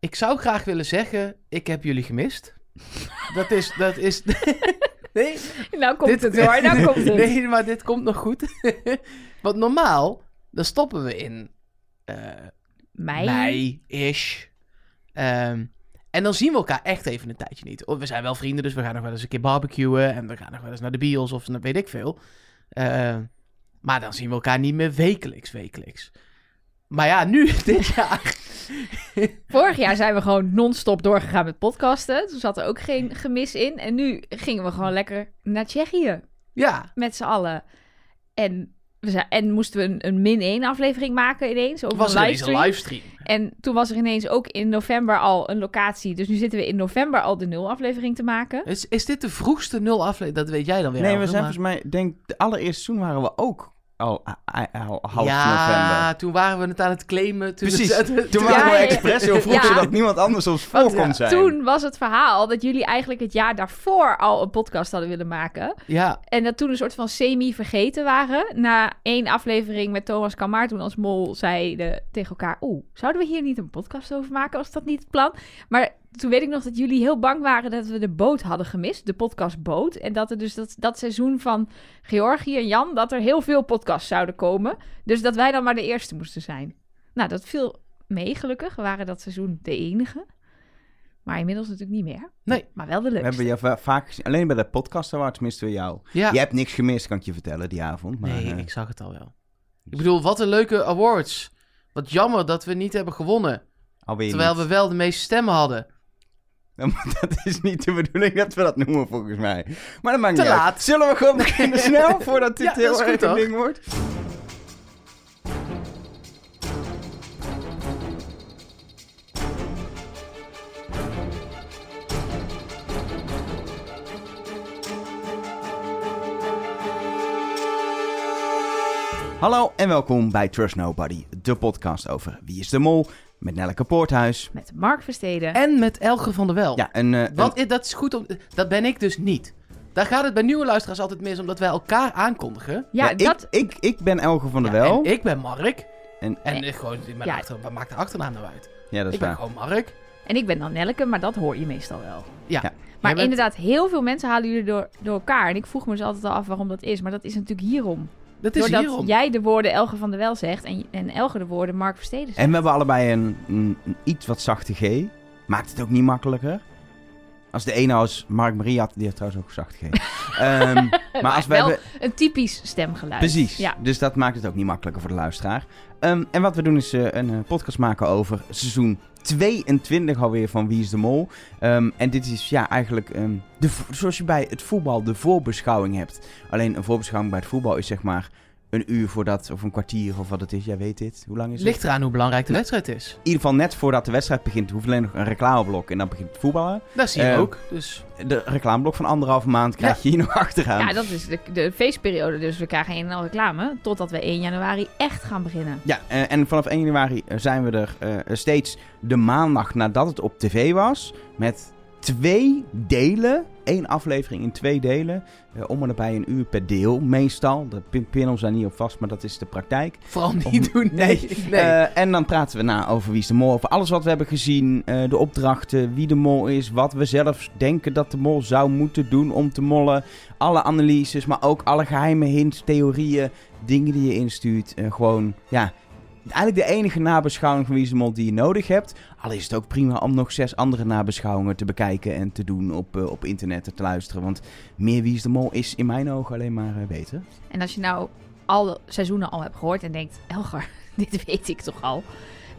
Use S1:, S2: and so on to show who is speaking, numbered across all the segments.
S1: Ik zou graag willen zeggen, ik heb jullie gemist. Dat is, dat is... Nee,
S2: Nou komt het hoor, nou komt het.
S1: Nee, maar dit komt nog goed. Want normaal, dan stoppen we in eh,
S2: Mei.
S1: mei-ish. Ehm, en dan zien we elkaar echt even een tijdje niet. Oh, We zijn wel vrienden, dus we gaan nog wel eens een keer barbecuen. En we gaan nog wel eens naar de bios of naar weet ik veel. Ehm, maar dan zien we elkaar niet meer wekelijks, wekelijks. Maar ja, nu, dit jaar.
S2: Vorig jaar zijn we gewoon non-stop doorgegaan met podcasten. Toen zat er ook geen gemis in. En nu gingen we gewoon lekker naar Tsjechië
S1: Ja,
S2: met z'n allen. En, we zijn, en moesten we een, een min 1 aflevering maken ineens. Of
S1: was
S2: een
S1: er ineens
S2: livestream.
S1: een livestream.
S2: En toen was er ineens ook in november al een locatie. Dus nu zitten we in november al de nul aflevering te maken.
S1: Is, is dit de vroegste nul aflevering? Dat weet jij dan weer.
S3: nee, we
S1: Elger,
S3: zijn
S1: maar-
S3: volgens mij, denk de allereerste seizoen waren we ook al, a- a- al half november.
S1: Ja, toen waren we het aan het claimen. Toen
S3: Precies, toen
S2: Ja,
S3: waren we
S2: ja, ja.
S3: expres heel vroeg,
S2: Ja.
S3: zodat niemand anders ons voor
S1: Want, ja,
S3: kon zijn.
S2: Toen was het verhaal dat jullie eigenlijk het jaar daarvoor al een podcast hadden willen maken.
S1: Ja,
S2: En dat toen een soort van semi-vergeten waren. Na één aflevering met Thomas Kamar, toen als mol zeiden tegen elkaar... Oeh, zouden we hier niet een podcast over maken? Was dat niet het plan? Maar toen weet ik nog dat jullie heel bang waren dat we de boot hadden gemist. De podcastboot. En dat er dus dat, dat seizoen van Georgie en Jan... dat er heel veel podcasts zouden komen. Dus dat wij dan maar de eerste moesten zijn. Nou, dat viel mee gelukkig. We waren dat seizoen de enige. Maar inmiddels natuurlijk niet meer.
S1: Nee.
S2: Maar wel de
S3: We
S2: leukste.
S3: hebben je va- vaak gezien. Alleen bij de podcast awards misten we jou.
S1: ja.
S3: Je hebt niks gemist, kan ik je vertellen, die avond. Maar,
S1: nee,
S3: eh,
S1: ik zag het al wel. Ik bedoel, wat een leuke awards. Wat jammer dat we niet hebben gewonnen.
S3: alweer
S1: Terwijl we
S3: niet.
S1: wel de meeste stemmen hadden.
S3: Dat is niet de bedoeling dat we dat noemen, volgens mij. Maar dat maakt
S1: Te
S3: niet
S1: laat.
S3: uit. Zullen we gewoon beginnen snel, voordat dit
S1: Ja, dat is
S3: heel
S1: goed,
S3: erg een
S1: toch?
S3: ding wordt? Hallo en welkom bij Trust Nobody, de podcast over Wie is de Mol met Nelleke Poorthuis.
S2: Met Mark Versteden.
S1: En met Elger van der Wel.
S3: Ja, en, eh,
S1: Wat, i- dat is goed om... Dat ben ik dus niet. Daar gaat het bij nieuwe luisteraars altijd mis, omdat wij elkaar aankondigen.
S2: Ja,
S3: ik,
S2: dat...
S3: ik, ik ben Elge van der
S1: Ja,
S3: Wel.
S1: En ik ben Mark.
S3: En-
S1: En ik gewoon, mijn
S2: Eh, Ja.
S1: achter- wat maakt de achternaam nou uit?
S3: Ja, dat is
S1: ik ben
S3: waar.
S1: gewoon Mark.
S2: En ik ben dan Nelleke, maar dat hoor je meestal wel.
S1: Ja.
S3: Ja.
S1: Jij
S2: Maar
S1: bent-
S2: inderdaad, heel veel mensen halen jullie door, door elkaar. En ik vroeg me dus altijd al af waarom dat is. Maar dat is natuurlijk hierom.
S1: Dat is
S2: Doordat
S1: hierom.
S2: jij de woorden Elge van der Wel zegt en, en Elge de woorden Mark Versteden zegt.
S3: En we hebben allebei een, een, een iets wat zachte G. Maakt het ook niet makkelijker. Als de ene als Mark Marie had, die had trouwens ook een zachte G. Ehm, maar als we
S2: wel
S3: hebben,
S2: Een typisch stemgeluid.
S3: precies.
S2: Ja.
S3: Dus dat maakt het ook niet makkelijker voor de luisteraar. Ehm, en wat we doen is eh, een eh, podcast maken over seizoen 22 alweer van Wie is de Mol. Ehm, en dit is ja eigenlijk ehm, de, vo- zoals je bij het voetbal de voorbeschouwing hebt. Alleen een voorbeschouwing bij het voetbal is zeg maar een uur voordat, of een kwartier of wat het is. Jij weet dit. Hoe lang is het?
S1: Ligt eraan hoe belangrijk de wedstrijd is.
S3: in ieder geval net voordat de wedstrijd begint, hoeft alleen nog een reclameblok en dan begint het voetballen.
S1: Dat zie je
S3: Eh,
S1: ook. Dus
S3: De reclameblok van anderhalve maand krijg je hier nog achteraan.
S2: Ja, dat is de, de feestperiode. Dus we krijgen een en al reclame. Totdat we 1 januari echt gaan beginnen.
S3: Ja, eh, en vanaf 1 januari eh, zijn we er eh, steeds de maandag nadat het op tv was. Met twee delen. Eén aflevering in twee delen. eh, om en nabij een uur per deel, meestal. De pin- pinnen ons daar niet op vast, maar dat is de praktijk.
S1: vooral niet doen. Nee. nee.
S3: Eh, en dan praten we na over wie is de mol, over alles wat we hebben gezien, eh, de opdrachten, wie de mol is, wat we zelf denken dat de mol zou moeten doen om te mollen. Alle analyses, maar ook alle geheime hints, theorieën, dingen die je instuurt. Eh, gewoon, ja, eigenlijk de enige nabeschouwing van wie is de mol die je nodig hebt. Al is het ook prima om nog zes andere nabeschouwingen te bekijken en te doen op, eh, op internet en te luisteren. Want meer wie is de mol is in mijn ogen alleen maar eh, beter.
S2: En als je nou alle seizoenen al hebt gehoord en denkt... Elger, dit weet ik toch al.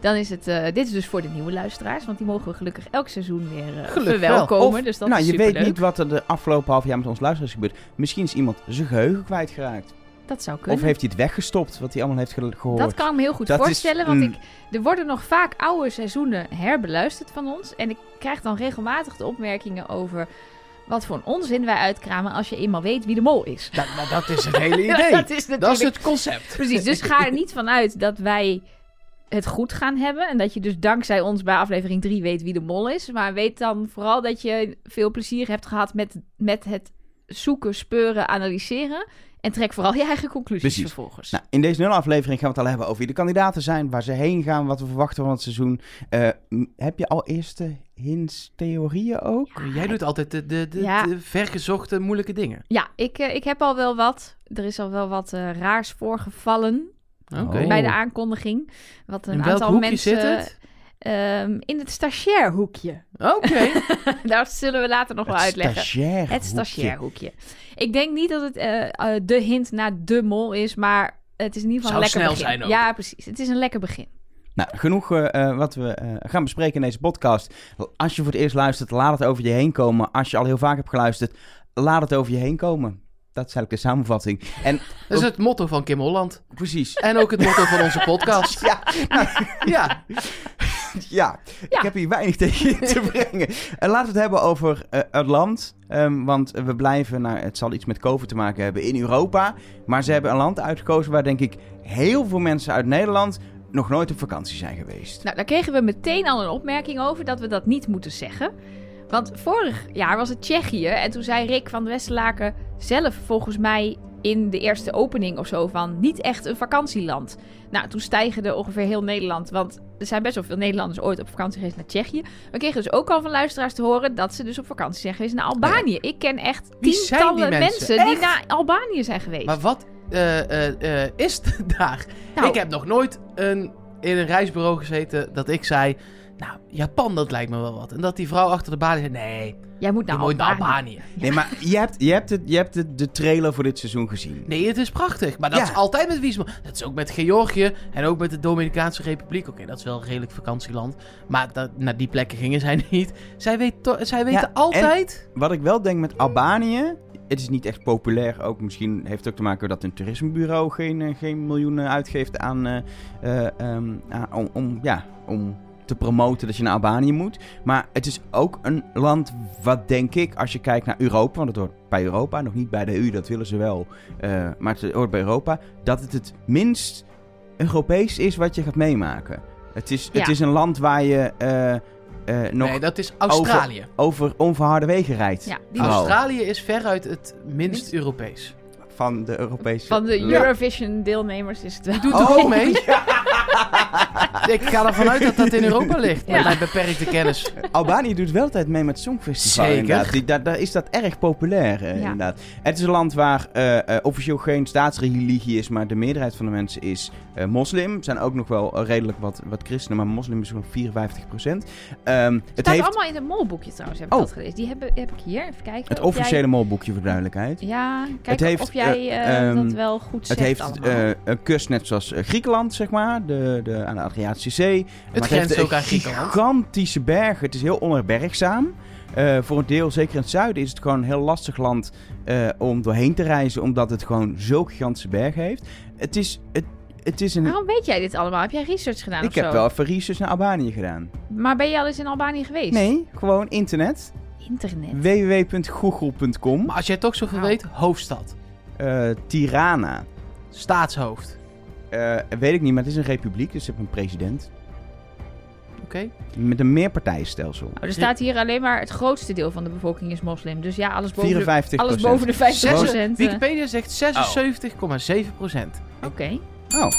S2: Dan is het... eh, dit is dus voor de nieuwe luisteraars. Want die mogen we gelukkig elk seizoen weer eh,
S1: Gelukkig wel.
S2: verwelkomen.
S3: Of,
S2: Dus dat
S3: nou,
S2: is
S3: je
S2: superleuk.
S3: weet niet wat er de afgelopen half jaar met ons luisteraars gebeurt. Misschien is iemand zijn geheugen kwijtgeraakt.
S2: Dat zou kunnen.
S3: Of heeft hij het weggestopt, wat hij allemaal heeft ge- gehoord.
S2: Dat kan ik me heel goed
S3: Dat is-
S2: voorstellen, want
S3: mm.
S2: ik, er worden nog vaak oude seizoenen herbeluisterd van ons. En ik krijg dan regelmatig de opmerkingen over wat voor een onzin wij uitkramen als je eenmaal weet wie de mol is.
S1: Dat, maar dat is het hele idee.
S2: dat is
S1: dat is
S2: natuurlijk...
S1: het concept.
S2: Precies, dus ga er niet van uit dat wij het goed gaan hebben. En dat je dus dankzij ons bij aflevering 3 weet wie de mol is. Maar weet dan vooral dat je veel plezier hebt gehad met, met het zoeken, speuren, analyseren. En trek vooral je eigen conclusies
S3: Precies.
S2: vervolgens.
S3: Nou, in deze nulaflevering aflevering gaan we het al hebben over wie de kandidaten zijn, waar ze heen gaan, wat we verwachten van het seizoen. Eh, m- heb je al eerste hints, theorieën ook?
S1: Jij doet altijd de, de, de,
S2: Ja.
S1: de vergezochte moeilijke dingen.
S2: Ja, ik, eh, ik heb al wel wat. Er is al wel wat eh, raars voorgevallen
S1: Oké.
S3: Oh.
S2: bij de aankondiging. Wat een
S1: In welk
S2: aantal
S1: hoekje
S2: mensen.
S1: zit het?
S2: ehm, in het stagiairhoekje.
S1: Oké.
S2: Daar zullen we later nog wel uitleggen.
S3: stagiair.
S2: Het stagiairhoekje. Ik denk niet dat het eh, eh, de hint naar de mol is, maar het is in ieder geval
S1: Zou
S2: een lekker
S1: snel
S2: begin.
S1: zijn ook.
S2: Ja, precies. Het is een lekker begin.
S3: Nou, genoeg eh, eh, wat we eh, gaan bespreken in deze podcast. Als je voor het eerst luistert, laat het over je heen komen. Als je al heel vaak hebt geluisterd, laat het over je heen komen. Dat is eigenlijk de samenvatting. En
S1: Dat is het motto van Kim Holland.
S3: precies,
S1: En ook het motto van onze podcast.
S3: Ja.
S1: ja.
S3: ja,
S2: Ja.
S3: ik heb hier weinig tegen in te brengen. En laten we het hebben over eh, het land. Ehm, want we blijven, nou, het zal iets met COVID te maken hebben, in Europa. Maar ze hebben een land uitgekozen waar, denk ik, heel veel mensen uit Nederland nog nooit op vakantie zijn geweest.
S2: Nou, daar kregen we meteen al een opmerking over dat we dat niet moeten zeggen. Want vorig jaar was het Tsjechië en toen zei Rick van de Westerlaken zelf volgens mij in de eerste opening of zo van niet echt een vakantieland. Nou, toen stijgerde ongeveer heel Nederland, want er zijn best wel veel Nederlanders ooit op vakantie geweest naar Tsjechië. We kregen dus ook al van luisteraars te horen dat ze dus op vakantie zijn geweest naar Albanië. Ik ken echt
S1: Wie zijn die
S2: tientallen
S1: mensen?
S2: mensen, die naar Albanië zijn geweest.
S1: Maar wat eh, eh, eh, is het daar?
S2: Nou.
S1: Ik heb nog nooit een, in een reisbureau gezeten dat ik zei... Nou, Japan, dat lijkt me wel wat. En dat die vrouw achter de balie zei... Nee,
S2: Jij moet
S1: je
S3: Nou,
S2: naar
S1: moet naar
S2: Albanië.
S1: Albanië.
S3: Nee, maar je hebt, je hebt, het, je hebt het, de trailer voor dit seizoen gezien.
S1: Nee, het is prachtig. Maar dat
S3: Ja.
S1: is altijd met Wiesma. Dat is ook met Georgië en ook met de Dominicaanse Republiek. Oké, dat is wel een redelijk vakantieland. Maar dat, naar die plekken gingen zij niet. Zij, weet to- zij weten
S3: en-
S1: altijd...
S3: Wat ik wel denk met Albanië. Het is niet echt populair. Ook misschien heeft het ook te maken dat een toerismebureau geen, eh, geen miljoenen uitgeeft aan, eh, eh, ehm, aan- om, om, ja, om te promoten dat je naar Albanië moet. Maar het is ook een land wat denk ik, als je kijkt naar Europa, want het hoort bij Europa, nog niet bij de EU, dat willen ze wel. eh, maar het hoort bij Europa, dat het het minst Europees is wat je gaat meemaken. Het is, het
S2: Ja.
S3: is een land waar je eh, eh, nog
S1: Nee, dat is Australië.
S3: over onverharde wegen rijdt.
S2: Ja, die
S3: Oh.
S1: Australië is veruit het minst Europees.
S3: van de Europese.
S2: Van de
S3: Ja.
S2: Eurovision deelnemers is het wel.
S1: Doet
S3: Oh.
S1: er ook mee. Ik ga ervan uit dat dat in Europa ligt. Met
S2: Ja.
S1: mijn beperkte kennis.
S3: Albanië doet wel altijd mee met het Songfestival.
S1: Zeker.
S3: inderdaad. Die- daar, daar is dat erg populair. eh,
S2: Ja.
S3: inderdaad. Het is een land waar eh, eh, officieel geen staatsreligie is, maar de meerderheid van de mensen is eh, moslim. Er zijn ook nog wel eh, redelijk wat, wat christenen, maar moslim is zo'n 54 procent. Ehm, het,
S2: staat
S3: heeft
S2: allemaal in het molboekje trouwens, heb ik
S3: Oh.
S2: dat gelezen. Die heb, heb ik hier, even kijken.
S3: het
S2: of
S3: officiële molboekje voor duidelijkheid.
S2: Jij, ja, kijk
S3: Het heeft,
S2: of jij
S3: eh,
S2: eh,
S3: ehm,
S2: dat wel goed
S3: Het
S2: zegt
S3: heeft
S2: allemaal.
S3: eh, een kust net zoals eh, Griekenland, zeg maar, de, de, aan de Adriatische Zee. Maar
S1: grenst
S3: heeft
S1: ook aan Griekenland.
S3: gigantische bergen. Het is heel onherbergzaam. Eh, voor een deel, zeker in het zuiden, is het gewoon een heel lastig land eh, om doorheen te reizen, omdat het gewoon zulke gigantische bergen heeft. Het is, het, het is een...
S2: Waarom weet jij dit allemaal? Heb jij research gedaan
S3: Ik
S2: of zo?
S3: heb wel even research naar Albanië gedaan.
S2: Maar ben je al eens in Albanië geweest?
S3: Nee, gewoon internet.
S2: Internet.
S3: www.google.com
S1: Maar als jij toch zoveel
S3: Nou.
S2: Wauw.
S1: weet, hoofdstad.
S3: Eh, Tirana.
S1: Staatshoofd.
S3: Eh, weet ik niet, maar het is een republiek, dus je hebt een president.
S1: Oké?
S3: Met een meerpartijenstelsel.
S2: Oh, er staat hier alleen maar het grootste deel van de bevolking is moslim. Dus ja, alles boven,
S3: 54
S2: de, alles boven de 50
S1: Zes-
S2: procent. eh,
S1: Wikipedia zegt 76,7 procent.
S2: Oké.
S3: Oh.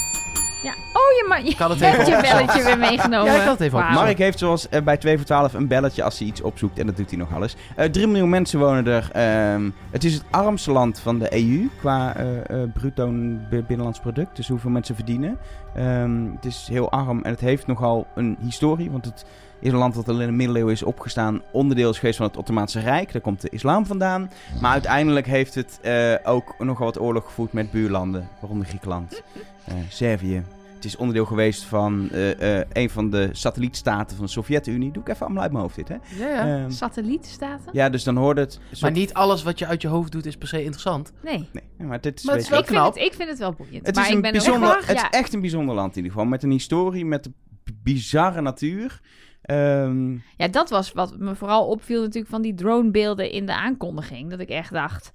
S2: Ja. Oh, je, ma- je
S1: Ik had het
S2: hebt
S1: even
S2: je
S1: opgezocht.
S2: belletje weer meegenomen.
S1: Ja, ik had het even
S2: Wauw.
S1: opgezocht.
S3: Mark heeft zoals eh, bij 2 voor 12 een belletje als hij iets opzoekt. En dat doet hij nog alles. Eh 3 miljoen mensen wonen er. Ehm, het is het armste land van de EU qua eh, eh, bruto n- b- binnenlands product. Dus hoeveel mensen verdienen. Ehm, het is heel arm en het heeft nogal een historie. Want het is een land dat al in de middeleeuwen is opgestaan. Onderdeel is geweest van het Ottomaanse Rijk. Daar komt de islam vandaan. Maar uiteindelijk heeft het eh, ook nogal wat oorlog gevoerd met buurlanden. Waaronder Griekenland, eh, Servië. Het is onderdeel geweest van eh, eh, een van de satellietstaten van de Sovjet-Unie. Doe ik even allemaal uit mijn hoofd dit, hè?
S1: Ja, ja.
S3: Ehm,
S2: Satellietstaten?
S3: ja, dus dan hoorde het... een soort-
S1: maar niet alles wat je uit je hoofd doet is per se interessant.
S2: Nee.
S3: Nee, maar dit is...
S1: Maar het is
S3: weet je-
S1: wel
S2: Ik vind,
S1: knap.
S2: het, ik vind het wel boeiend.
S3: Het
S2: maar
S3: is
S2: ik
S3: een
S2: ben
S3: bijzonder...
S2: er echt
S3: Het
S2: ja.
S3: is echt een bijzonder land in ieder geval. Met een historie, met een b- bizarre natuur. Ehm,
S2: Ja, dat was wat me vooral opviel natuurlijk van die dronebeelden in de aankondiging. Dat ik echt dacht,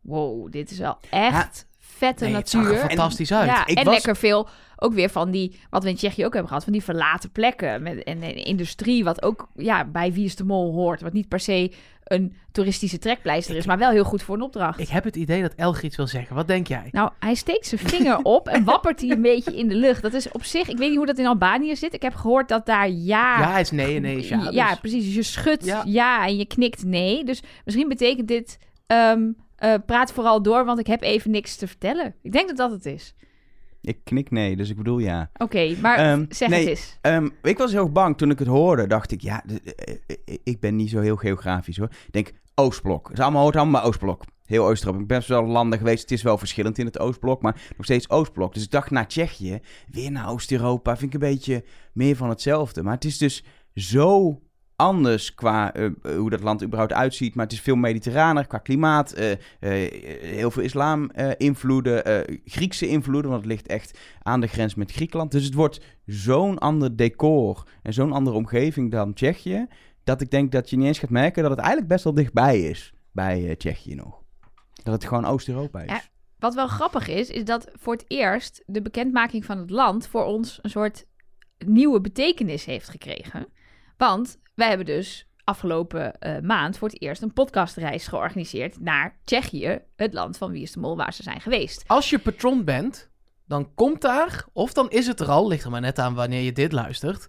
S2: wow, dit is wel echt vette
S1: Nee, het zag er
S2: natuur.
S1: fantastisch uit.
S2: Ja,
S3: Ik
S2: en
S3: was-
S2: lekker veel ook weer van die, wat we in Tsjechië ook hebben gehad, van die verlaten plekken met, en, en industrie, wat ook ja, bij Wie is de Mol hoort. Wat niet per se een toeristische trekpleister is, maar wel heel goed voor een opdracht.
S1: Ik heb het idee dat Elger iets wil zeggen. Wat denk jij?
S2: Nou, hij steekt zijn vinger op en wappert hij een beetje in de lucht. Dat is op zich, ik weet niet hoe dat in Albanië zit. Ik heb gehoord dat daar ja...
S1: ja, hij is nee en nee is ja. dus-
S2: precies. Dus je schudt
S1: Ja.
S2: ja. en je knikt nee. Dus misschien betekent dit, ehm, eh, praat vooral door, want ik heb even niks te vertellen. Ik denk dat dat het is.
S3: Ik knik nee, dus ik bedoel ja.
S2: Oké, maar
S3: Ehm,
S2: zeg
S3: nee,
S2: het eens.
S3: Ehm, ik was heel bang toen ik het hoorde. Dacht ik, ja, d- eh, eh, ik ben niet zo heel geografisch hoor. Ik denk, Oostblok. Het is allemaal, hoort allemaal bij Oostblok. Heel Oostenrijk. Ik ben best wel landen geweest. Het is wel verschillend in het Oostblok, maar nog steeds Oostblok. Dus ik dacht naar Tsjechië, weer naar Oost-Europa. Vind ik een beetje meer van hetzelfde. Maar het is dus zo anders qua eh, eh, hoe dat land überhaupt uitziet. Maar het is veel mediterraner qua klimaat. eh, eh, heel veel islam-invloeden, eh, Griekse invloeden. Want het ligt echt aan de grens met Griekenland. Dus het wordt zo'n ander decor en zo'n andere omgeving dan Tsjechië. Dat ik denk dat je niet eens gaat merken dat het eigenlijk best wel dichtbij is bij eh, Tsjechië nog. Dat het gewoon Oost-Europa is.
S2: Ja. Wat wel grappig is, is dat voor het eerst de bekendmaking van het land voor ons een soort nieuwe betekenis heeft gekregen. Want wij hebben dus afgelopen eh, maand voor het eerst een podcastreis georganiseerd naar Tsjechië, het land van Wie is de Mol, waar ze zijn geweest.
S1: Als je patron bent, dan komt daar, of dan is het er al, ligt er maar net aan wanneer je dit luistert,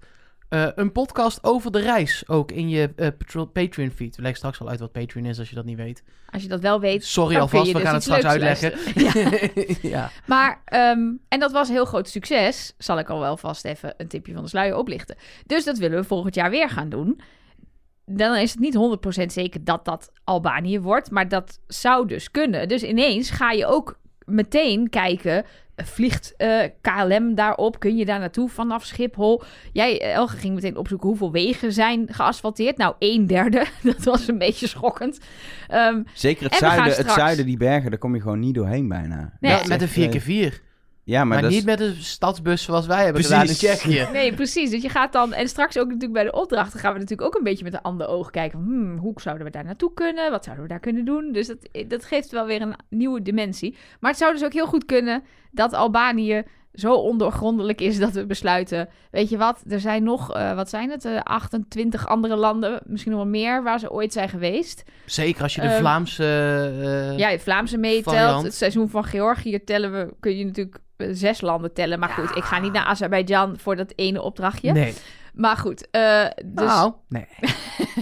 S1: eh, een podcast over de reis ook in je eh, patro- Patreon-feed. We leggen straks wel uit wat Patreon is als je dat niet weet.
S2: Als je dat wel weet,
S1: Sorry
S2: Dan kun
S1: alvast,
S2: je
S1: we
S2: dus
S1: gaan het
S2: iets
S1: straks
S2: leuks
S1: uitleggen. Ja.
S2: Maar, ehm, en dat was een heel groot succes. Zal ik al wel vast even een tipje van de sluier oplichten. Dus dat willen we volgend jaar weer gaan doen. Dan is het niet 100% zeker dat dat Albanië wordt, maar dat zou dus kunnen. Dus ineens ga je ook meteen kijken. Vliegt eh, KLM daarop? Kun je daar naartoe vanaf Schiphol? Jij, eh, Elge, ging meteen opzoeken hoeveel wegen zijn geasfalteerd. Nou, een derde. Dat was een beetje schokkend. Ehm,
S3: Zeker het
S2: En we gaan
S3: zuiden, het
S2: straks-
S3: zuiden, die bergen, daar kom je gewoon niet doorheen bijna.
S1: Ja,
S2: Nee.
S3: Dat is
S1: met
S3: echt,
S1: een 4x4.
S3: eh,
S1: Maar,
S3: Ja, maar, dat
S1: niet
S3: is-
S1: met een stadsbus zoals wij hebben
S3: Precies.
S1: gedaan in Tsjechië.
S2: Nee, precies. Dus je gaat dan... En straks ook natuurlijk bij de opdrachten gaan we natuurlijk ook een beetje met een ander oog kijken. van, Hmm, hoe zouden we daar naartoe kunnen? Wat zouden we daar kunnen doen? Dus dat, dat geeft wel weer een nieuwe dimensie. Maar het zou dus ook heel goed kunnen dat Albanië zo ondoorgrondelijk is dat we besluiten... Weet je wat, er zijn nog, eh, wat zijn het, eh, 28 andere landen, misschien nog wel meer, waar ze ooit zijn geweest.
S1: Zeker als je de
S2: Ehm,
S1: Vlaamse... eh,
S2: Ja, het Vlaamse meetelt.
S1: Variant.
S2: Het seizoen van Georgië tellen we, kun je natuurlijk eh, zes landen tellen. Maar goed, ik ga niet naar Azerbeidzjan voor dat ene opdrachtje.
S1: Nee.
S2: Maar goed, eh, dus
S1: Nou. Nee.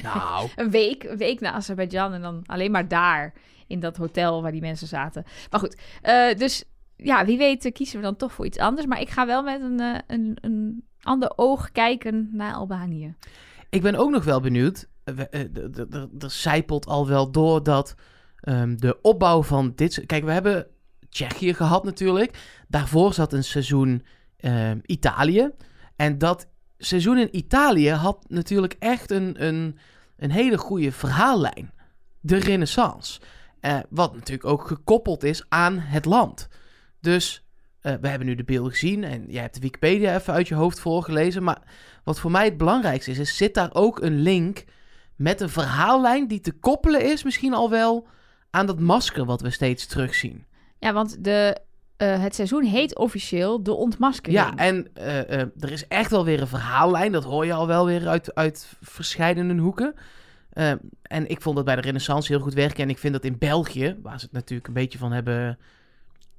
S1: nou.
S2: een week, een week naar Azerbeidzjan en dan alleen maar daar in dat hotel waar die mensen zaten. Maar goed, eh, dus ja, wie weet eh, kiezen we dan toch voor iets anders. Maar ik ga wel met een, eh, een, een ander oog kijken naar Albanië.
S1: Ik ben ook nog wel benieuwd. eh, we- eh, d- d- d- Er zijpelt al wel door dat ehm, de opbouw van dit. se- Kijk, we hebben Tsjechië gehad natuurlijk. Daarvoor zat een seizoen ehm, Italië. En dat seizoen in Italië had natuurlijk echt een, een, een hele goede verhaallijn. De Renaissance. Eh, wat natuurlijk ook gekoppeld is aan het land. Dus eh, we hebben nu de beelden gezien. En jij hebt de Wikipedia even uit je hoofd voorgelezen. Maar wat voor mij het belangrijkste is, is zit daar ook een link met een verhaallijn die te koppelen is, misschien al wel aan dat masker wat we steeds terugzien.
S2: Ja, want de, eh, het seizoen heet officieel de ontmaskering.
S1: Ja, en eh, eh, er is echt wel weer een verhaallijn. Dat hoor je al wel weer uit, uit verschillende hoeken. Eh, en ik vond dat bij de Renaissance heel goed werken. En ik vind dat in België, waar ze het natuurlijk een beetje van hebben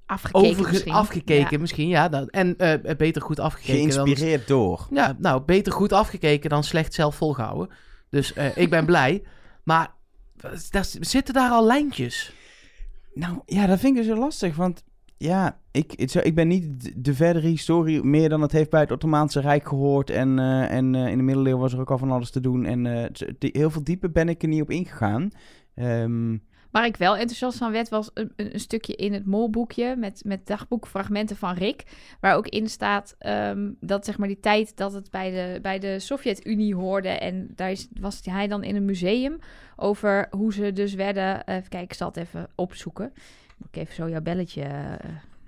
S2: afgekeken
S1: overge-
S2: misschien.
S1: afgekeken, misschien. Ja, dat- en eh, beter goed afgekeken dan
S3: geïnspireerd door.
S1: Ja, nou, beter goed afgekeken dan slecht zelf volgehouden. Dus eh, ik ben blij. Maar eh, daar z- zitten daar al lijntjes.
S3: Nou, ja, dat vind ik dus zo lastig, want... Ja, ik, het zou- ik ben niet d- de verdere historie meer dan het heeft bij het Ottomaanse Rijk gehoord. En, eh, en eh, in de middeleeuwen was er ook al van alles te doen. En eh, het- die- heel veel dieper ben ik er niet op ingegaan. Ehm,
S2: Ja. Waar ik wel enthousiast van werd, was een, een, een stukje in het molboekje met, met dagboekfragmenten van Rick. Waar ook in staat ehm, dat zeg maar die tijd dat het bij de, bij de Sovjet-Unie hoorde. En daar is, was hij dan in een museum over hoe ze dus werden... eh, even kijken, ik zal het even opzoeken. Moet ik even zo jouw belletje... eh,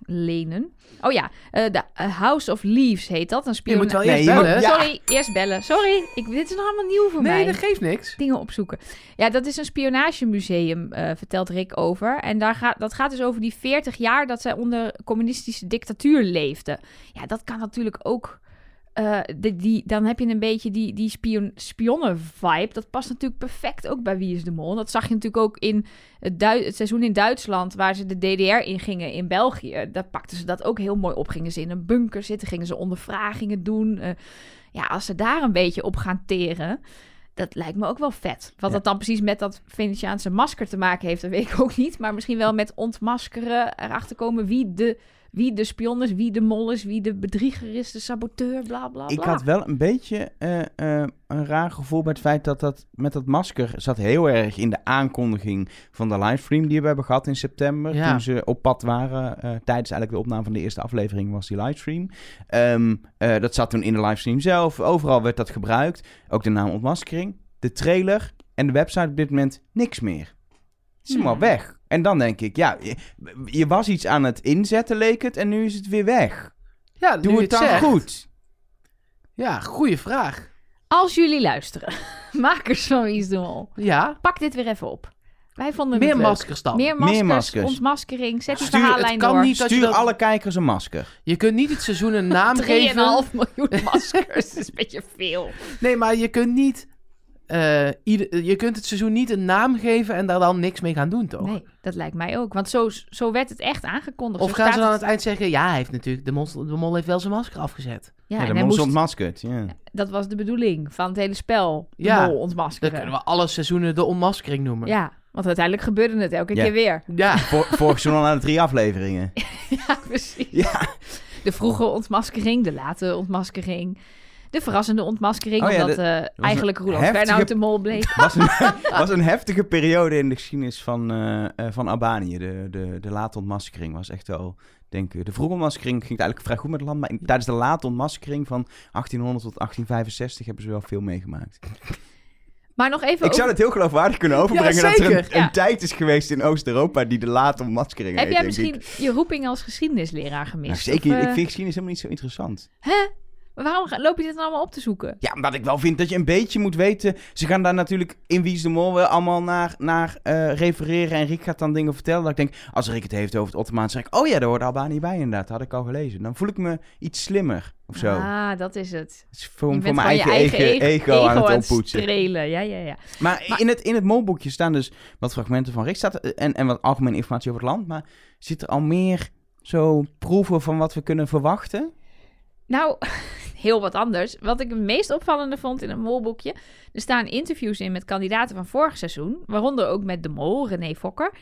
S2: lenen. Oh ja, eh, de eh, House of Leaves heet dat. Een
S1: Je
S2: spion... Oh,
S1: moet wel
S3: Nee,
S1: eerst
S3: je moet-
S1: bellen.
S3: ja.
S2: Sorry, eerst bellen. Sorry, ik, dit is nog allemaal nieuw voor mij.
S1: Nee, dat geeft niks.
S2: dingen opzoeken. Ja, dat is een spionagemuseum, eh, vertelt Rick over. En daar gaat, dat gaat dus over die 40 jaar dat zij onder communistische dictatuur leefden. Ja, dat kan natuurlijk ook. eh, de- die, dan heb je een beetje die, die spion, spionnen-vibe. Dat past natuurlijk perfect ook bij Wie is de Mol. Dat zag je natuurlijk ook in het, Dui- het seizoen in Duitsland... waar ze de DDR ingingen in België. Daar pakten ze dat ook heel mooi op. Gingen ze in een bunker zitten, gingen ze ondervragingen doen. Eh, ja, als ze daar een beetje op gaan teren... Dat lijkt me ook wel vet. Wat
S3: Ja.
S2: dat dan precies met dat Venetiaanse masker te maken heeft, dat weet ik ook niet. Maar misschien wel met ontmaskeren, erachter komen wie de, wie de spion is, wie de mol is, wie de bedrieger is, de saboteur, bla bla bla.
S3: Ik had wel een beetje eh, eh, een raar gevoel bij het feit dat dat met dat masker zat heel erg in de aankondiging van de livestream die we hebben gehad in september.
S1: Ja.
S3: Toen ze op pad waren, eh, tijdens eigenlijk de opname van de eerste aflevering was die livestream. Ehm, eh, dat zat toen in de livestream zelf. Overal werd dat gebruikt. Ook de naam ontmaskering, de trailer en de website op dit moment niks meer. Het is helemaal
S2: Hmm.
S3: weg. En dan denk ik, ja, je, je was iets aan het inzetten leek het en nu is het weer weg.
S1: Ja, nu
S3: Doe
S1: je
S3: het dan
S1: zegt.
S3: goed.
S1: Ja, goede vraag.
S2: Als jullie luisteren, makers van Wie is de Mol,
S1: Ja,
S2: pak dit weer even op. Wij vonden
S1: meer
S2: het leuk.
S1: maskers dan.
S2: Meer maskers,
S3: Meer maskers.
S2: ontmaskering, zet die
S1: Stuur- het
S2: verhaallijn
S1: kan
S2: door.
S1: niet dat je
S3: Stuur
S1: dat-
S3: alle kijkers een masker.
S1: Je kunt niet het seizoen een naam geven.
S2: 3,5 miljoen maskers, dat is een beetje veel.
S1: Nee, maar je kunt niet... eh, ieder, je kunt het seizoen niet een naam geven en daar dan niks mee gaan doen, toch?
S2: Nee, dat lijkt mij ook. Want zo, zo werd het echt aangekondigd.
S1: Of
S2: Zo
S1: gaan
S2: staat
S1: ze dan aan
S2: het-
S1: het eind zeggen... Ja, hij heeft natuurlijk... De, monster, de mol heeft wel zijn masker afgezet.
S2: Ja,
S3: Ja,
S2: en hij
S3: de mol is
S2: moest-
S3: ontmaskerd. Ja.
S2: Dat was de bedoeling van het hele spel. De
S1: Ja,
S2: mol
S1: Dan
S2: ontmaskeren.
S1: kunnen we alle seizoenen de onmaskering noemen.
S2: Ja, want uiteindelijk gebeurde het elke
S3: Ja.
S2: keer weer.
S1: Ja.
S3: Vor, vorig seizoen al de drie afleveringen.
S2: Ja, precies.
S3: Ja.
S2: De vroege ontmaskering, de late ontmaskering. De verrassende ontmaskering,
S3: Oh ja,
S2: omdat
S3: dat
S2: eh, eigenlijk Roland
S3: heftige-
S2: Fernhout de mol bleek.
S3: was een, was een heftige periode in de geschiedenis van, eh, eh, van Albanië. De, de, de late ontmaskering was echt wel, denk ik... De vroege ontmaskering ging het eigenlijk vrij goed met het land. Maar in- tijdens de late ontmaskering van 1800 tot 1865 hebben ze wel veel meegemaakt.
S2: Maar nog even
S3: Ik zou het heel geloofwaardig kunnen overbrengen
S1: Ja,
S3: dat er een,
S1: zeker.
S3: een
S2: Ja.
S3: tijd is geweest in Oost-Europa die de late ontmaskering
S2: Heb
S3: heet,
S2: jij
S3: denk
S2: misschien
S3: ik.
S2: je roeping als geschiedenisleraar gemist?
S3: Nou,
S2: Of,
S3: zeker,
S2: eh,
S3: ik vind geschiedenis helemaal niet zo interessant.
S2: Waarom ga- loop je dit dan allemaal op te zoeken?
S3: Ja, omdat ik wel vind dat je een beetje moet weten. Ze gaan daar natuurlijk in Wie is de Mol wel allemaal naar, naar eh, refereren. En Rick gaat dan dingen vertellen. Dat ik denk, als Rick het heeft over het Ottomaans zeg ik, Oh ja, daar hoort Albanië bij inderdaad. Dat had ik al gelezen. Dan voel ik me iets slimmer of zo.
S2: Ah, dat is het.
S3: Het is
S2: Je
S3: voor,
S2: bent
S3: voor mijn
S2: gewoon
S3: eigen,
S2: je
S3: ego, ego, aan het oppoetsen.
S2: strelen. Ja, ja, ja.
S3: Maar, in, het, in het molboekje staan dus wat fragmenten van Rick staat, eh, en, en wat algemene informatie over het land. Maar zit er al meer zo proeven van wat we kunnen verwachten?
S2: Nou, heel wat anders. Wat ik het meest opvallende vond in het molboekje... er staan interviews in met kandidaten van vorig seizoen... waaronder ook met de mol, René Fokker...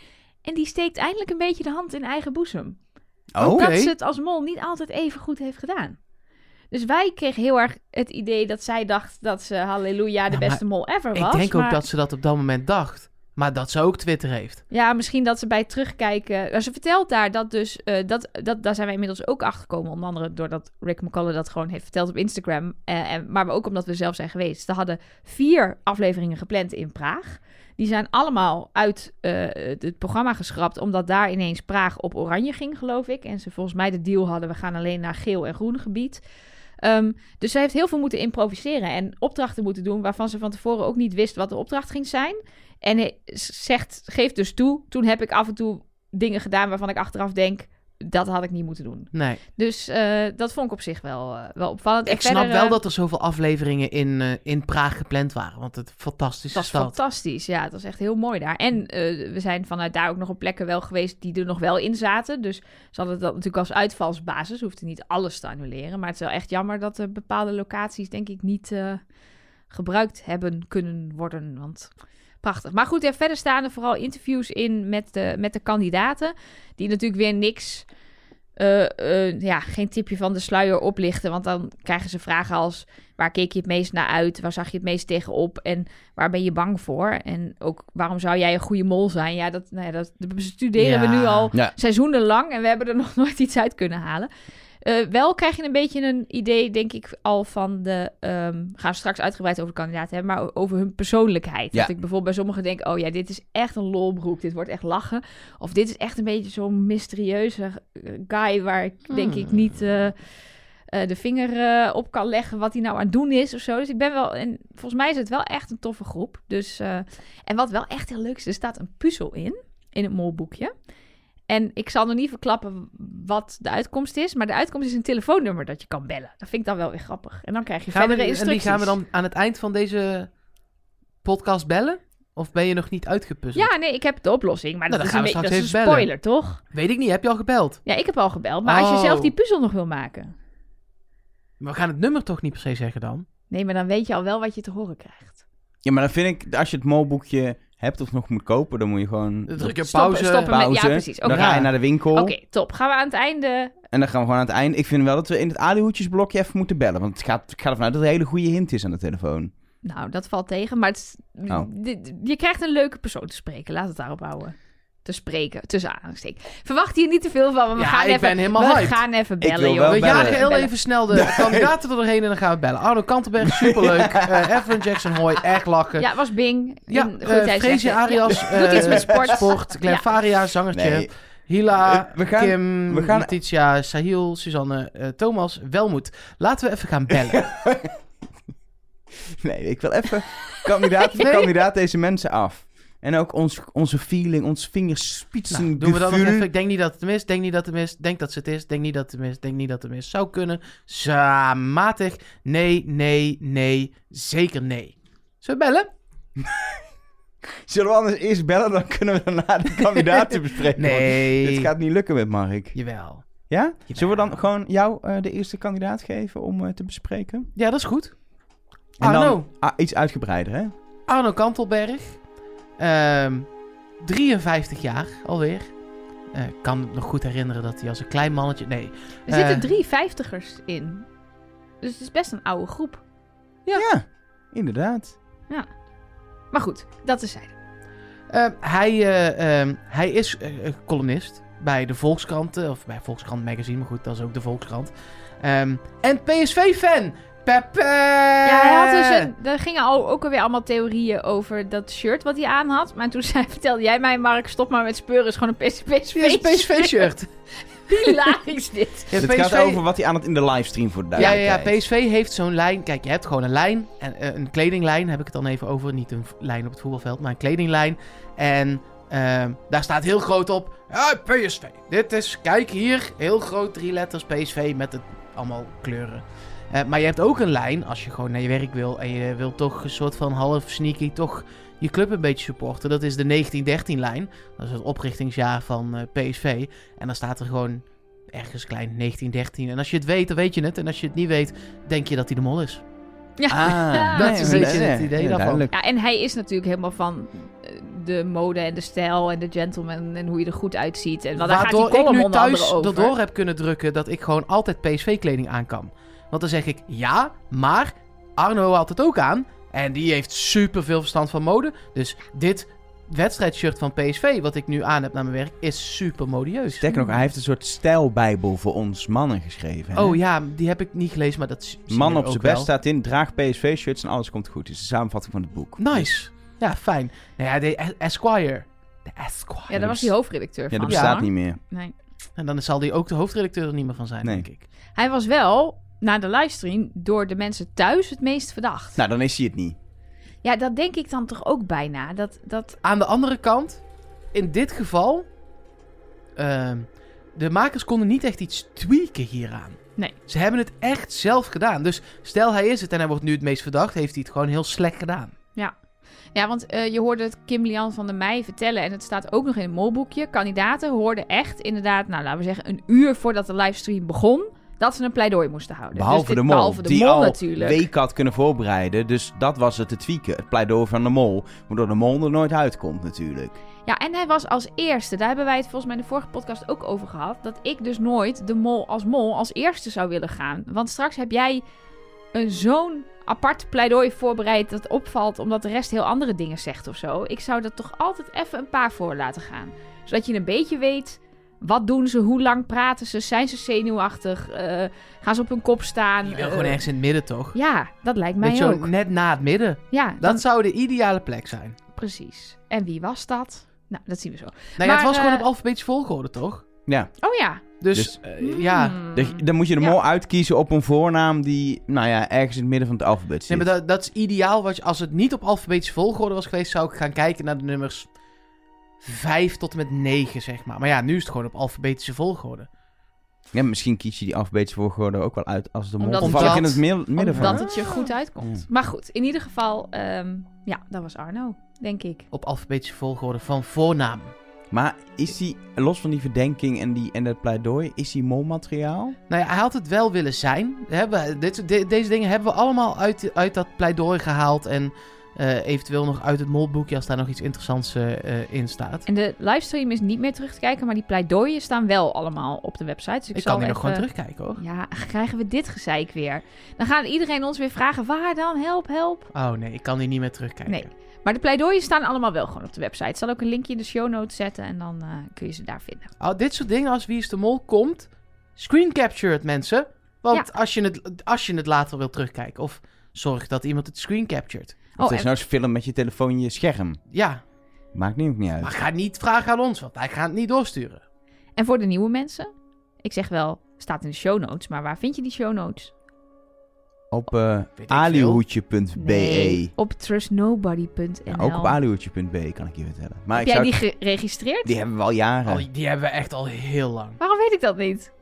S2: en die steekt eindelijk een beetje de hand in eigen boezem.
S3: Oh,
S1: Oké.
S2: Dat ze het als mol niet altijd even goed heeft gedaan. Dus wij kregen heel erg het idee dat zij dacht... dat ze halleluja de
S1: Ja, maar
S2: beste mol ever was.
S1: Ik denk ook
S2: maar-
S1: dat ze dat op dat moment dacht. Maar dat ze ook Twitter heeft.
S2: Ja, misschien dat ze bij het terugkijken. Nou, ze vertelt daar dat dus. eh, dat, dat, daar zijn wij inmiddels ook achter gekomen. Onder andere doordat Rick McCullough dat gewoon heeft verteld op Instagram. Eh, en, maar ook omdat we zelf zijn geweest. Ze hadden vier afleveringen gepland in Praag. Die zijn allemaal uit eh, het het programma geschrapt. Omdat daar ineens Praag op oranje ging, geloof ik. En ze volgens mij de deal hadden: we gaan alleen naar geel en groen gebied. Ehm, dus zij heeft heel veel moeten improviseren en opdrachten moeten doen waarvan ze van tevoren ook niet wist wat de opdracht ging zijn. En hij zegt, geeft dus toe, toen heb ik af en toe dingen gedaan waarvan ik achteraf denk, dat had ik niet moeten doen.
S1: Nee.
S2: Dus eh, dat vond ik op zich wel, eh, wel opvallend. En
S1: Ik snap
S2: verder,
S1: wel
S2: eh,
S1: dat er zoveel afleveringen in, eh, in Praag gepland waren. Want het fantastische
S2: Dat is
S1: stad.
S2: fantastisch, ja. Het was echt heel mooi daar. En eh, we zijn vanuit daar ook nog op plekken wel geweest die er nog wel in zaten. Dus ze hadden dat natuurlijk als uitvalsbasis. Ze hoefden niet alles te annuleren. Maar het is wel echt jammer dat er bepaalde locaties, denk ik, niet eh, gebruikt hebben kunnen worden. Want prachtig. Maar goed, ja, verder staan er vooral interviews in met de, met de kandidaten. Die natuurlijk weer niks... eh, eh, ja, geen tipje van de sluier oplichten. Want dan krijgen ze vragen als... waar keek je het meest naar uit? Waar zag je het meest tegenop? En waar ben je bang voor? En ook waarom zou jij een goede mol zijn? Ja, dat, nou ja, dat, dat bestuderen we
S1: Ja.
S2: nu al
S3: Ja.
S2: seizoenenlang en we hebben er nog nooit iets uit kunnen halen. Eh, wel krijg je een beetje een idee, denk ik, al van de... ehm gaan we straks uitgebreid over de kandidaten hebben, maar o- over hun persoonlijkheid.
S3: Ja.
S2: Dat ik bijvoorbeeld bij sommigen denk, oh ja, dit is echt een lolbroek, dit wordt echt lachen. Of dit is echt een beetje zo'n mysterieuze eh, guy waar ik denk ik
S1: Hmm.
S2: niet eh, eh, de vinger eh, op kan leggen wat hij nou aan het doen is of zo. Dus ik ben wel... En volgens mij is het wel echt een toffe groep. Dus, eh, en wat wel echt heel leuk is, er staat een puzzel in, in het molboekje. En ik zal nog niet verklappen wat de uitkomst is, maar de uitkomst is een telefoonnummer dat je kan bellen. Dat vind ik dan wel weer grappig. En dan krijg je
S1: Gaan we,
S2: verdere
S1: en die
S2: instructies.
S1: gaan we dan aan het eind van deze podcast bellen? Of ben je nog niet uitgepuzzeld?
S2: Ja, nee, ik heb de oplossing, maar
S1: Nou,
S2: dat,
S1: dan gaan
S2: is,
S1: we
S2: een beetje-
S1: straks
S2: dat is een
S1: even bellen.
S2: spoiler, toch?
S1: Weet ik niet, heb je al gebeld?
S2: Ja, ik heb al gebeld, maar als je
S1: Oh.
S2: zelf die puzzel nog wil maken.
S1: Maar we gaan het nummer toch niet per se zeggen dan?
S2: Nee, maar dan weet je al wel wat je te horen krijgt.
S3: Ja, maar dan vind ik, als je het molboekje hebt of nog moet kopen, dan moet je gewoon
S1: Dan druk je op
S2: Stoppen,
S1: pauze.
S2: stoppen.
S3: pauze.
S2: Ja, precies.
S3: Dan
S1: Oké.
S3: ga je naar de winkel
S1: Oh.
S2: Oké, top. Gaan we aan het einde...
S3: en dan gaan we gewoon aan het eind. Ik vind wel dat we in het alihoedjesblokje even moeten bellen, want het gaat, ik ga ervan uit dat er een hele goede hint is aan de telefoon.
S2: Nou, dat valt tegen, maar het is-
S3: Oh.
S2: dit- je krijgt een leuke persoon te spreken. Laat het daarop houden. Te spreken, tussen aanhalingstekens. Verwacht hier niet te veel van, want we
S1: Ja,
S2: gaan
S1: ik
S2: even...
S1: ben helemaal
S2: we
S1: hyped.
S2: gaan even bellen,
S3: wil
S2: joh.
S3: wel
S1: We
S3: bellen.
S1: jagen heel
S2: Bellen.
S1: even snel de kandidaten er doorheen en dan gaan we bellen. Arno Kantenberg, superleuk. Eh Evelyn Jackson, hoi. Echt lachen.
S2: Ja, het was Bing.
S1: Ja,
S2: In- goed,
S1: eh,
S2: jij zegt
S1: Freesia
S2: het.
S1: Arias. eh,
S2: Ja. Doet iets met sport.
S1: Sport, Glenn
S2: Ja.
S1: Faria, zangertje.
S3: Nee.
S1: Hila,
S3: Eh, we gaan-
S1: Kim,
S3: we gaan-
S1: Letitia, Sahil, Suzanne, eh, Thomas, Welmoed. Laten we even gaan bellen. Nou,
S3: Nee, ik wil even kandidaat,
S1: Nee.
S3: kandidaat deze mensen af. En ook ons, onze feeling, ons vingerspitsen.
S1: Nou, doen we dat nog
S3: gevoel.
S1: even. Ik denk niet dat het mis, denk niet dat het mis, denk dat ze het is, denk niet dat het mis, denk niet dat het mis zou kunnen. Samatig. Nee, nee, nee, zeker nee. Zullen we bellen?
S3: Zullen we anders eerst bellen, dan kunnen we daarna de kandidaten bespreken.
S1: Nee.
S3: want Dit gaat niet lukken met Mark.
S1: Jawel.
S3: Ja? Zullen we dan gewoon jou eh, de eerste kandidaat geven om eh, te bespreken?
S1: Ja, dat is goed.
S3: En dan-
S1: Arno.
S3: Ah, iets uitgebreider, hè?
S1: Arno Kantelberg. ehm, 53 jaar alweer. Eh, Ik kan me nog goed herinneren dat hij als een klein mannetje... Nee,
S2: Er zitten
S1: Eh.
S2: drie vijftigers in. Dus het is best een oude groep.
S3: Ja. inderdaad.
S2: Maar goed, dat is zij.
S1: Eh, hij, eh, ehm, hij is eh, eh, columnist bij de Volkskrant, eh, of bij Volkskrant Magazine, maar goed, dat is ook de Volkskrant. Ehm, en PSV-fan, Pepe!
S2: Ja, hij had
S1: Eh.
S2: dus een, er gingen al, ook alweer allemaal theorieën over dat shirt wat hij aan had. Maar toen zei, vertelde jij mij, Mark, stop maar met speuren. is gewoon een
S1: Dit is een
S2: PSV-shirt.
S1: PSV-shirt.
S2: Hilarisch dit.
S1: Ja,
S3: Dit gaat over wat hij aan Dus het in de livestream voor de
S1: Ja, ja, ja,
S3: duidelijkheid.
S1: PSV heeft zo'n lijn. Kijk, je hebt gewoon een lijn. En, eh, een kledinglijn heb ik het dan even over. Niet een v- lijn op het voetbalveld, maar een kledinglijn. En ehm, daar staat heel groot op. Ja, PSV. Dit is, kijk hier, heel groot drie letters PSV met het, allemaal kleuren. Eh, maar je hebt ook een lijn als je gewoon naar je werk wil. En je wil toch een soort van half sneaky toch je club een beetje supporten. Dat is de 1913-lijn. Dat is het oprichtingsjaar van eh, PSV. En dan staat er gewoon ergens klein 1913. En als je het weet, dan weet je het. En als je het niet weet, denk je dat hij de mol is.
S2: Ja.
S3: Ah,
S1: Dat is een
S3: nee,
S1: beetje
S3: nee,
S1: het
S3: nee,
S1: idee
S3: nee,
S1: daarvan.
S3: duidelijk.
S2: Ja, en hij is natuurlijk helemaal van eh, de mode en de stijl en de gentleman en hoe je er goed uitziet. En wat daar gaat die
S1: Waardoor ik
S2: column
S1: nu
S2: onder
S1: thuis
S2: andere over.
S1: erdoor heb kunnen drukken dat ik gewoon altijd PSV-kleding aan kan. Want dan zeg ik ja, maar Arno had het ook aan. En die heeft super veel verstand van mode. Dus dit wedstrijdshirt van PSV, wat ik nu aan heb naar mijn werk, is super modieus.
S3: Sterker nog, hij heeft een soort stijlbijbel voor ons mannen geschreven. hè?
S1: Oh ja, die heb ik niet gelezen, maar dat zie zie
S3: Man
S1: je
S3: op
S1: ook
S3: zijn best
S1: wel.
S3: staat in, draag PSV-shirts en alles komt goed. Dit is de samenvatting van het boek.
S1: Nice. Ja, fijn. Nou ja, de Es- Esquire. De Esquire.
S2: Ja, daar was hij hoofdredacteur
S3: Ja,
S2: van.
S3: dat
S1: Ja.
S3: bestaat niet meer.
S2: Nee.
S1: En Nou, dan zal die ook de hoofdredacteur er niet meer van zijn,
S3: Nee.
S1: denk ik.
S2: Hij was wel, na de livestream, door de mensen thuis het meest verdacht.
S3: Nou, dan is hij het niet.
S2: Ja, dat denk ik dan toch ook bijna. Dat, dat...
S1: Aan de andere kant, in dit geval, ehm, de makers konden niet echt iets tweaken hieraan.
S2: Nee.
S1: Ze hebben het echt zelf gedaan. Dus stel hij is het en hij wordt nu het meest verdacht, heeft hij het gewoon heel slecht gedaan.
S2: Ja, want eh, je hoorde het Kim Lian van der Meij vertellen... en het staat ook nog in het molboekje. Kandidaten hoorden echt inderdaad, nou laten we zeggen... een uur voordat de livestream begon... dat ze een pleidooi moesten houden. Dus
S3: Behalve
S2: dit-
S3: de mol,
S2: Behalve de
S3: die
S2: mol
S3: al
S2: natuurlijk.
S3: weken had kunnen voorbereiden. Dus dat was het te tweaken. Het pleidooi van de mol. Waardoor de mol er nooit uitkomt natuurlijk.
S2: Ja, en hij was als eerste. Daar hebben wij het volgens mij in de vorige podcast ook over gehad. Dat ik dus nooit de mol als mol als eerste zou willen gaan. Want straks heb jij een zo'n apart pleidooi voorbereid dat opvalt omdat de rest heel andere dingen zegt of zo. Ik zou dat toch altijd even een paar voor laten gaan. Zodat je een beetje weet Wat doen ze? Hoe lang praten ze? Zijn ze zenuwachtig? Eh, gaan ze op hun kop staan?
S1: Die wil
S2: Eh,
S1: gewoon ergens in het midden, toch?
S2: Ja, dat lijkt
S1: Weet
S2: mij
S1: je wel,
S2: ook.
S1: net na het midden.
S2: Ja,
S1: Dat
S2: dat...
S1: zou de ideale plek zijn.
S2: precies. En wie was dat? Nou, dat zien we zo.
S1: Nou ja, het
S2: Maar,
S1: was gewoon
S2: eh,
S1: op alfabetische volgorde, toch?
S3: Ja,
S2: Oh ja.
S1: Dus,
S3: Dus-
S1: eh, ja.
S2: Hmm.
S3: dus dan moet je de
S2: Ja.
S3: mol uitkiezen op een voornaam die, nou ja, ergens in het midden van het alfabet
S1: Nee,
S3: zit.
S1: maar dat, dat is ideaal. Wat je, als het niet op alfabetische volgorde was geweest, zou ik gaan kijken naar de nummers 5 tot en met 9, zeg maar. Maar ja, nu is het gewoon op alfabetische volgorde.
S3: Ja, misschien kies je die alfabetische volgorde ook wel uit als de mol
S2: Omdat-
S3: toevallig in
S1: Omdat-
S3: het mil- midden van.
S2: Omdat het je goed uitkomt. Maar goed, in ieder geval, ehm, ja, dat was Arno, denk ik.
S1: Op alfabetische volgorde van voornaam.
S3: Maar is die, los van die verdenking en, die, en dat pleidooi, is die
S2: Oh,
S3: molmateriaal?
S1: Nou ja, hij had het wel willen zijn. Hè, we- dit, de- deze dingen hebben we allemaal uit, uit dat pleidooi gehaald. En eh, eventueel nog uit het molboekje als daar nog iets interessants eh, eh, in staat.
S2: En de livestream is niet meer terug te kijken, maar die pleidooien staan wel allemaal op de website. Dus ik,
S1: ik
S2: zal
S1: kan hier nog
S2: even...
S1: gewoon terugkijken hoor.
S2: Ja, krijgen we dit gezeik weer? Dan gaan iedereen ons weer vragen, waar dan? Help, help.
S1: Oh nee, ik kan hier niet meer terugkijken.
S2: Nee. Maar de pleidooien staan allemaal wel gewoon op de website. Ik zal ook een linkje in de show notes zetten en dan eh, kun je ze daar vinden.
S1: Oh, dit soort dingen als Wie is de Mol komt, screen capture het mensen. Want als, je het, als je het later wil terugkijken of zorg dat iemand het screen captured.
S3: Of
S2: Oh,
S3: het is
S2: en-
S3: nou eens film met je telefoon in je scherm.
S1: Ja,
S3: Maakt nu ook niet uit.
S1: maar ga niet vragen aan ons, want wij gaan het niet doorsturen.
S2: En voor de nieuwe mensen, ik zeg wel, staat in de show notes, maar waar vind je die show notes?
S3: Op
S2: Oh,
S3: eh
S1: Weet ik
S3: alihoedje.be.
S2: Nee, op trustnobody.nl.
S3: E. Ja, ook op alihoedje.be kan ik je vertellen. Maar
S2: Heb
S3: ik
S2: jij
S3: zou,
S2: die Oh, geregistreerd?
S3: die hebben we al jaren.
S1: Al die- die hebben we echt al heel lang.
S2: Waarom weet ik dat niet?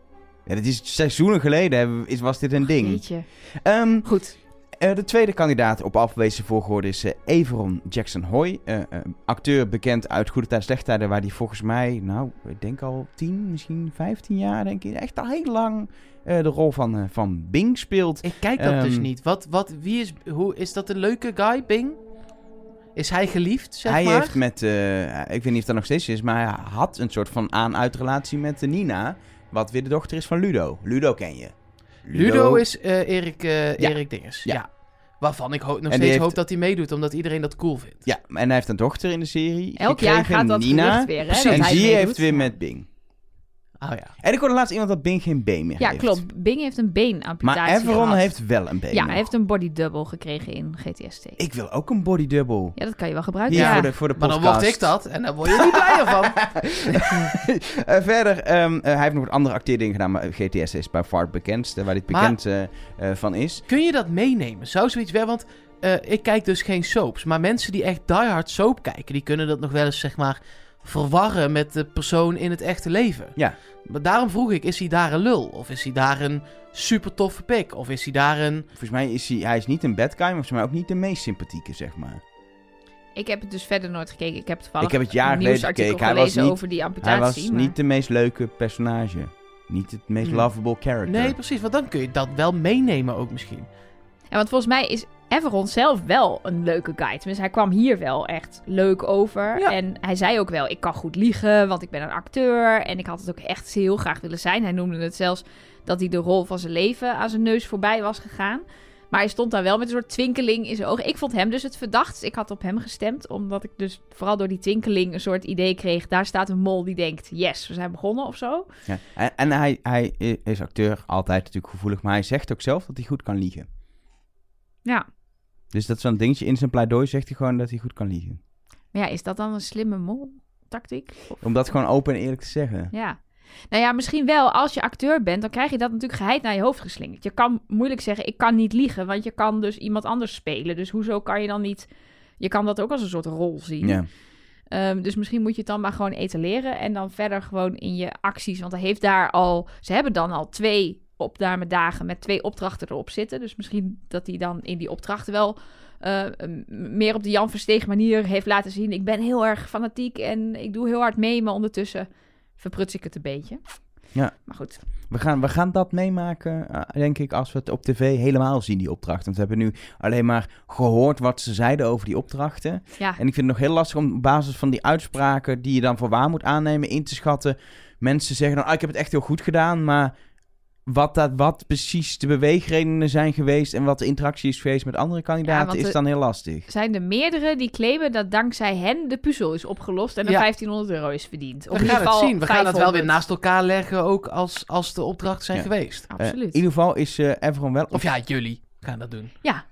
S3: Ja, dat is seizoenen geleden hebben we- is, was dit een ding.
S2: Jeetje.
S3: Ehm,
S2: Goed.
S3: eh, de tweede kandidaat op afwezen volgorde is eh, Everon Jackson Hoy. Eh, eh, acteur bekend uit Goede Tijd Slechte Tijden, waar hij volgens mij, nou, ik denk al 10, misschien 15 jaar, denk ik, echt al heel lang eh, de rol van, eh, van Bing speelt.
S1: Ik kijk dat dus
S3: Ehm.
S1: niet. Wat, wat, wie is, hoe, is dat een leuke guy, Bing? Is hij geliefd, zeg
S3: hij
S1: maar?
S3: heeft met, eh, ik weet niet of dat nog steeds is, maar hij had een soort van aan-uit relatie met eh, Nina, wat weer de dochter is van Ludo. Ludo ken je.
S1: Ludo, is eh, Erik, eh,
S3: Ja.
S1: Erik Dinges.
S3: Ja.
S1: Ja. Waarvan ik ho- nog
S3: die
S1: steeds
S3: heeft-
S1: hoop dat hij meedoet, omdat iedereen dat cool vindt.
S3: Ja, en hij heeft een dochter in de serie.
S2: Elk jaar
S3: gekregen,
S2: gaat dat
S3: Nina.
S2: gerucht weer, hè?
S1: Precies.
S2: dat
S3: En
S2: hij
S3: die
S2: meedoet.
S3: heeft weer met Bing.
S1: Oh ja.
S3: En ik hoorde laatst iemand dat Bing geen been meer
S2: Ja,
S3: heeft.
S2: klopt. Bing heeft een beenamputatie
S3: Maar Everon
S2: gehad.
S3: heeft wel een been.
S2: Ja,
S3: nog.
S2: hij heeft een body double gekregen in GTST.
S3: Ik wil ook een body double.
S2: Ja, dat kan je wel gebruiken.
S3: Hier
S1: Ja.
S3: voor de, voor de
S1: Maar
S3: podcast.
S1: dan word ik dat en dan word je niet blijer van.
S3: Eh, verder, ehm, eh, hij heeft nog wat andere acteerdingen gedaan, maar GTS is bij far het bekendste, waar dit
S1: Maar-
S3: bekend eh, eh, van is.
S1: Kun je dat meenemen? Zou zoiets wel? Want eh, ik kijk dus geen soaps. Maar mensen die echt diehard soap kijken, die kunnen dat nog wel eens, zeg maar, verwarren met de persoon in het echte leven.
S3: Ja.
S1: Maar daarom vroeg ik, is hij daar een lul? Of is hij daar een super toffe pik? Of is hij daar een...
S3: Volgens mij is hij, hij is niet een bad guy, maar volgens mij ook niet de meest sympathieke, zeg maar.
S2: Ik heb het dus verder nooit gekeken. Ik heb toevallig
S3: Ik heb het jaren
S2: een
S3: geleden
S2: nieuwsartikel
S3: gekeken. Hij was
S2: gelezen
S3: niet-
S2: over die amputatie.
S3: hij was
S2: maar-
S3: niet de meest leuke personage. Niet het meest
S1: Hmm.
S3: lovable character.
S1: Nee, precies. Want dan kun je dat wel meenemen ook misschien.
S2: Ja, want volgens mij is Everon zelf wel een leuke guy. Tenminste, hij kwam hier wel echt leuk over.
S1: Ja.
S2: En hij zei ook wel, ik kan goed liegen, want ik ben een acteur. En ik had het ook echt heel graag willen zijn. Hij noemde het zelfs dat hij de rol van zijn leven aan zijn neus voorbij was gegaan. Maar hij stond daar wel met een soort twinkeling in zijn ogen. Ik vond hem dus het verdachtst. Ik had op hem gestemd, omdat ik dus vooral door die twinkeling een soort idee kreeg. Daar staat een mol die denkt, yes, we zijn begonnen of zo.
S3: Ja. En, en hij, hij is acteur, altijd natuurlijk gevoelig, maar hij zegt ook zelf dat hij goed kan liegen.
S2: Ja.
S3: Dus dat is zo'n dingetje. In zijn pleidooi zegt hij gewoon dat hij goed kan liegen.
S2: Maar ja, is dat dan een slimme mol-tactiek? Of-
S3: Om dat gewoon open en eerlijk te zeggen.
S2: Ja. Nou ja, misschien wel. Als je acteur bent, dan krijg je dat natuurlijk geheid naar je hoofd geslingerd. Je kan moeilijk zeggen, ik kan niet liegen, want je kan dus iemand anders spelen. Dus hoezo kan je dan niet... Je kan dat ook als een soort rol zien.
S3: Ja.
S2: Ehm, dus misschien moet je het dan maar gewoon etaleren en dan verder gewoon in je acties. Want hij heeft daar al... Ze hebben dan al twee opnamedagen met twee opdrachten erop zitten. Dus misschien dat hij dan in die opdrachten wel... eh, m- meer op de Jan Versteeg manier heeft laten zien... ik ben heel erg fanatiek en ik doe heel hard mee... maar ondertussen verpruts ik het een beetje.
S3: Ja.
S2: Maar goed.
S3: We, gaan, we gaan dat meemaken, eh, denk ik, als we het op tv helemaal zien, die opdracht. Want we hebben nu alleen maar gehoord wat ze zeiden over die opdrachten.
S2: Ja,
S3: En ik vind het nog heel lastig om op basis van die uitspraken die je dan voor waar moet aannemen, in te schatten. Mensen zeggen dan, ah, ik heb het echt heel goed gedaan, maar wat, dat, wat precies de beweegredenen zijn geweest en wat de interactie is geweest met andere kandidaten,
S2: want
S3: is
S2: de-
S3: dan heel lastig. Eh,
S2: Zijn er meerdere die claimen dat dankzij hen de puzzel is opgelost en er
S1: Ja.
S2: 1500 euro is verdiend? Of
S1: We
S2: in
S1: gaan
S2: ieder
S1: het
S2: geval
S1: zien. We gaan dat wel weer
S2: 500.
S1: naast elkaar leggen, ook als, als de opdrachten zijn
S3: Ja.
S1: geweest.
S3: Eh,
S2: Absoluut.
S3: in ieder geval is eh Everon wel...
S1: Of ja, jullie gaan dat doen.
S2: Ja,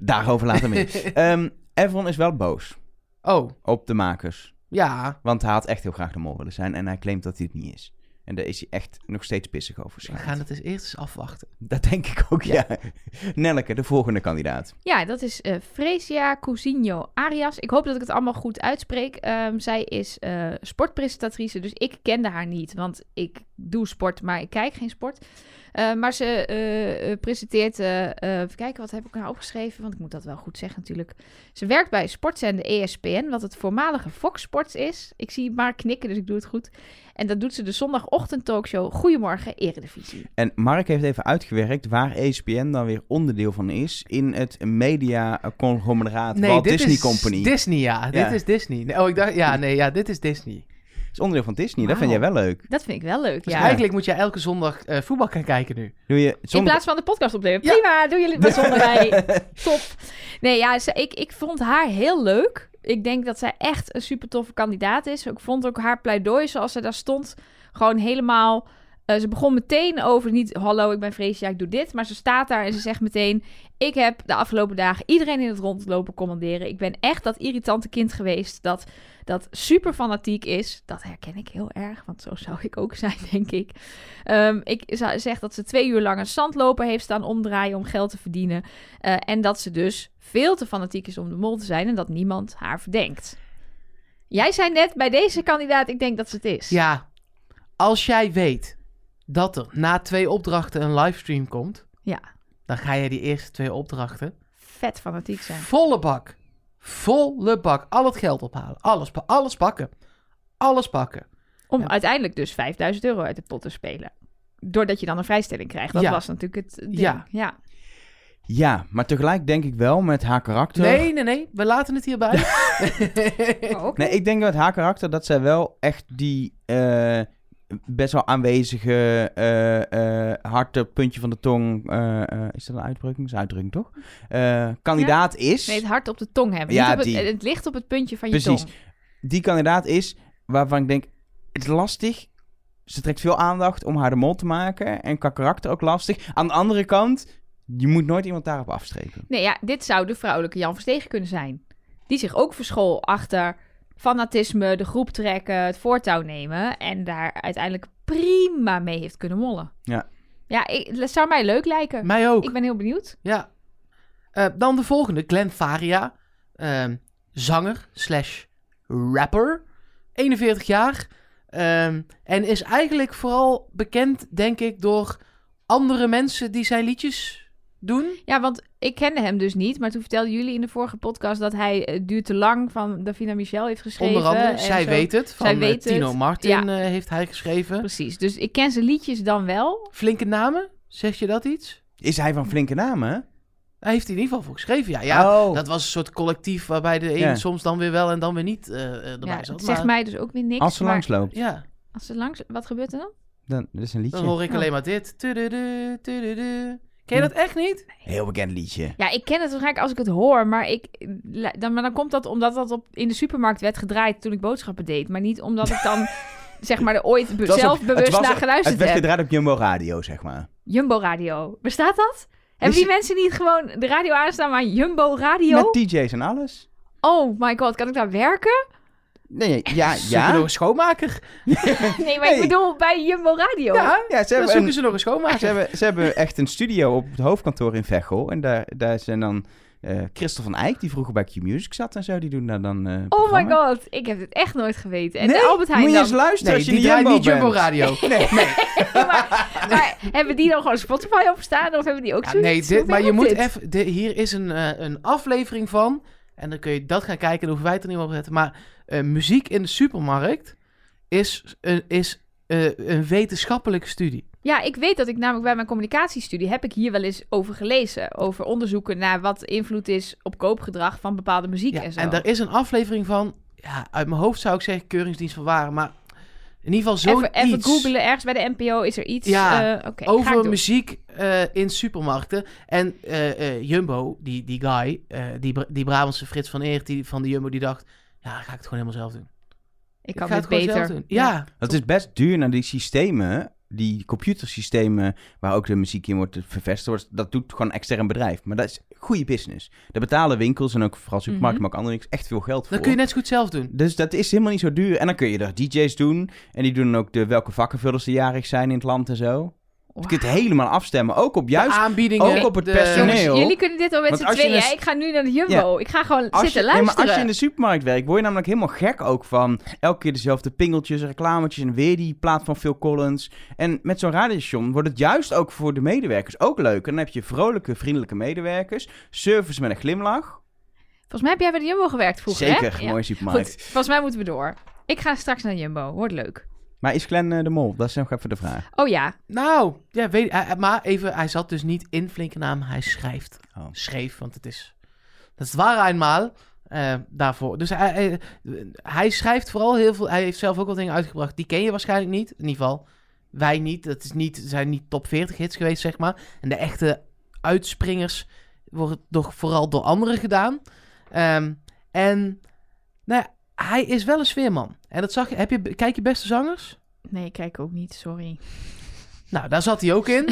S3: Daarover later meer. Ehm Everon is wel boos
S1: Oh,
S3: op de makers.
S1: ja.
S3: Want hij had echt heel graag de mol willen zijn en hij claimt dat hij het niet is. En daar is hij echt nog steeds pissig over.
S1: We
S3: schijnt.
S1: gaan het eens eerst eens afwachten.
S3: Dat denk ik ook, ja. Nelke, de volgende kandidaat.
S2: ja dat is eh Fresia Cousinho Arias. Ik hoop dat ik het allemaal goed uitspreek. Ehm, zij is eh, sportpresentatrice, dus ik kende haar niet. Want ik doe sport, maar ik kijk geen sport. Eh, maar ze eh, eh, presenteert... eh, eh, even kijken, wat heb ik nou opgeschreven? Want ik moet dat wel goed zeggen natuurlijk. Ze werkt bij sportzender E ESPN, wat het voormalige Fox Sports is. Ik zie maar knikken, dus ik doe het goed. En dat doet ze de zondagochtend talkshow Goedemorgen Eredivisie.
S3: En Mark heeft even uitgewerkt waar E ESPN dan weer onderdeel van is in het media-conglomeraat Walt Disney
S1: is
S3: Company. Het
S1: Disney, ja.
S3: Ja.
S1: Dit is Disney. Nee, oh, ik dacht, ja, nee, ja, dit is Disney.
S3: is onderdeel van Disney, dat
S2: Wauw.
S3: vind jij wel leuk.
S2: Dat vind ik wel leuk,
S1: Dus
S2: ja.
S1: eigenlijk moet je elke zondag eh, voetbal gaan kijken nu.
S3: Doe je
S2: In
S3: zonder...
S2: plaats van de podcast opnemen.
S1: Ja.
S2: Prima, doen jullie wat zonder mij. Top. Nee, ja, ze, ik, ik vond haar heel leuk. Ik denk dat zij echt een super toffe kandidaat is. Ik vond ook haar pleidooi zoals ze daar stond gewoon helemaal... eh, ze begon meteen over niet, hallo, ik ben Freesia, ik doe dit. Maar ze staat daar en ze zegt meteen... Ik heb de afgelopen dagen iedereen in het rondlopen commanderen. Ik ben echt dat irritante kind geweest dat, dat super fanatiek is. Dat herken ik heel erg, want zo zou ik ook zijn, denk ik. Ehm, ik za- zeg dat ze twee uur lang een zandloper heeft staan omdraaien om geld te verdienen. Eh, en dat ze dus veel te fanatiek is om de mol te zijn en dat niemand haar verdenkt. Jij zei net bij deze kandidaat, ik denk dat ze het is.
S1: Ja, als jij weet dat er na twee opdrachten een livestream komt,
S2: Ja.
S1: dan ga je die eerste twee opdrachten
S2: Vet fanatiek zijn.
S1: volle bak, volle bak, al het geld ophalen, alles, pa- alles pakken, alles pakken.
S2: Om
S1: Ja.
S2: uiteindelijk dus 5000 euro uit de pot te spelen. Doordat je dan een vrijstelling krijgt. Dat
S1: Ja.
S2: was natuurlijk het ding.
S1: Ja.
S2: ja.
S3: Ja, maar tegelijk denk ik wel met haar karakter...
S1: Nee, nee, nee, we laten het hierbij.
S2: Oh, oké.
S3: Nee, ik denk met haar karakter dat zij wel echt die eh, best wel aanwezige eh, eh, harde puntje van de tong... eh, eh, is dat een uitdrukking? Dat is een uitdrukking, toch? Eh, kandidaat is...
S2: Nee, het hart op de tong hebben.
S3: Ja,
S2: Niet op het,
S3: die.
S2: het ligt op het puntje van je
S3: Precies.
S2: tong.
S3: die kandidaat is waarvan ik denk, het is lastig. Ze trekt veel aandacht om haar de mol te maken. En qua karakter ook lastig. Aan de andere kant, je moet nooit iemand daarop afstrepen.
S2: Nee, ja, dit zou de vrouwelijke Jan Verstegen kunnen zijn. Die zich ook verschool achter fanatisme, de groep trekken, het voortouw nemen. En daar uiteindelijk prima mee heeft kunnen mollen.
S3: Ja.
S2: Ja, ik, het zou mij leuk lijken.
S1: Mij ook.
S2: Ik ben heel benieuwd.
S1: Ja. Eh, dan de volgende, Glenn Faria. Ehm, zanger slash rapper. 41 jaar. Ehm, en is eigenlijk vooral bekend, denk ik, door andere mensen die zijn liedjes doen.
S2: Ja, want ik kende hem dus niet. Maar toen vertelden jullie in de vorige podcast dat hij eh, Duurt te lang van Davina Michel heeft geschreven.
S1: Onder andere,
S2: en
S1: Zij
S2: zo.
S1: Weet Het, van
S2: Zij
S1: eh,
S2: Weet
S1: Tino
S2: Het,
S1: Martin
S2: ja.
S1: eh, heeft hij geschreven.
S2: Precies, dus ik ken zijn liedjes dan wel.
S1: Flinke namen, zegt je dat iets?
S3: Is hij van flinke namen?
S1: Hij heeft hij in ieder geval voor geschreven, ja. ja
S3: oh.
S1: Dat was een soort collectief waarbij de een
S3: Ja.
S1: soms dan weer wel en dan weer niet eh, eh, erbij
S2: Ja, het
S1: zat.
S2: zegt
S1: maar-
S2: mij dus ook weer niks.
S3: als ze
S2: maar
S3: langs loopt,
S1: Ja.
S2: als ze langs... Wat gebeurt er dan?
S3: dan dat is een liedje.
S1: Dan hoor ik
S2: Ja. Hm.
S1: alleen maar dit. Tududu, tududu. Ken je dat echt niet?
S3: Heel bekend liedje.
S2: Ja, ik ken het waarschijnlijk als ik het hoor, maar, ik, la- dan, maar dan komt dat omdat dat op, in de supermarkt werd gedraaid toen ik boodschappen deed. Maar niet omdat ik dan, zeg maar, er ooit be-
S3: Het was op-
S2: zelf
S3: het
S2: bewust
S3: was-
S2: naar
S3: Het
S2: geluisterd
S3: werd
S2: heb.
S3: gedraaid op Jumbo Radio, zeg maar.
S2: Jumbo Radio, bestaat dat? Hebben die
S3: je-
S2: mensen niet gewoon de radio aanstaan, maar Jumbo Radio?
S3: Met DJ's en alles.
S2: Oh my god, kan ik daar werken?
S3: Nee, nee,
S2: Ah,
S3: ja,
S1: Zoeken
S3: ja.
S1: nog een schoonmaker.
S2: Nee, maar
S3: Nee.
S2: ik bedoel bij Jumbo Radio.
S1: Ja,
S3: ja
S1: dan
S3: ze hebben
S1: zoeken
S3: een-
S1: ze nog een
S3: Ze
S1: schoonmaker.
S3: hebben, ze hebben echt een studio op het hoofdkantoor in Veghel. En daar, daar zijn dan eh Christel van Eyck, die vroeger bij Q-Music zat en zo. Die doen daar dan eh,
S2: Oh my
S3: programma.
S2: god, ik heb dit echt nooit geweten. En
S3: Nee,
S2: de Albert Heijn
S3: Moet je
S2: dan.
S3: eens luisteren
S1: Nee,
S3: als je
S1: die
S3: in de
S1: draaien
S3: Jumbo
S1: niet Jumbo
S3: bent.
S1: Radio.
S3: Nee,
S2: maar, maar hebben die dan gewoon Spotify opstaan of hebben die ook
S1: Ja,
S2: zoiets?
S1: nee, dit,
S2: Hoe
S1: maar je
S2: werkt
S1: moet
S2: dit?
S1: even... de- Hier is een, eh, een aflevering van. En dan kun je dat gaan kijken. Dan hoeven wij het er niet meer op te zetten. Maar eh, muziek in de supermarkt is, een is eh, een wetenschappelijke studie.
S2: Ja, ik weet dat ik namelijk bij mijn communicatiestudie heb ik hier wel eens over gelezen. Over onderzoeken naar wat invloed is op koopgedrag van bepaalde muziek
S1: Ja,
S2: en zo.
S1: en daar is een aflevering van. Ja, uit mijn hoofd zou ik zeggen Keuringsdienst van Waren. Maar In ieder geval zo'n
S2: Even, even
S1: iets
S2: googelen, ergens bij de NPO is er iets.
S1: Ja,
S2: eh, oké, ga ik
S1: over
S2: doen.
S1: muziek eh, in supermarkten. En eh, eh, Jumbo, die, die guy, eh, die, Bra- die Brabantse Frits van Eert die, van de Jumbo, die dacht... Ja, ga ik het gewoon helemaal zelf doen.
S2: Ik kan
S1: ga
S2: dit
S1: het gewoon
S2: beter.
S1: zelf doen. Ja,
S3: Dat is best duur naar die systemen, die computersystemen waar ook de muziek in wordt vervestigd. wordt, Dat doet gewoon een extern bedrijf. Maar dat is goede business. Daar betalen winkels en ook vooral supermarkten, maar ook andere niks echt veel geld voor.
S1: dan Mhm. kun je net zo goed zelf doen.
S3: Dus dat is helemaal niet zo duur. En dan kun je er DJ's doen. En die doen ook de welke vakkenvullers er jarig zijn in het land en zo. Je kunt het helemaal afstemmen. Ook op
S1: de
S3: juist.
S1: aanbiedingen.
S3: ook op het
S1: de-
S3: personeel.
S2: Jongens,
S3: Neel.
S2: jullie kunnen dit al met
S3: Want
S2: z'n
S3: als je
S2: tweeën.
S3: dus-
S2: hè? Ik ga nu naar de Jumbo. Ik ga gewoon
S3: Als
S2: zitten
S3: je, nee, maar
S2: luisteren.
S3: als je in de supermarkt werkt, word je namelijk helemaal gek ook van elke keer dezelfde pingeltjes, reclametjes en weer die plaat van Phil Collins. En met zo'n radiostation wordt het juist ook voor de medewerkers ook leuk. En dan heb je vrolijke, vriendelijke medewerkers, service met een glimlach.
S2: Volgens mij heb jij bij de Jumbo gewerkt vroeger, hè?
S3: Zeker,
S2: Ja.
S3: mooie supermarkt.
S2: Goed, volgens mij moeten we door. Ik ga straks naar de Jumbo. Wordt leuk.
S3: Maar is Glenn eh, de Mol? Dat is nog even de vraag.
S2: Oh ja,
S1: Nou, ja, weet, hij- hij- maar even, hij zat dus niet in flinke naam, hij schrijft.
S3: Oh.
S1: Schreef, want het is... Dat is waar eenmaal eh, daarvoor. Dus hij, hij, hij schrijft vooral heel veel... Hij heeft zelf ook wat dingen uitgebracht. Die ken je waarschijnlijk niet, in ieder geval. Wij niet. Dat is niet, zijn niet top 40 hits geweest, zeg maar. En de echte uitspringers worden toch vooral door anderen gedaan. Ehm, en nou ja, hij is wel een sfeerman. En dat zag je... Heb je kijk je beste zangers?
S2: nee, ik kijk ook niet. Sorry.
S1: Nou, daar zat hij ook in.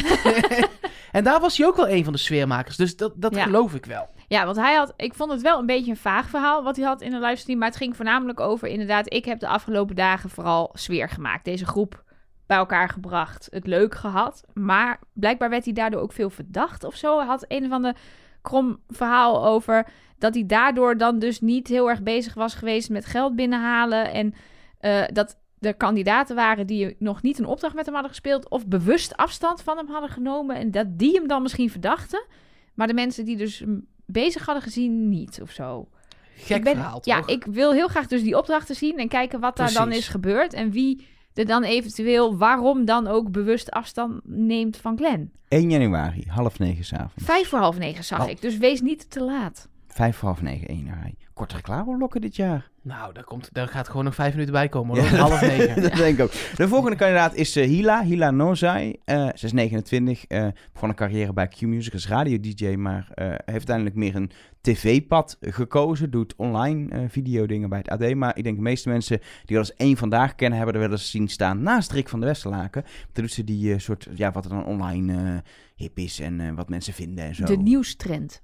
S1: en daar was hij ook wel een van de sfeermakers. Dus dat, dat
S2: Ja.
S1: geloof ik wel.
S2: Ja, want hij had, ik vond het wel een beetje een vaag verhaal wat hij had in de livestream. Maar het ging voornamelijk over, inderdaad, ik heb de afgelopen dagen vooral sfeer gemaakt. Deze groep bij elkaar gebracht, het leuk gehad. Maar blijkbaar werd hij daardoor ook veel verdacht of zo. Hij had een van de krom verhaal over dat hij daardoor dan dus niet heel erg bezig was geweest met geld binnenhalen. En eh, dat er kandidaten waren die nog niet een opdracht met hem hadden gespeeld of bewust afstand van hem hadden genomen. En dat die hem dan misschien verdachten. Maar de mensen die dus hem bezig hadden gezien, niet of zo.
S1: Gek
S2: ik ben,
S1: verhaal,
S2: Ja,
S1: toch?
S2: ik wil heel graag dus die opdrachten zien en kijken wat daar dan
S1: Precies.
S2: is gebeurd. En wie er dan eventueel, waarom dan ook bewust afstand neemt van Glenn.
S3: 1 januari, half negen s'avonds.
S2: Vijf voor half negen zag
S3: Oh.
S2: ik, dus wees niet te laat.
S3: Vijf voor half negen, 1 januari. Korte reclameblokken dit jaar.
S1: Nou, daar, komt, daar gaat gewoon nog vijf minuten bij komen. Hoor.
S3: Ja, dat-
S1: Half negen.
S3: dat denk ik ook. De volgende kandidaat is eh, Hila, Hila Nozai. Eh ze is 29, eh, begon een carrière bij Q-Music als radio-dj, maar eh, heeft uiteindelijk meer een tv-pad gekozen. Doet online eh videodingen bij het AD, maar ik denk de meeste mensen die wel eens één vandaag kennen, hebben er wel eens zien staan naast Rick van de Westerlaken. Toen doet ze die eh, soort, ja, wat er dan online eh, hip is en eh, wat mensen vinden en zo.
S2: De nieuwstrend.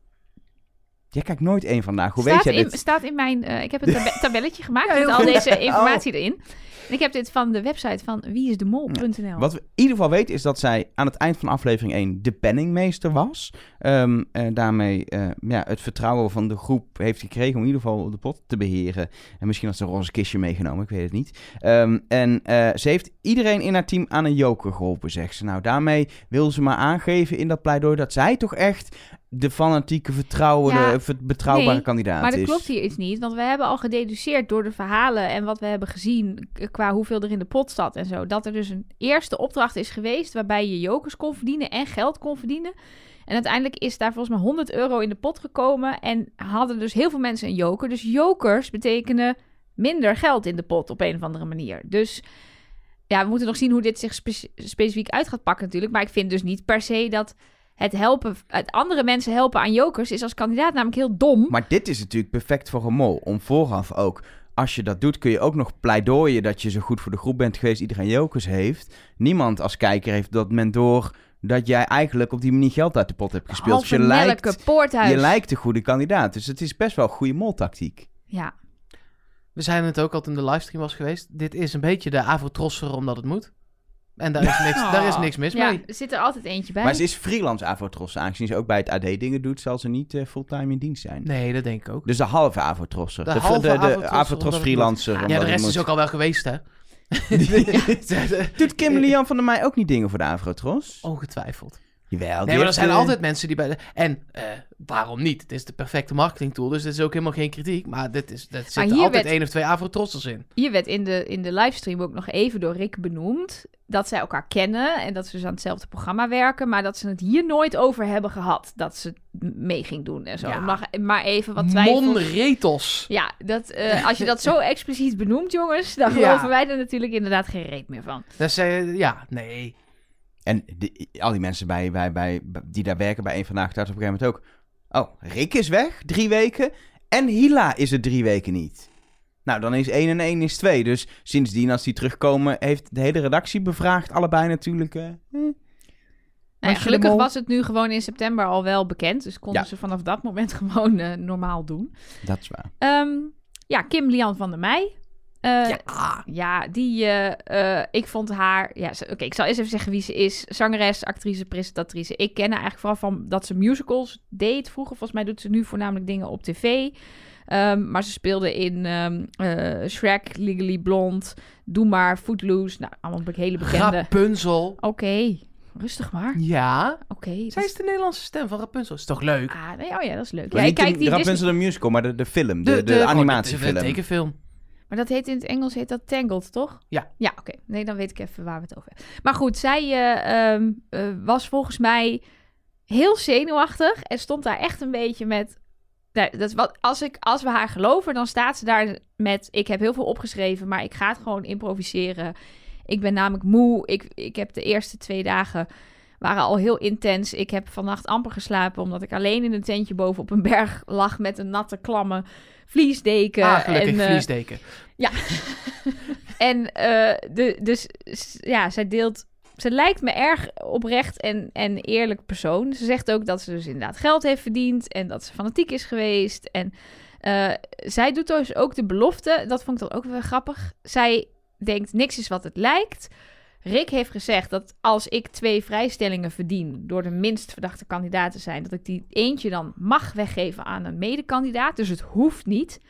S3: Jij kijkt nooit één vandaag, hoe
S2: staat,
S3: weet jij
S2: in,
S3: dit?
S2: staat in mijn. eh, ik heb een tabe- tabelletje gemaakt
S1: Ja, heel
S2: met al
S1: goed. Oh.
S2: deze informatie erin. En ik heb dit van de website van wieisdemol.nl.
S3: Wat we in ieder geval weten is dat zij aan het eind van aflevering 1 de penningmeester was. Ehm eh, daarmee eh, ja, het vertrouwen van de groep heeft gekregen om in ieder geval de pot te beheren. En misschien had ze een roze kistje meegenomen, ik weet het niet. Ehm, en eh, ze heeft iedereen in haar team aan een joker geholpen, zegt ze. Nou, daarmee wil ze maar aangeven in dat pleidooi dat zij toch echt de fanatieke, vertrouwende,
S2: Ja,
S3: ver- betrouwbare
S2: nee,
S3: kandidaat
S2: Maar
S3: is.
S2: dat klopt hier iets niet, want we hebben al gededuceerd door de verhalen en wat we hebben gezien k- qua hoeveel er in de pot zat en zo. Dat er dus een eerste opdracht is geweest waarbij je jokers kon verdienen en geld kon verdienen. En uiteindelijk is daar volgens mij 100 euro in de pot gekomen en hadden dus heel veel mensen een joker. Dus jokers betekenen minder geld in de pot op een of andere manier. Dus ja, we moeten nog zien hoe dit zich spe- specifiek uit gaat pakken natuurlijk. Maar ik vind dus niet per se dat het helpen, het andere mensen helpen aan jokers is als kandidaat namelijk heel dom.
S3: Maar dit is natuurlijk perfect voor een mol. Om vooraf ook, als je dat doet, kun je ook nog pleidooien dat je zo goed voor de groep bent geweest. Iedereen jokers heeft. Niemand als kijker heeft dat men door dat jij eigenlijk op die manier geld uit de pot hebt gespeeld. Dus
S2: Halve
S3: je
S2: melke
S3: lijkt,
S2: poorthuis.
S3: je lijkt de goede kandidaat. Dus het is best wel een goede moltactiek.
S2: Ja,
S1: We zijn het ook al toen de livestream was geweest. Dit is een beetje de avotrosser omdat het moet. En daar is niks, daar is niks mis
S2: Oh. ja,
S1: mee.
S2: er zit er altijd eentje bij.
S3: Maar ze is freelance avotros. Aangezien ze ook bij het AD dingen doet, zal ze niet eh, fulltime in dienst zijn.
S1: Nee, dat denk ik ook.
S3: Dus de halve avotrosser.
S1: De halve Avotrosser,
S3: de
S1: omdat
S3: avotros
S1: het
S3: freelancer.
S1: ja,
S3: omdat
S1: de
S3: het
S1: rest is
S3: moet.
S1: ook al wel geweest, hè?
S3: Doet Kim Lian van der Meij ook niet dingen voor de avotros?
S1: Oh. Ongetwijfeld.
S3: Jawel. die
S1: Nee, maar er
S3: heeft,
S1: zijn
S3: eh,
S1: altijd mensen die bij de... En eh, waarom niet? Het is de perfecte marketingtool, dus dit is ook helemaal geen kritiek. Maar dit is, dat zit
S2: hier
S1: altijd
S2: werd-
S1: één of twee avotrossels in.
S2: Hier werd in de, in de livestream ook nog even door Rick benoemd dat zij elkaar kennen en dat ze dus aan hetzelfde programma werken, maar dat ze het hier nooit over hebben gehad dat ze het mee ging doen en zo.
S1: Ja.
S2: Mag- maar even wat twijfels.
S1: Monretos.
S2: Ja, dat, eh, als je dat zo expliciet benoemt, jongens, dan
S1: Ja.
S2: geloven wij er natuurlijk inderdaad geen reet meer van. Nou
S1: Dat zijn... Ja, nee.
S3: En die- al die mensen bij, bij, bij, die daar werken bij één vandaag thuis op een gegeven moment ook. Oh, Rick is weg, drie weken. En Hila is er drie weken niet. Nou, dan is één en één is twee. Dus sindsdien, als die terugkomen, heeft de hele redactie bevraagd. Allebei natuurlijk. eh,
S2: Nou ja,
S3: je de
S2: gelukkig
S3: mol?
S2: was het nu gewoon in september al wel bekend, dus konden
S3: Ja.
S2: ze vanaf dat moment gewoon eh, normaal doen.
S3: dat is waar.
S2: Ehm, ja, Kim Lian van der Meij. Eh, ja.
S1: ja.
S2: die, eh, eh, ik vond haar, ja, ze- oké, ik zal eerst even zeggen wie ze is. Zangeres, actrice, presentatrice. Ik ken haar eigenlijk vooral van dat ze musicals deed vroeger. Volgens mij doet ze nu voornamelijk dingen op tv. Ehm, maar ze speelde in ehm, eh, Shrek, Legally Blonde, Doe Maar, Footloose. Nou, allemaal hele bekende.
S1: Rapunzel.
S2: Oké, rustig maar.
S1: Ja.
S2: Oké.
S1: Zij
S2: dat-
S1: is de Nederlandse stem van Rapunzel. Is toch leuk?
S2: Ah, nee, oh ja, dat is leuk. Ja,
S3: Maar
S2: ik kijk
S3: niet de,
S2: die
S3: de
S2: Disney-
S3: Rapunzel de musical, maar de, de film. De, de,
S1: gewoon
S3: animatiefilm.
S1: De, de tekenfilm.
S2: Maar dat heet in het Engels heet dat Tangled, toch?
S1: Ja.
S2: Ja, oké. Nee, dan weet ik even waar we het over hebben. Maar goed, zij eh, ehm, eh, was volgens mij heel zenuwachtig en stond daar echt een beetje met. Nou, dat is wat, als, ik, als we haar geloven, dan staat ze daar met: Ik heb heel veel opgeschreven, maar ik ga het gewoon improviseren. Ik ben namelijk moe. Ik, ik heb de eerste twee dagen waren al heel intens. Ik heb vannacht amper geslapen, omdat ik alleen in een tentje boven op een berg lag met een natte, klamme vliesdeken.
S1: Ah, gelukkig,
S2: en, eh,
S1: vliesdeken.
S2: en eh, de, dus s- ja, zij deelt. Ze lijkt me erg oprecht en, en eerlijk persoon. Ze zegt ook dat ze dus inderdaad geld heeft verdiend en dat ze fanatiek is geweest. En eh, zij doet dus ook de belofte, dat vond ik dan ook wel grappig. Zij denkt niks is wat het lijkt. Rick heeft gezegd dat als ik twee vrijstellingen verdien door de minst verdachte kandidaat te zijn, dat ik die eentje dan mag weggeven aan een medekandidaat. Dus het hoeft niet.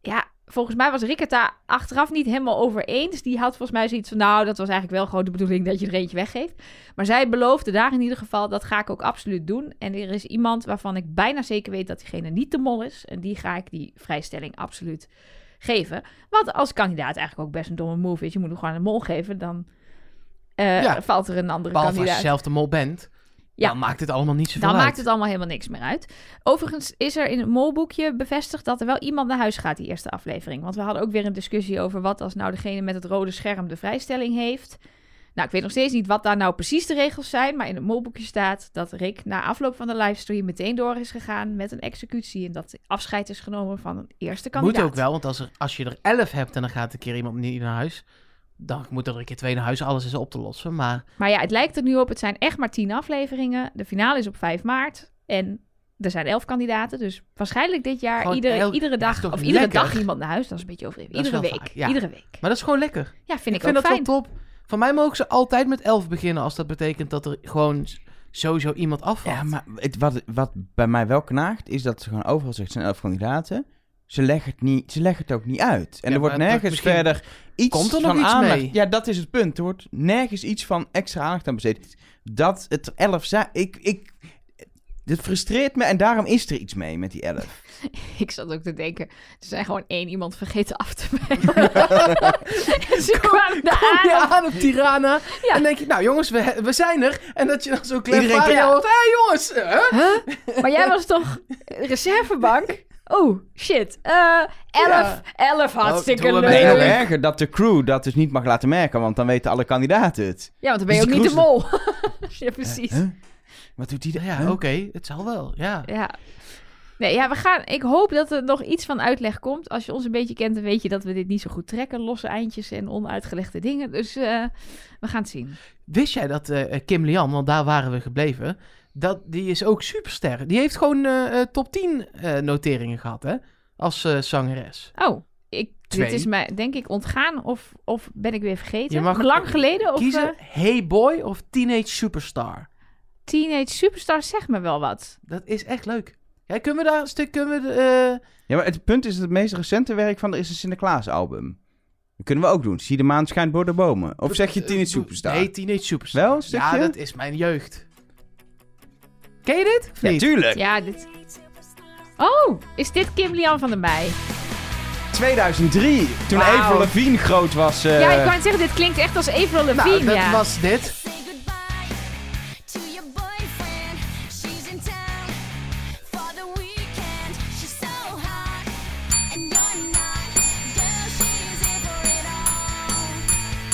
S2: Ja, volgens mij was Rick het daar achteraf niet helemaal over eens. Die had volgens mij zoiets van, nou, dat was eigenlijk wel gewoon de bedoeling dat je er eentje weggeeft. Maar zij beloofde daar in ieder geval, dat ga ik ook absoluut doen. En er is iemand waarvan ik bijna zeker weet dat diegene niet de mol is. En die ga ik die vrijstelling absoluut geven. Wat als kandidaat eigenlijk ook best een domme move is. Je moet hem gewoon een mol geven, dan eh,
S1: Ja.
S2: valt er een andere
S1: Behalve als je
S2: kandidaat.
S1: zelf de mol bent.
S2: Ja.
S1: Dan maakt het allemaal niet zoveel
S2: Dan
S1: uit.
S2: maakt het allemaal helemaal niks meer uit. Overigens is er in het molboekje bevestigd dat er wel iemand naar huis gaat die eerste aflevering. Want we hadden ook weer een discussie over wat als nou degene met het rode scherm de vrijstelling heeft. Nou, ik weet nog steeds niet wat daar nou precies de regels zijn. Maar in het molboekje staat dat Rick na afloop van de livestream meteen door is gegaan met een executie. En dat afscheid is genomen van een eerste kandidaat.
S1: Moet ook wel, want als, er, als je er elf hebt en dan gaat een keer iemand niet naar huis... dan moet er een keer twee naar huis, alles is op te lossen. Maar
S2: Maar ja, het lijkt er nu op. Het zijn echt maar tien afleveringen. De finale is op 5 maart. En er zijn elf kandidaten. Dus waarschijnlijk dit jaar
S1: Gewoon
S2: iedere,
S1: elk- Ja,
S2: iedere
S1: is
S2: dag
S1: toch
S2: of iedere
S1: lekker?
S2: dag iemand naar huis. Dat is een beetje overdreven.
S1: Dat is
S2: Iedere week.
S1: wel vaak, ja.
S2: Iedere week.
S1: Maar dat is gewoon lekker.
S2: Ja, vind ik,
S1: vind
S2: ook
S1: dat
S2: fijn.
S1: wel top. Van mij mogen ze altijd met elf beginnen als dat betekent dat er gewoon s- sowieso iemand afvalt.
S3: Ja, maar het, wat, wat bij mij wel knaagt, is dat ze gewoon overal zegt, zijn elf kandidaten. Ze leggen het, niet, ze leggen het ook niet uit. En
S1: Ja,
S3: er wordt
S1: maar dat-
S3: nergens
S1: misschien
S3: verder iets
S1: komt er nog
S3: van
S1: iets
S3: aandacht.
S1: mee.
S3: Ja, dat is het punt. Er wordt nergens iets van extra aandacht aan besteed. Dat het er elf zijn. Ik, ik, dit frustreert me en daarom is er iets mee met die elf.
S2: Ik zat ook te denken, er zijn gewoon één iemand vergeten af te melden. En Ze kwamen daar
S1: Kom je
S2: aan.
S1: aan op Tirana
S2: Ah, Ja.
S1: en denk je, nou jongens, we, we zijn er. En dat je dan zo
S3: Iedereen
S1: klein
S2: kijkt-
S1: hoort, hé jongens, hè?
S2: Maar jij was toch reservebank? Oh, shit. Eh, elf. Elf, hartstikke
S1: doen we
S2: leuk.
S1: mee.
S3: Nee, nog
S1: Nee.
S3: erger dat de crew dat dus niet mag laten merken, want dan weten alle kandidaten het.
S2: Ja, want dan ben je
S3: Dus
S2: ook
S3: de
S2: niet de
S3: cruise-
S2: mol. ja, precies.
S3: Huh? Wat doet die daar?
S1: Ja,
S3: Huh?
S1: oké, het zal wel, ja.
S2: Ja. Nee, ja, we gaan. Ik hoop dat er nog iets van uitleg komt. Als je ons een beetje kent, dan weet je dat we dit niet zo goed trekken. Losse eindjes en onuitgelegde dingen. Dus eh, we gaan het zien.
S1: Wist jij dat eh, Kim Lian, want daar waren we gebleven, dat, die is ook superster. Die heeft gewoon eh, eh, top 10 eh, noteringen gehad, hè, als eh, zangeres.
S2: Oh, ik, dit
S1: Twee.
S2: is mij, denk ik, ontgaan. Of, of ben ik weer vergeten?
S1: Je mag
S2: Lang geleden? Of,
S1: Kiezen
S2: eh,
S1: Hey Boy of Teenage Superstar.
S2: Teenage Superstar zeg me wel wat.
S1: Dat is echt leuk. Ja, kunnen we daar een stuk, kunnen we... eh,
S3: Ja, maar het punt is dat het meest recente werk van er is een Sinterklaas album. Dat kunnen we ook doen. Zie de maan
S2: Eh,
S3: schijnt door de bomen. Of zeg je Teenage Superstar?
S1: Nee, Eh, Teenage Superstar.
S3: Wel een stukje?
S1: Ja, dat is mijn jeugd. Ken je dit? Of niet?
S3: Natuurlijk.
S2: Ja, dit... Oh, is dit Kim Lian van den Bij?
S3: 2003, toen
S2: Wauw.
S3: Avril Lavigne groot was. eh,
S2: ja, ik kan het zeggen, dit klinkt echt als Avril Lavigne,
S1: Nou, dat
S2: ja.
S1: was dit.
S4: Say goodbye to your boyfriend. She's in town for the weekend. She's so hot, and you're not. Girl, she's in for it all.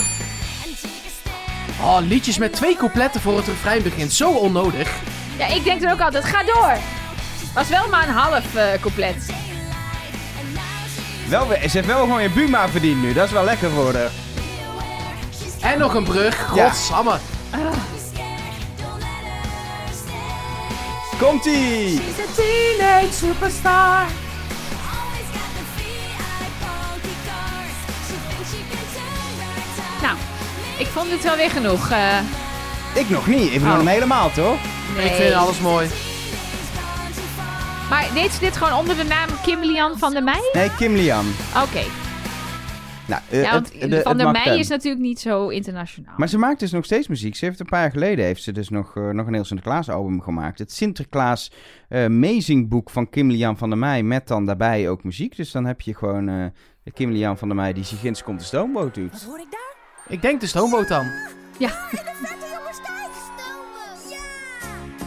S4: And take a stand.
S1: Oh, liedjes met twee coupletten voor het refrein begint. Zo onnodig.
S2: Ja, ik denk er ook altijd, ga door. Was wel maar een half eh couplet.
S4: Daylight, and now she's
S3: wel, weer- ze heeft wel gewoon je Buma verdiend nu. Dat is wel lekker voor haar.
S4: beware. She's
S1: En nog een brug.
S3: Ja.
S1: Godsamme.
S4: be scared. Don't let her stay.
S3: Komt-ie!
S1: She's a teenage superstar.
S4: Always got the VI funky cars. She thinks she can turn her time.
S2: Nou, ik vond dit wel weer genoeg. eh,
S3: Ik nog niet. Ik bedoel
S2: Oh.
S3: hem helemaal, toch?
S2: nee.
S1: Ik vind alles mooi.
S4: Teenage gone too far.
S2: Maar deed ze dit gewoon onder de naam Kim Lian van der Meij?
S3: Nee, Kim Lian.
S2: Oké.
S3: Nou, eh,
S2: Ja, want
S3: het- de-
S2: Van
S3: het
S2: der
S3: mag
S2: Meij
S3: hem.
S2: is natuurlijk niet zo internationaal.
S3: Maar ze maakt dus nog steeds muziek. Ze heeft een paar jaar geleden heeft ze dus nog, eh, nog een heel Sinterklaas album gemaakt. Het Sinterklaas eh Amazing Boek van Kim Lian van der Meij. Met dan daarbij ook muziek. Dus dan heb je gewoon eh, de Kim Lian van der Meij die zich ginds komt de stoomboot doet.
S4: Hoor ik daar?
S1: Ik denk de stoomboot dan.
S2: Ja,
S4: Oh, In de vette jongens thuis. Stomen. Ja.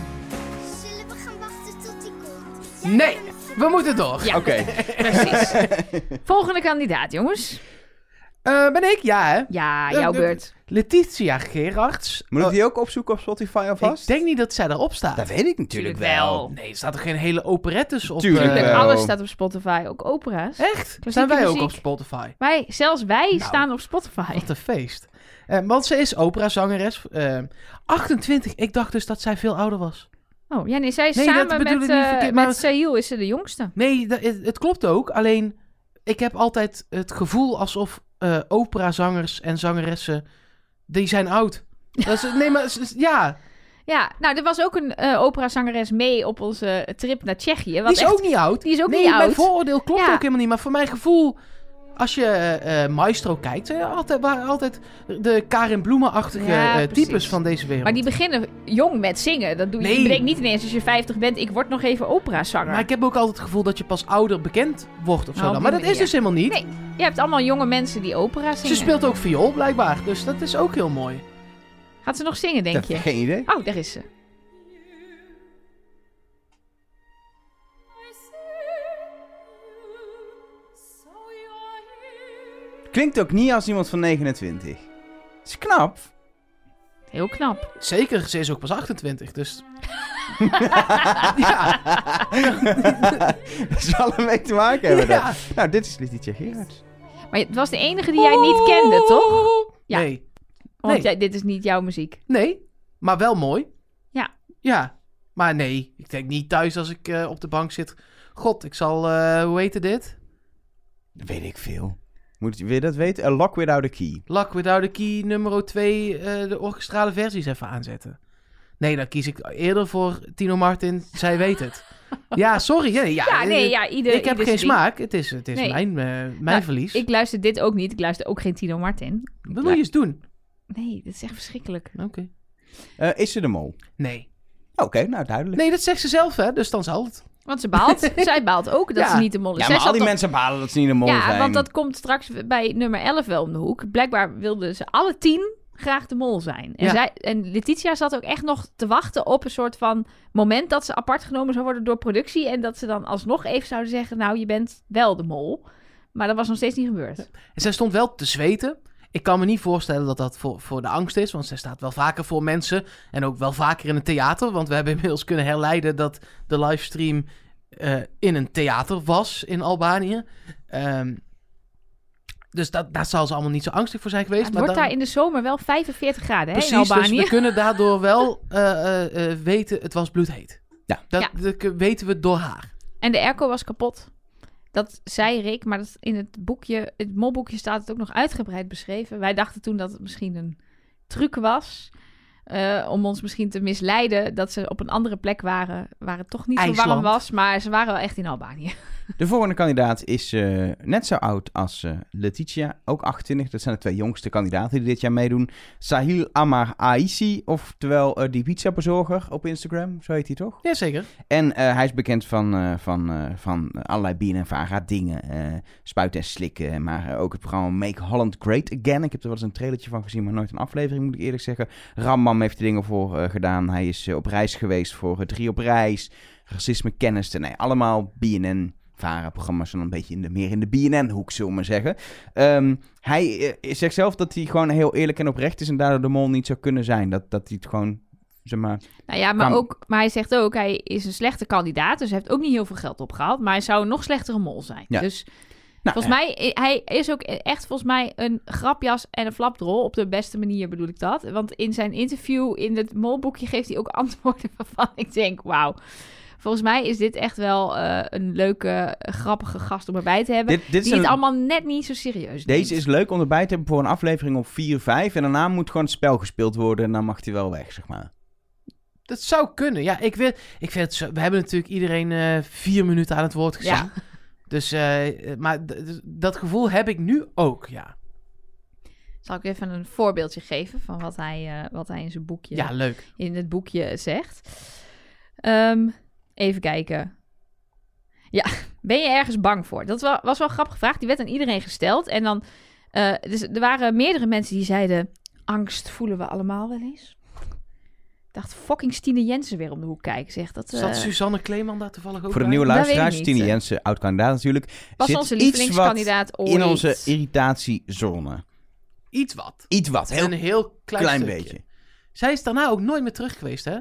S4: Zullen we gaan wachten tot die komt?
S1: Nee, we moeten door.
S2: ja
S3: Oké,
S2: precies. Volgende kandidaat, jongens.
S1: Eh, ben ik? Ja, hè?
S2: Ja,
S1: Eh,
S2: jouw
S1: eh,
S2: beurt.
S1: Letitia Gerards.
S3: moet ik
S1: Oh,
S3: die ook opzoeken op Spotify alvast?
S1: ik denk niet dat zij daarop staat.
S3: Dat weet ik natuurlijk wel.
S1: Nee, er staat toch geen hele operettes op?
S3: Tuurlijk
S1: eh,
S2: Tuurlijk,
S3: wel.
S2: alles staat op Spotify, ook opera's.
S1: Echt? Zijn wij ook
S2: muziek.
S1: op Spotify?
S2: Wij, zelfs wij
S1: Nou.
S2: staan op Spotify.
S1: Wat een feest. Eh, want ze is operazangeres. eh 28. Ik dacht dus dat zij veel ouder was.
S2: Oh, ja, nee, zij is
S1: Nee, dat
S2: samen
S1: bedoel
S2: met,
S1: ik niet
S2: eh,
S1: verkeerd, maar-
S2: met Sahil is ze de jongste.
S1: Nee, dat- het, het klopt ook. Alleen, ik heb altijd het gevoel alsof eh operazangers en zangeressen... Die zijn oud. Dat is, nee, maar s- s- ja,
S2: Ja, nou, er was ook een eh operazangeres mee op onze trip naar Tsjechië.
S1: die
S2: Wat
S1: is
S2: echt-
S1: ook niet oud.
S2: die is ook
S1: nee,
S2: niet
S1: mijn
S2: oud.
S1: vooroordeel klopt
S2: Ja.
S1: ook helemaal niet. Maar voor mijn gevoel, als je eh, Maestro kijkt... zijn er altijd, waren altijd de Karin Bloemen-achtige
S2: Ja,
S1: eh, types
S2: precies.
S1: van deze wereld.
S2: Maar die beginnen jong met zingen. Dat doe je,
S1: Nee.
S2: je bedenkt niet ineens als je 50 bent, ik word nog even operazanger.
S1: Maar ik heb ook altijd het gevoel dat je pas ouder bekend wordt of zo.
S2: Nou, op
S1: dan. Maar
S2: die
S1: dat is dus
S2: manier.
S1: helemaal niet.
S2: Nee, Je hebt allemaal jonge mensen die opera zingen.
S1: Ze speelt ook viool blijkbaar, dus dat is ook heel mooi.
S2: Gaat ze nog zingen, denk
S3: Dat
S2: je?
S3: geen idee.
S2: Oh, daar is ze.
S3: Klinkt ook niet als iemand van 29. is knap.
S2: Heel knap.
S1: Zeker, ze is ook pas 28, dus... ja,
S3: Dat zal ermee te maken hebben.
S1: Ja.
S3: dan. Nou, dit is Letitia Gerards.
S2: Maar het was de enige die jij niet kende, toch? Ja.
S1: Nee,
S2: Want
S1: Nee.
S2: jij, dit is niet jouw muziek.
S1: nee, maar wel mooi.
S2: Ja.
S1: Ja, maar nee, ik denk niet thuis als ik eh, op de bank zit. God, ik zal, eh, hoe heette dit?
S3: Dat weet ik veel. Moet je weer dat weten? A Lock Without a Key.
S1: Luck Without a Key nummer 2, eh, de orchestrale versies even aanzetten. Nee, dan kies ik eerder voor Tino Martin, zij weet het. Ja, sorry. Ja, ja,
S2: Ja, nee,
S1: eh,
S2: ja, ieder
S1: ik heb
S2: ieder
S1: geen
S2: zijn
S1: smaak. Het is, het is
S2: Nee.
S1: mijn, eh, mijn
S2: Nou,
S1: verlies.
S2: ding. Ik luister dit ook niet. Ik luister ook geen Tino Martin.
S1: Wat wil je eens doen?
S2: Nee, dit is echt verschrikkelijk.
S1: Oké.
S3: Eh, is ze de mol?
S1: Nee.
S3: Oké, nou duidelijk.
S1: Nee, dat zegt ze zelf, hè? Dus dan zal het.
S2: Want ze baalt. Zij baalt ook dat
S1: Ja.
S2: ze niet de mol is.
S3: Ja,
S2: Zij
S3: maar al
S2: zat
S3: die
S2: toch-
S3: mensen balen dat ze niet de mol
S2: Ja,
S3: zijn.
S2: want dat komt straks bij nummer 11 wel om de hoek. Blijkbaar wilden ze alle tien graag de mol zijn. En,
S1: Ja.
S2: zij, en Letitia zat ook echt nog te wachten op een soort van moment dat ze apart genomen zou worden door productie. En dat ze dan alsnog even zouden zeggen, nou je bent wel de mol. Maar dat was nog steeds niet gebeurd.
S1: En zij stond wel te zweten. Ik kan me niet voorstellen dat dat voor, voor de angst is, want zij staat wel vaker voor mensen en ook wel vaker in een theater. Want we hebben inmiddels kunnen herleiden dat de livestream eh, in een theater was in Albanië. Ehm, dus dat, daar zal ze allemaal niet zo angstig voor zijn geweest.
S2: het
S1: maar
S2: wordt
S1: dan-
S2: daar in de zomer wel 45 graden hè, in
S1: Precies,
S2: Albanië.
S1: dus we kunnen daardoor wel eh, eh, eh, weten, het was bloedheet.
S3: Ja.
S1: Dat,
S2: Ja.
S1: dat k- weten we door haar.
S2: En de airco was kapot. Dat zei Rick, maar dat in het boekje, het molboekje staat het ook nog uitgebreid beschreven. Wij dachten toen dat het misschien een truc was eh, om ons misschien te misleiden dat ze op een andere plek waren waar het toch niet zo warm
S1: IJsland.
S2: was, maar ze waren wel echt in Albanië.
S3: De volgende kandidaat is eh, net zo oud als eh, Letitia, ook 28. Dat zijn de twee jongste kandidaten die dit jaar meedoen. Sahil Amar Aisi, oftewel eh, die pizzabezorger op Instagram, zo heet hij toch?
S1: Jazeker.
S3: En eh, hij is bekend van, eh, van, eh, van allerlei BNNVARA dingen. eh, spuiten en slikken. Maar eh, ook het programma Make Holland Great Again. Ik heb er wel eens een trailertje van gezien, maar nooit een aflevering, moet ik eerlijk zeggen. Ramam heeft er dingen voor eh, gedaan. Hij is eh, op reis geweest voor eh, Drie op Reis. Racisme Kennis. Nee, allemaal BNN. VARA-programma's en een beetje in de, meer in de BNN-hoek, zullen we maar zeggen. Ehm, hij eh, zegt zelf dat hij gewoon heel eerlijk en oprecht is en daardoor de mol niet zou kunnen zijn. Dat, dat hij het gewoon, zeg maar,
S2: Nou ja, maar,
S3: Maar-
S2: ook, maar hij zegt ook, hij is een slechte kandidaat, dus hij heeft ook niet heel veel geld opgehaald. Maar hij zou een nog slechtere mol zijn.
S3: Ja.
S2: Dus
S3: Nou,
S2: volgens mij, hij is ook echt volgens mij een grapjas en een flapdrol. Op de beste manier bedoel ik dat. Want in zijn interview in het molboekje geeft hij ook antwoorden waarvan ik denk, wauw. Volgens mij is dit echt wel eh, een leuke, grappige gast om erbij te hebben.
S3: dit, dit
S2: die
S3: een-
S2: het allemaal net niet zo serieus
S3: Deze
S2: neemt.
S3: is leuk om erbij te hebben voor een aflevering op 4, 5. En daarna moet gewoon het spel gespeeld worden. En dan mag hij wel weg, zeg maar.
S1: Dat zou kunnen. Ja, ik, wil, ik vind het zo- We hebben natuurlijk iedereen eh, vier minuten aan het woord gezet.
S2: Ja.
S1: Dus, eh, maar d- d- dat gevoel heb ik nu ook, ja.
S2: Zal ik even een voorbeeldje geven van wat hij, eh, wat hij in zijn boekje
S1: Ja, leuk.
S2: in het boekje zegt. Ehm, even kijken. Ja, ben je ergens bang voor? Dat wa- was wel een grappige vraag. Die werd aan iedereen gesteld. En dan, eh, dus er waren meerdere mensen die zeiden... Angst voelen we allemaal wel eens. Ik dacht, fucking Stine Jensen weer om de hoek kijken. Zegt dat... eh,
S1: Zat Suzanne Kleeman daar toevallig ook
S3: voor de
S1: bij?
S3: nieuwe
S2: dat weet ik
S3: luisteraars,
S2: niet.
S3: Tine Jensen, oud-kandidaat natuurlijk.
S2: was
S3: zit
S2: onze
S3: iets wat
S2: lievelingskandidaat ooit.
S3: In onze irritatiezone.
S1: Iets wat.
S3: Iets wat, heel
S1: een heel klein,
S3: klein,
S1: stukje.
S3: beetje.
S1: Zij is daarna ook nooit meer terug geweest, hè?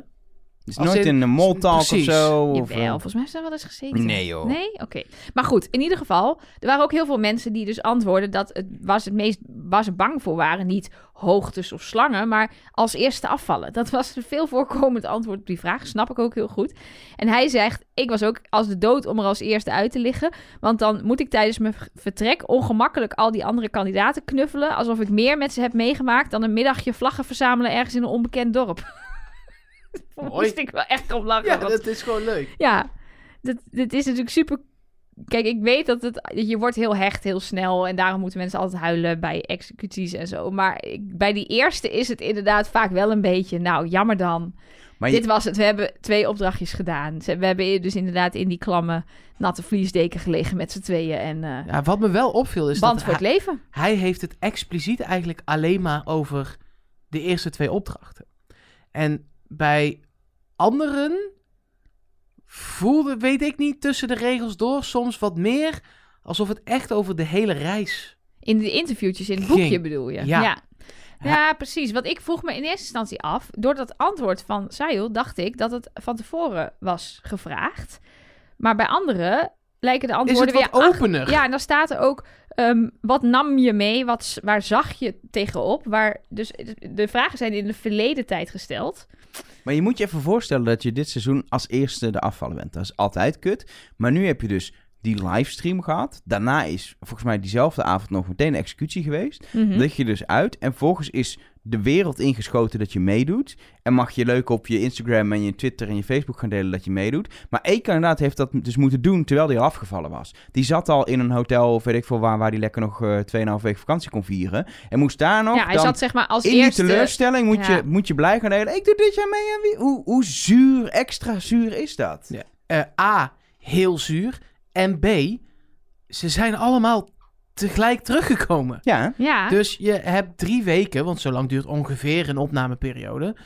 S3: Dus
S1: Als
S3: nooit
S1: in-
S3: in een moltalk of
S1: Precies.
S3: zo. of,
S2: Jawel,
S3: eh,
S2: volgens mij is dat wel eens gezeten.
S3: Nee, joh.
S2: Nee? Oké. Maar goed, in ieder geval, er waren ook heel veel mensen die dus antwoorden dat het was het meest waar ze bang voor waren. Niet hoogtes of slangen, maar als eerste afvallen. Dat was een veel voorkomend antwoord op die vraag. Snap ik ook heel goed. En hij zegt, ik was ook als de dood om er als eerste uit te liggen. Want dan moet ik tijdens mijn v- vertrek ongemakkelijk al die andere kandidaten knuffelen. Alsof ik meer met ze heb meegemaakt dan een middagje vlaggen verzamelen ergens in een onbekend dorp. Daar
S1: Mooi.
S2: moest ik wel echt om lachen.
S1: Ja,
S2: want-
S1: dat is gewoon leuk.
S2: ja, dat, dat is natuurlijk super. Kijk, ik weet dat het, je wordt heel hecht, heel snel. En daarom moeten mensen altijd huilen bij executies en zo. Maar ik- bij die eerste is het inderdaad vaak wel een beetje. Nou, jammer dan.
S3: maar je-
S2: Dit was het. We hebben twee opdrachtjes gedaan. Ze- We hebben dus inderdaad in die klamme, natte vliesdeken gelegen met z'n tweeën. En eh
S1: Ja, wat me wel opviel
S3: Dus
S1: is
S2: band
S1: dat
S2: voor het
S1: hij,
S2: leven.
S1: hij heeft het expliciet eigenlijk alleen maar over de eerste twee opdrachten. En bij anderen voelde, weet ik niet, tussen de regels door soms wat meer alsof het echt over de hele reis.
S2: In de interviewtjes in het
S1: Ging.
S2: boekje bedoel je.
S1: Ja.
S2: ja. Ja, precies. Want ik vroeg me in eerste instantie af. Door dat antwoord van Sayul dacht ik dat het van tevoren was gevraagd. Maar bij anderen lijken de
S1: Is het
S2: antwoorden
S1: wat
S2: weer... ach-
S1: opener?
S2: Ja, en dan staat er ook... ehm, wat nam je mee? Wat, s- waar zag je tegenop? Waar, dus de vragen zijn in de verleden tijd gesteld.
S3: Maar je moet je even voorstellen dat je dit seizoen als eerste de afvallen bent. Dat is altijd kut. Maar nu heb je dus die livestream gehad. Daarna is volgens mij diezelfde avond nog meteen de executie geweest.
S2: Mhm.
S3: Lig je dus uit. En volgens is de wereld ingeschoten dat je meedoet. En mag je leuk op je Instagram en je Twitter en je Facebook gaan delen dat je meedoet. Maar één kandidaat heeft dat dus moeten doen terwijl hij al afgevallen was. Die zat al in een hotel of weet ik veel waar, waar hij lekker nog eh 2,5 weken vakantie kon vieren. En moest daar nog
S2: Ja, hij
S3: dan
S2: zat zeg maar als
S3: in
S2: eerste...
S3: die teleurstelling moet,
S2: ja.
S3: je, moet je blij gaan delen. Ik doe dit jaar mee en wie... Hoe, hoe zuur, extra zuur is dat?
S1: Ja. Eh, A, heel zuur. En B, ze zijn allemaal tegelijk teruggekomen.
S3: Ja,
S2: Ja,
S1: Dus je hebt drie weken, want zo lang duurt ongeveer een opnameperiode,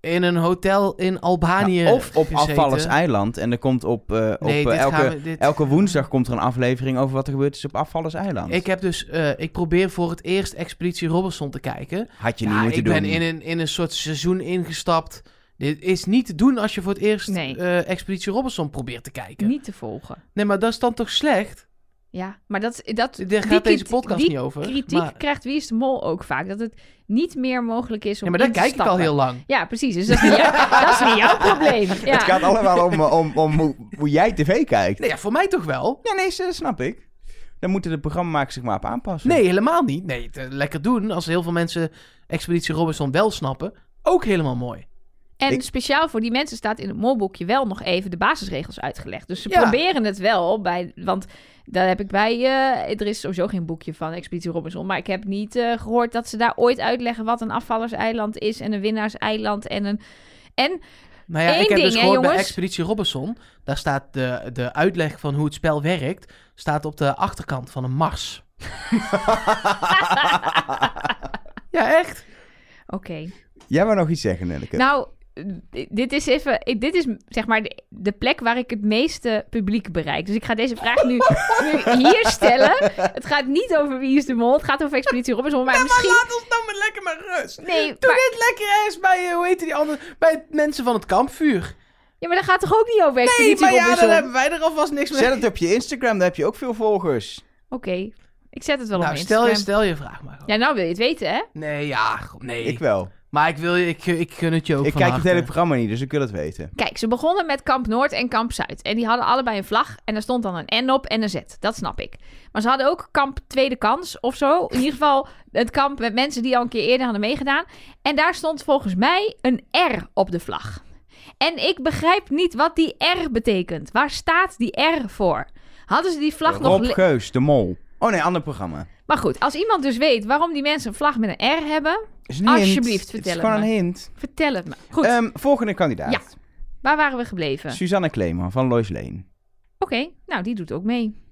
S1: in een hotel in Albanië.
S3: Nou, of op
S1: eh, gezeten.
S3: Afvallers Eiland. En er komt op, eh, op
S1: Nee,
S3: eh,
S1: dit
S3: elke,
S1: gaan we- dit-
S3: elke woensdag komt er een aflevering over wat er gebeurd is op Afvallers Eiland.
S1: Ik heb dus, eh, ik probeer voor het eerst Expeditie Robinson te kijken.
S3: Had je
S1: Ja,
S3: niet
S1: ik
S3: moeten
S1: ben
S3: doen.
S1: in een, in een soort seizoen ingestapt. Dit is niet te doen als je voor het eerst
S2: Nee.
S1: eh, Expeditie Robinson probeert te kijken.
S2: niet te volgen.
S1: Nee, maar dat is dan toch slecht?
S2: Ja, maar dat... dat
S1: Daar
S2: die
S1: gaat deze
S2: kriti-
S1: podcast
S2: die
S1: niet over.
S2: kritiek
S1: maar
S2: krijgt Wie is de Mol ook vaak. Dat het niet meer mogelijk is om
S1: ja, maar
S2: in
S1: daar
S2: te
S1: kijk ik al
S2: stappen.
S1: heel lang.
S2: Ja, precies. Dus dat is niet, jou- dat is niet jouw probleem. Ja.
S3: Het gaat allemaal om, eh, om, om hoe, hoe jij tv kijkt.
S1: Nee, Nou ja, voor mij toch wel?
S3: Ja, nee, dat snap ik. Dan moeten de programmamakers zich maar op aanpassen.
S1: Nee, helemaal niet. Nee, het, eh, lekker doen. Als heel veel mensen Expeditie Robinson wel snappen, ook helemaal mooi.
S2: En
S3: Ik-
S2: speciaal voor die mensen staat in het molboekje wel nog even de basisregels uitgelegd. Dus ze
S1: Ja.
S2: proberen het wel bij. Want daar heb ik bij. eh, er is sowieso geen boekje van Expeditie Robinson. Maar ik heb niet eh, gehoord dat ze daar ooit uitleggen wat een afvallerseiland is. En een winnaarseiland. En een. En
S1: Nou ja,
S2: Eén
S1: ik heb
S2: ding,
S1: dus
S2: hè,
S1: gehoord bij
S2: jongens?
S1: Expeditie Robinson. Daar staat de, de uitleg van hoe het spel werkt. Staat op de achterkant van een mars. ja, echt.
S2: oké.
S3: Jij wou nog iets zeggen, Nelleke.
S2: Nou, d- dit is even. ik- Dit is zeg maar de, de plek waar ik het meeste publiek bereik. Dus ik ga deze vraag nu, nu hier stellen. Het gaat niet over wie is de mol. Het gaat over Expeditie Robinson. Maar misschien.
S1: laat ons nou maar lekker maar rust. Doe
S2: Nee, maar-
S1: dit lekker eens bij, eh, hoe heet die andere, bij het mensen van het kampvuur.
S2: Ja, maar dat gaat toch ook niet over
S1: Nee,
S2: Expeditie
S1: maar ja,
S2: Robinson?
S1: dan hebben wij er alvast niks mee.
S3: Zet het op je Instagram, daar heb je ook veel volgers.
S2: Oké, ik zet het wel
S1: nou,
S2: op
S1: stel je,
S2: Instagram.
S1: stel je vraag maar. gewoon.
S2: Ja, nou wil je het weten, hè?
S1: Nee, ja, god, nee.
S3: Ik wel.
S1: Maar ik, wil, je- ik, ik gun het je ook eh.
S3: Ik
S1: van
S3: kijk het
S1: harte.
S3: hele programma niet, dus ik wil het weten.
S2: Kijk, ze begonnen met Kamp Noord en Kamp Zuid. En die hadden allebei een vlag. En daar stond dan een N op en een Z. Dat snap ik. Maar ze hadden ook Kamp Tweede Kans of zo. In ieder geval het kamp met mensen die al een keer eerder hadden meegedaan. En daar stond volgens mij een R op de vlag. En ik begrijp niet wat die R betekent. Waar staat die R voor? Hadden ze die vlag nog...
S3: Rob
S2: le-
S3: Geus, de mol. Oh nee, ander programma.
S2: Maar goed, als iemand dus weet waarom die mensen een vlag met een R hebben...
S3: Is een
S2: Alsjeblieft,
S3: hint. Het
S2: vertel
S3: is
S2: het
S3: gewoon
S2: me.
S3: een hint.
S2: Vertel het me. Goed,
S3: Ehm, volgende kandidaat.
S2: Ja. waar waren we gebleven? Oké,
S3: Suzanne Kleeman van Lois Leen.
S2: nou die doet ook mee.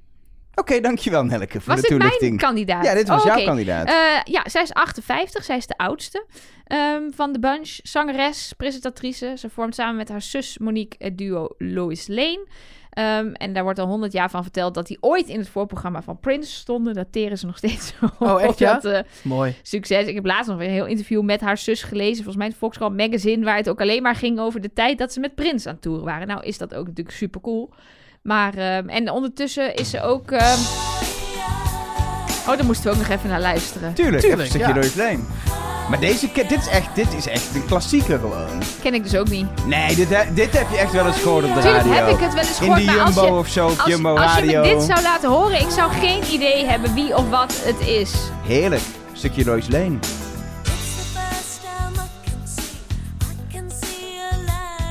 S3: Oké, dankjewel Nelke voor
S2: Was
S3: de
S2: dit
S3: toelichting.
S2: mijn kandidaat?
S3: Ja, dit was
S2: Oh,
S3: jouw
S2: oké.
S3: kandidaat.
S2: Eh, ja, zij is 58, zij is de oudste ehm, van de bunch. Zangeres, presentatrice. Ze vormt samen met haar zus Monique het duo Lois Lane. Ehm, en daar wordt al 100 jaar van verteld dat die ooit in het voorprogramma van Prince stonden. Dat teren ze nog steeds
S1: Oh, echt,
S2: op
S1: ja?
S2: dat, eh,
S1: Mooi.
S2: succes. Ik heb laatst nog een heel interview met haar zus gelezen. Volgens mij in het Volkskrant Magazine, waar het ook alleen maar ging over de tijd dat ze met Prins aan tour waren. Nou is dat ook natuurlijk super cool. Maar, ehm, en ondertussen is ze ook... ehm, Oh, daar moesten we ook nog even naar luisteren.
S3: Tuurlijk, even een
S1: Tuurlijk,
S3: stukje
S1: ja.
S3: Lois Lane. Maar deze, ke- dit, is echt, dit is echt een klassieker gewoon.
S2: Ken ik dus ook niet.
S3: Nee, dit, he- dit heb je echt wel eens gehoord op de
S2: Tuurlijk
S3: radio.
S2: heb ik het wel eens
S3: In
S2: gehoord,
S3: de
S2: maar als
S3: Jumbo
S2: je,
S3: of zo, op
S2: als,
S3: Jumbo
S2: als je
S3: Radio.
S2: me dit zou laten horen, ik zou geen idee hebben wie of wat het is.
S3: Heerlijk, stukje Lois Lane.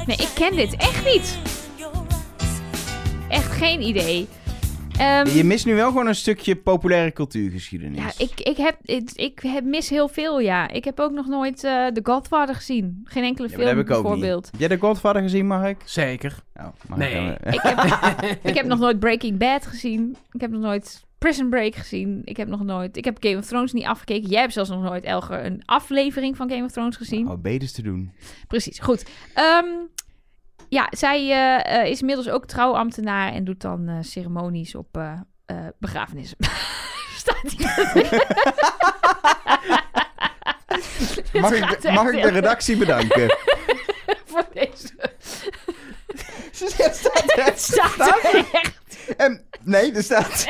S4: Nee, ik ken dit echt niet.
S2: Echt geen idee. Ehm,
S3: Je mist nu wel gewoon een stukje populaire cultuurgeschiedenis.
S2: ja, ik, ik, heb, ik, ik heb mis heel veel, ja. Ik heb ook nog nooit eh The Godfather gezien. Geen enkele
S3: Ja, maar
S2: film,
S3: dat heb ik ook
S2: bijvoorbeeld.
S3: niet. Heb jij de Godfather gezien, Mark?
S1: Zeker.
S3: Oh, Mark
S1: Nee.
S3: dan, eh,
S2: Ik heb, ik heb nog nooit Breaking Bad gezien. Ik heb nog nooit Prison Break gezien. Ik heb nog nooit... Ik heb Game of Thrones niet afgekeken. Jij hebt zelfs nog nooit, Elger, een aflevering van Game of Thrones gezien.
S3: Oh, beters te doen.
S2: Precies, goed. Ehm, ja, zij eh, eh, is inmiddels ook trouwambtenaar en doet dan eh, ceremonies op eh, eh, begrafenissen. Staat hier. Dit
S3: Mag
S2: gaat
S3: ik, de-
S2: echt
S3: mag ik de
S2: heel
S3: redactie bedanken?
S2: voor deze?
S3: Ze zegt, staat
S2: Het
S3: er.
S2: staat er echt.
S3: En nee, er staat...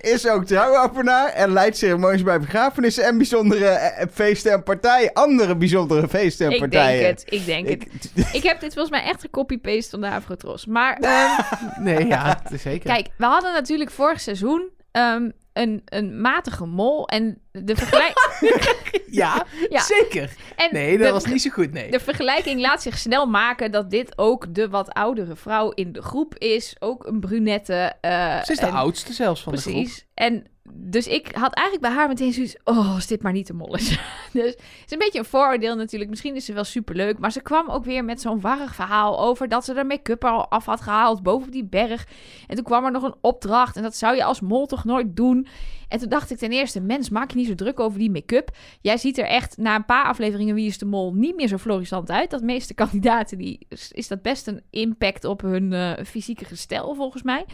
S3: Is ook trouwappenaar en leidt ceremonies bij begrafenissen en bijzondere eh, feesten en partijen. Andere bijzondere feesten en
S2: Ik denk
S3: partijen.
S2: het, ik denk het. Ik heb dit volgens mij echt gecopy-paste van de Afrotros. Maar ehm,
S1: Nee, ja, het is zeker.
S2: Kijk, we hadden natuurlijk vorig seizoen ehm, een, een matige mol. En de, vergelijk-
S1: ja,
S2: Ja.
S1: zeker.
S2: en
S1: Nee, dat
S2: de-
S1: was niet zo goed, nee.
S2: De vergelijking laat zich snel maken dat dit ook de wat oudere vrouw in de groep is. Ook een brunette. eh,
S1: Ze is de
S2: en-
S1: oudste zelfs van de groep.
S2: Precies. En dus ik had eigenlijk bij haar meteen zoiets... Oh, als dit maar niet de mol is. dus het is een beetje een vooroordeel natuurlijk. Misschien is ze wel superleuk. Maar ze kwam ook weer met zo'n warrig verhaal over... dat ze haar make-up al af had gehaald boven op die berg. En toen kwam er nog een opdracht. En dat zou je als mol toch nooit doen. En toen dacht ik ten eerste... Mens, maak je niet zo druk over die make-up. Jij ziet er echt na een paar afleveringen Wie is de Mol... niet meer zo florissant uit. Dat meeste kandidaten... Die, is dat best een impact op hun eh, fysieke gestel volgens mij.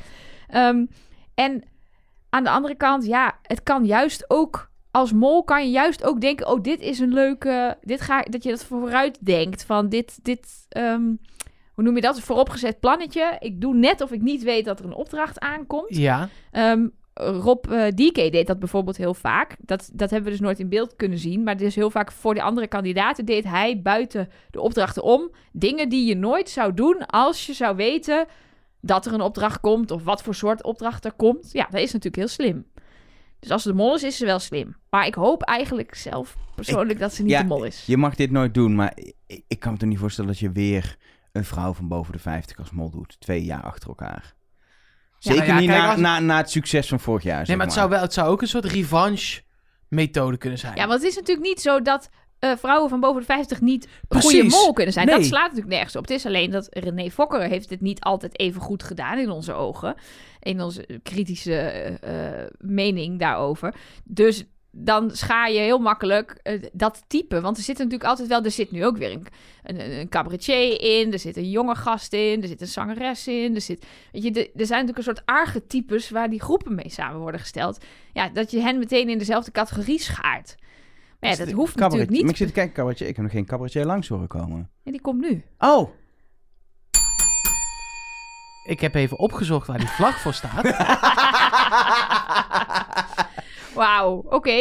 S2: Ehm, en aan de andere kant, ja, het kan juist ook. Als mol kan je juist ook denken: oh, dit is een leuke. Dit ga, dat je dat vooruit denkt. Van dit. dit ehm, hoe noem je dat? Een vooropgezet plannetje. Ik doe net of ik niet weet dat er een opdracht aankomt.
S1: Ja,
S2: Ehm, Rob eh, DK deed dat bijvoorbeeld heel vaak. Dat, dat hebben we dus nooit in beeld kunnen zien. Maar dus heel vaak voor de andere kandidaten deed hij buiten de opdrachten om dingen die je nooit zou doen als je zou weten dat er een opdracht komt of wat voor soort opdracht er komt. Ja, dat is natuurlijk heel slim. Dus als ze de mol is, is ze wel slim. Maar ik hoop eigenlijk zelf persoonlijk dat ze niet
S3: ja,
S2: de mol is.
S3: Je mag dit nooit doen, maar ik, ik kan me toch niet voorstellen dat je weer een vrouw van boven de 50 als mol doet. Twee jaar achter elkaar.
S1: Ja,
S3: Zeker
S1: nou ja,
S3: niet
S1: kijk,
S3: na,
S1: als-
S3: na, na het succes van vorig jaar.
S1: Nee,
S3: zeg
S1: maar het zou, wel, het zou ook een soort revanche-methode kunnen zijn.
S2: Ja, want het is natuurlijk niet zo dat eh, vrouwen van boven de 50 niet een goede
S3: Precies.
S2: mol kunnen zijn. Dat
S3: Nee.
S2: slaat natuurlijk nergens op. Het is alleen dat René Fokker heeft dit niet altijd even goed gedaan in onze ogen. In onze kritische eh, eh, mening daarover. Dus dan schaar je heel makkelijk eh, dat type. Want er zit natuurlijk altijd wel... Er zit nu ook weer een, een, een- een cabaretier in. Er zit een jonge gast in. Er zit een zangeres in. Er, zit, weet je, de- er zijn natuurlijk een soort archetypes... waar die groepen mee samen worden gesteld. Ja, dat je hen meteen in dezelfde categorie schaart. Maar ja, dat hoeft natuurlijk niet.
S3: Maar ik zit te kijken, cabaretier. Ik heb nog geen cabaretier langs horen komen.
S2: Ja, die komt nu.
S3: Oh,
S1: Ik heb even opgezocht waar die vlag voor staat.
S2: Wauw, oké.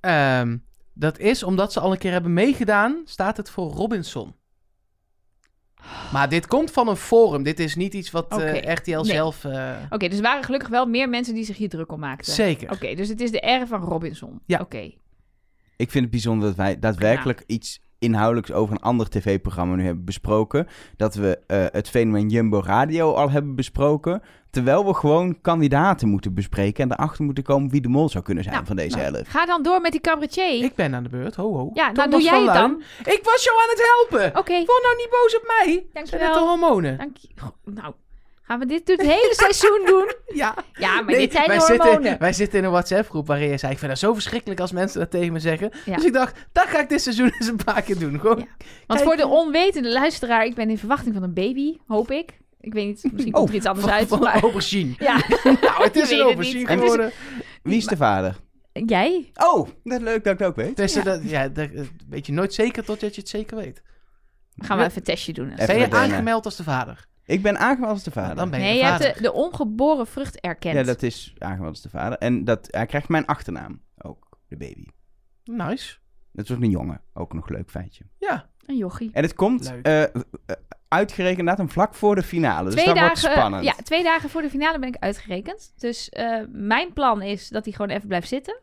S1: Ehm, dat is omdat ze al een keer hebben meegedaan, staat het voor Robinson. Maar dit komt van een forum. Dit is niet iets wat eh,
S2: Oké,
S1: RTL
S2: nee.
S1: zelf. eh,
S2: Oké, dus er waren gelukkig wel meer mensen die zich hier druk om maakten.
S1: Zeker.
S2: Oké, dus het is de R van Robinson.
S1: Ja.
S2: Oké.
S3: Ik vind het bijzonder dat wij daadwerkelijk iets inhoudelijks over een ander tv-programma nu hebben besproken. Dat we eh, het fenomeen Jumbo Radio al hebben besproken. Terwijl we gewoon kandidaten moeten bespreken en erachter moeten komen wie de mol zou kunnen zijn
S2: Nou,
S3: van deze
S2: nou,
S3: elf.
S2: Ga dan door met die cabaretier.
S1: Ik ben aan de beurt. Ho, ho.
S2: Ja, nou,
S1: Thomas
S2: doe jij
S1: van
S2: het
S1: Luijn.
S2: dan. Oh,
S1: Ik was jou aan het helpen.
S2: Oké,
S1: Word nou niet boos op mij. Zijn
S2: dankjewel.
S1: het de hormonen?
S2: Dank je. Goh, Nou, gaan we dit het hele seizoen doen?
S1: Ja.
S2: Ja, maar
S1: Nee,
S2: dit zijn de
S1: wij
S2: hormonen.
S1: Zitten, wij zitten in een WhatsApp-groep waarin je zei... ik vind dat zo verschrikkelijk als mensen dat tegen me zeggen.
S2: Ja.
S1: Dus ik dacht, dat ga ik dit seizoen eens een paar keer doen. Gewoon.
S2: Ja. Want voor de onwetende luisteraar, ik ben in verwachting van een baby, hoop ik. Ik weet niet, misschien komt er iets anders
S1: van,
S2: uit.
S1: van
S2: maar-
S1: aubergine.
S2: Ja,
S1: Nou, het
S2: Je
S1: is
S2: weet
S1: een
S2: het
S1: aubergine
S2: niet.
S1: geworden.
S3: Wie is de vader?
S2: jij?
S3: Oh, dat leuk dat ik dat ook weet.
S1: Dus ja. Dat, ja, dat eh, weet je nooit zeker totdat je het zeker weet.
S2: Gaan we even een testje doen.
S3: Even
S1: ben je
S3: meteen, hè.
S1: aangemeld als de vader?
S3: Ik ben aangemeld als de
S2: Nou,
S3: vader.
S1: Dan ben je
S2: Nee,
S1: de
S2: je hebt
S1: vader.
S2: de, de ongeboren vrucht erkend.
S3: ja, dat is aangemeld als de vader. En dat, hij krijgt mijn achternaam ook, de baby.
S1: Nice.
S3: Dat was een jongen, ook nog leuk feitje.
S1: Ja.
S2: Een jochie.
S3: En het komt
S1: Leuk.
S3: eh, eh, uitgerekend inderdaad een vlak voor de finale. Dus dat wordt spannend.
S2: Ja, twee dagen voor de finale ben ik uitgerekend. Dus eh, mijn plan is dat hij gewoon even blijft zitten.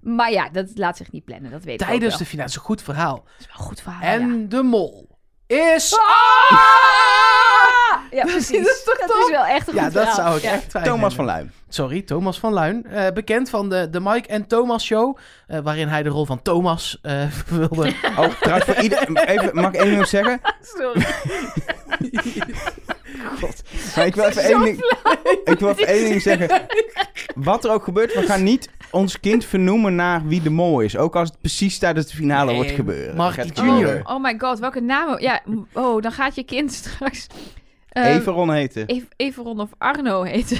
S2: Maar ja, dat laat zich niet plannen. Dat weet ik
S1: Tijdens
S2: ook
S1: de
S2: wel.
S1: finale. Dat is een goed verhaal.
S2: Dat is wel een goed verhaal,
S1: en
S2: ja. Ah!
S1: de mol is...
S2: Ja, precies.
S1: dat is toch
S2: dat
S1: top?
S2: is wel echt een
S1: Ja,
S2: goed
S1: dat
S2: verhaal.
S1: zou ik
S2: Ja.
S1: echt fijn
S3: Thomas van
S1: vinden.
S3: Luim.
S1: Sorry, Thomas van Luin. eh, bekend van de, de Mike en Thomas Show. eh, waarin hij de rol van Thomas eh vervulde.
S3: Oh, trouwens, voor ieder... even, mag ik één ding zeggen?
S2: Sorry.
S3: Maar ik wil even één ding, ik wil even één ding zeggen. Wat er ook gebeurt, we gaan niet ons kind vernoemen naar wie de mol is. Ook als het precies tijdens de finale
S1: Nee,
S3: wordt gebeuren.
S1: Mark
S3: Gaat het
S1: Junior.
S3: gebeuren.
S2: Oh my god, welke naam? Ja, m- oh, dan gaat je kind straks... ehm,
S3: Everon heten.
S2: Ev- Everon of Arno heten.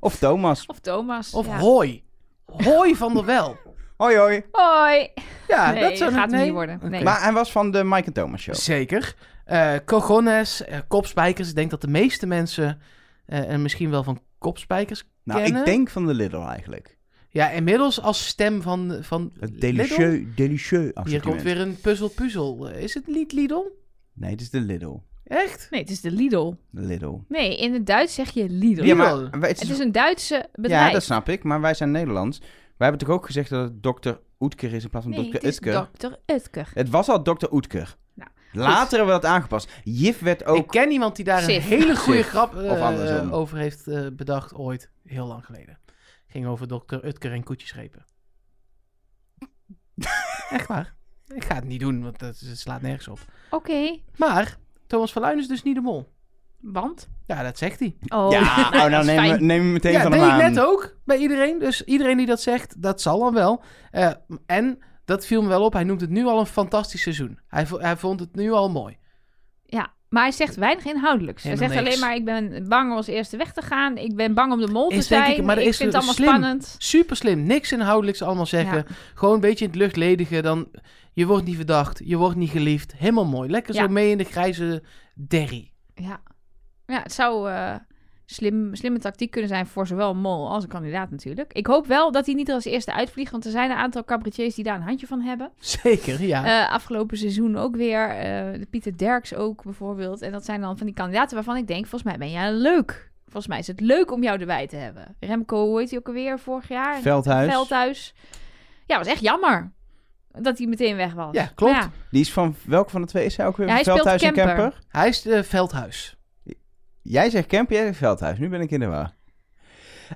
S3: Of Thomas.
S2: Of Thomas.
S1: Of
S2: ja.
S1: Roy. Roy van der Wel.
S3: Hoi hoi.
S2: Hoi.
S1: Ja,
S2: Nee,
S1: dat zou
S2: gaat hem
S1: nee.
S2: niet worden. Nee.
S3: Maar hij was van de Mike en Thomas show.
S1: Zeker. Eh cojones, eh, kopspijkers. Ik denk dat de meeste mensen eh, en misschien wel van kopspijkers
S3: Nou,
S1: kennen.
S3: ik denk van de Lidl eigenlijk.
S1: Ja, inmiddels als stem van... van
S3: Het
S1: Lidl.
S3: delicieux, delicieux
S1: Hier komt
S3: assortiment.
S1: weer een puzzel-puzzel. Eh, Is het niet Lidl?
S3: Nee, het is de Lidl.
S1: Echt?
S2: Nee, het is de Lidl.
S3: De Lidl.
S2: Nee, in het Duits zeg je Lidl.
S1: Ja, maar-
S3: wij- het
S2: Het
S3: is
S2: is een Duitse bedrijf.
S3: Ja, dat snap ik. Maar wij zijn Nederlands. Wij hebben toch ook gezegd dat het dokter Oetker is in plaats van
S2: Nee, het
S3: dokter
S2: is
S3: Utker.
S2: Dr. Utker.
S3: het was al dokter Oetker.
S2: Nou,
S3: Later hebben we dat aangepast. Jif werd ook...
S1: Ik ken iemand die daar een
S2: Sif.
S1: hele goede
S3: Sif.
S1: grap eh,
S3: Of andersom.
S1: over heeft eh, bedacht ooit. Heel lang geleden. Ging over dokter Utker en koetjesrepen. Echt waar. Ik ga het niet doen, want dat het slaat nergens op.
S2: Oké,
S1: Maar Thomas van Luijn is dus niet de mol.
S2: want?
S1: Ja, dat zegt hij.
S2: Oh,
S3: ja, oh,
S2: dat
S3: nou
S2: is
S3: neem,
S2: fijn.
S3: je- neem je meteen
S1: ja,
S3: van
S1: deed
S3: hem aan.
S1: ik net ook bij iedereen. Dus iedereen die dat zegt, dat zal dan wel. Eh, en dat viel me wel op. Hij noemt het nu al een fantastisch seizoen. Hij, vo- hij vond het nu al mooi.
S2: Ja, maar hij zegt weinig inhoudelijks. Hij
S1: Helemaal
S2: zegt
S1: niks.
S2: alleen maar, ik ben bang om als eerste weg te gaan. Ik ben bang om de mol te
S1: Is denk
S2: zijn.
S1: ik-
S2: Ik,
S1: maar dat is
S2: vind het allemaal
S1: slim.
S2: spannend.
S1: Super slim. Niks inhoudelijks allemaal zeggen.
S2: Ja.
S1: Gewoon een beetje in het luchtledige. Dan, je wordt niet verdacht. Je wordt niet geliefd. Helemaal mooi. Lekker
S2: Ja.
S1: zo mee in de grijze derry.
S2: Ja, ja het zou eh, slim, slimme tactiek kunnen zijn voor zowel een mol als een kandidaat natuurlijk. Ik hoop wel dat hij niet er als eerste uitvliegt, want er zijn een aantal cabaretiers die daar een handje van hebben.
S1: Zeker, ja.
S2: Eh, afgelopen seizoen ook weer. eh, de Pieter Derks ook bijvoorbeeld. En dat zijn dan van die kandidaten waarvan ik denk, volgens mij ben jij leuk. Volgens mij is het leuk om jou erbij te hebben. Remco, hoe heet hij ook alweer vorig jaar?
S3: Veldhuis.
S2: Veldhuis. Ja, was echt jammer. dat hij meteen weg was.
S1: Ja, klopt.
S2: Maar Ja,
S3: Die is van welke van de twee is hij ook weer?
S2: Ja, hij speelt
S3: Veldhuis en
S2: camper.
S3: camper.
S1: Hij is de Veldhuis.
S3: Jij zegt camper, jij zegt Veldhuis. Nu ben ik in de war.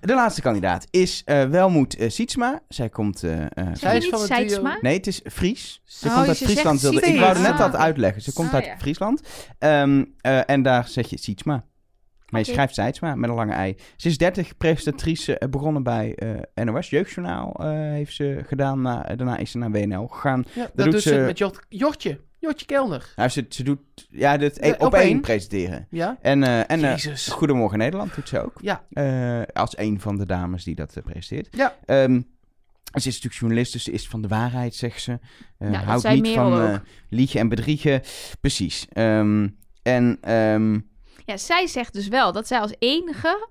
S3: De laatste kandidaat is eh, Welmoed eh, Sietsma. Zij komt... eh, eh,
S1: Zij
S2: Zeg
S1: is
S2: je
S1: van
S2: niet
S1: het duo-
S2: Seidsma?
S3: Nee, het is Fries. Ze
S2: Oh,
S3: komt
S2: je
S3: uit
S2: zegt
S3: Friesland. wilde- Ik
S1: Sietsma.
S3: wou er net dat
S2: Ah.
S3: uitleggen. Ze komt
S2: Ah,
S3: uit
S2: ja.
S3: Friesland. Ehm, eh, en daar zeg je Sietsma. Maar je
S2: Oké.
S3: schrijft Sietsma met een lange ei. Ze is 30, presentatrice, eh, begonnen bij eh, NOS Jeugdjournaal eh, heeft ze gedaan. Na, eh, daarna is ze naar WNL gegaan.
S1: Ja, dat,
S3: doet
S1: doet ze
S3: ze-
S1: met Jort- Jortje. Jortje Kelner.
S3: Nou, ze, ze doet ja, dit,
S1: Eh,
S3: op,
S1: op
S3: één
S1: één.
S3: presenteren.
S1: Ja?
S3: En, eh, en eh,
S1: Jezus.
S3: Goedemorgen Nederland doet ze ook.
S1: Ja.
S3: Eh, als een van de dames die dat eh, presenteert.
S1: Ja.
S3: Ehm, ze is natuurlijk journalist, dus ze is van de waarheid, zegt ze. Eh,
S2: Ja, dat
S3: houdt
S2: zei
S3: niet
S2: Merel
S3: van
S2: ook.
S3: eh, liegen en bedriegen. Precies. Ehm, en ehm,
S2: Ja, zij zegt dus wel dat zij als enige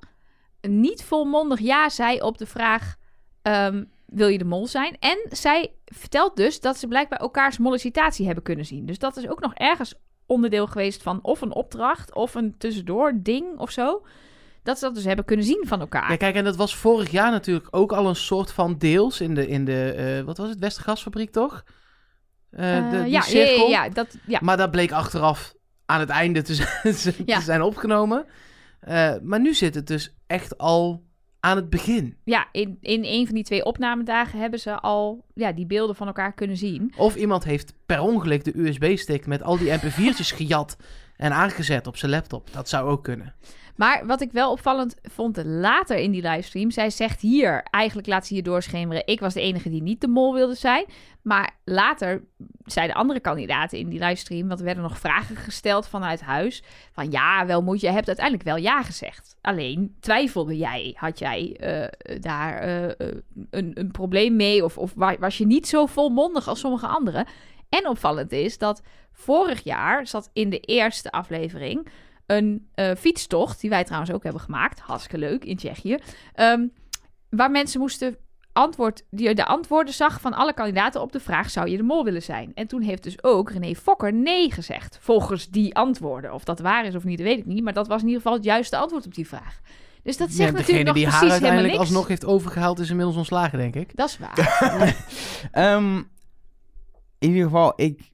S2: niet volmondig ja zei op de vraag: ehm, wil je de mol zijn? En zij vertelt dus dat ze blijkbaar elkaars mollicitatie hebben kunnen zien. Dus dat is ook nog ergens onderdeel geweest van of een opdracht of een tussendoor ding of zo. Dat ze dat dus hebben kunnen zien van elkaar.
S1: Ja, kijk, en dat was vorig jaar natuurlijk ook al een soort van deels in de, in de eh, wat was het, Westergasfabriek, toch? Eh,
S2: Eh,
S1: de, die
S2: ja, ja, ja,
S1: cirkel.
S2: ja, dat, ja.
S1: Maar dat bleek achteraf aan het einde te zijn, te
S2: Ja.
S1: zijn opgenomen. Eh, maar nu zit het dus echt al aan het begin.
S2: ja in, in een van die twee opnamedagen hebben ze al ja, die beelden van elkaar kunnen zien.
S1: Of iemand heeft per ongeluk de USB-stick met al die mp4'tjes gejat en aangezet op zijn laptop. Dat zou ook kunnen.
S2: Maar wat ik wel opvallend vond later in die livestream, zij zegt hier, eigenlijk laat ze hier doorschemeren, ik was de enige die niet de mol wilde zijn. Maar later zeiden andere kandidaten in die livestream, want er werden nog vragen gesteld vanuit huis, van ja, wel moet je, je hebt uiteindelijk wel ja gezegd. Alleen twijfelde jij, had jij eh, daar eh, eh, een, een probleem mee of, of wa- was je niet zo volmondig als sommige anderen? En opvallend is dat vorig jaar zat in de eerste aflevering een eh, fietstocht, die wij trouwens ook hebben gemaakt, hartstikke leuk in Tsjechië, ehm, waar mensen moesten antwoord, die de antwoorden zag van alle kandidaten op de vraag zou je de mol willen zijn. En toen heeft dus ook René Fokker nee gezegd, volgens die antwoorden. Of dat waar is of niet, dat weet ik niet, maar dat was in ieder geval het juiste antwoord op die vraag. Dus dat
S1: Ja,
S2: zegt natuurlijk
S1: degene
S2: nog
S1: die haar
S2: precies helemaal
S1: uiteindelijk
S2: niks.
S1: alsnog heeft overgehaald is inmiddels ontslagen, denk ik.
S2: Dat is waar.
S3: ehm, in ieder geval, ik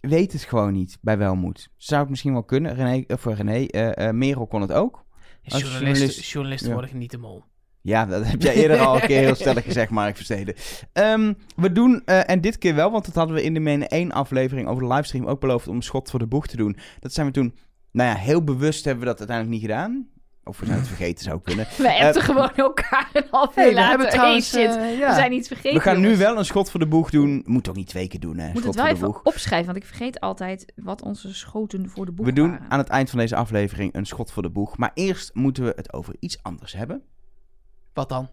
S3: weet het gewoon niet bij Welmoed. Zou het misschien wel kunnen. René, of eh, René eh, eh, Merel kon het ook. Als
S1: Journalisten,
S3: journalist-
S1: journalisten
S3: ja.
S1: worden niet de mol.
S3: Ja, dat heb jij eerder al een keer heel stellig gezegd, Mark Versteden. Ehm, we doen, eh, en dit keer wel, want dat hadden we in de Mene 1 aflevering over de livestream ook beloofd om een schot voor de boeg te doen. Dat zijn we toen, nou ja, heel bewust hebben we dat uiteindelijk niet gedaan. Of we zijn het vergeten, zou kunnen.
S2: We hebben gewoon elkaar een half uur
S1: Eh, Hey, we
S2: later.
S1: hebben
S2: Hey,
S1: trouwens,
S2: shit,
S1: eh,
S2: we
S1: ja.
S2: zijn iets vergeten.
S3: We gaan nu
S2: jongens.
S3: wel een schot voor de boeg doen. Moet ook niet twee keer doen, hè.
S2: moet
S3: schot
S2: het
S3: voor
S2: wel
S3: de boeg.
S2: even opschrijven, want ik vergeet altijd wat onze schoten voor de boeg
S3: We doen
S2: waren.
S3: aan het eind van deze aflevering een schot voor de boeg. Maar eerst moeten we het over iets anders hebben.
S1: Wat dan?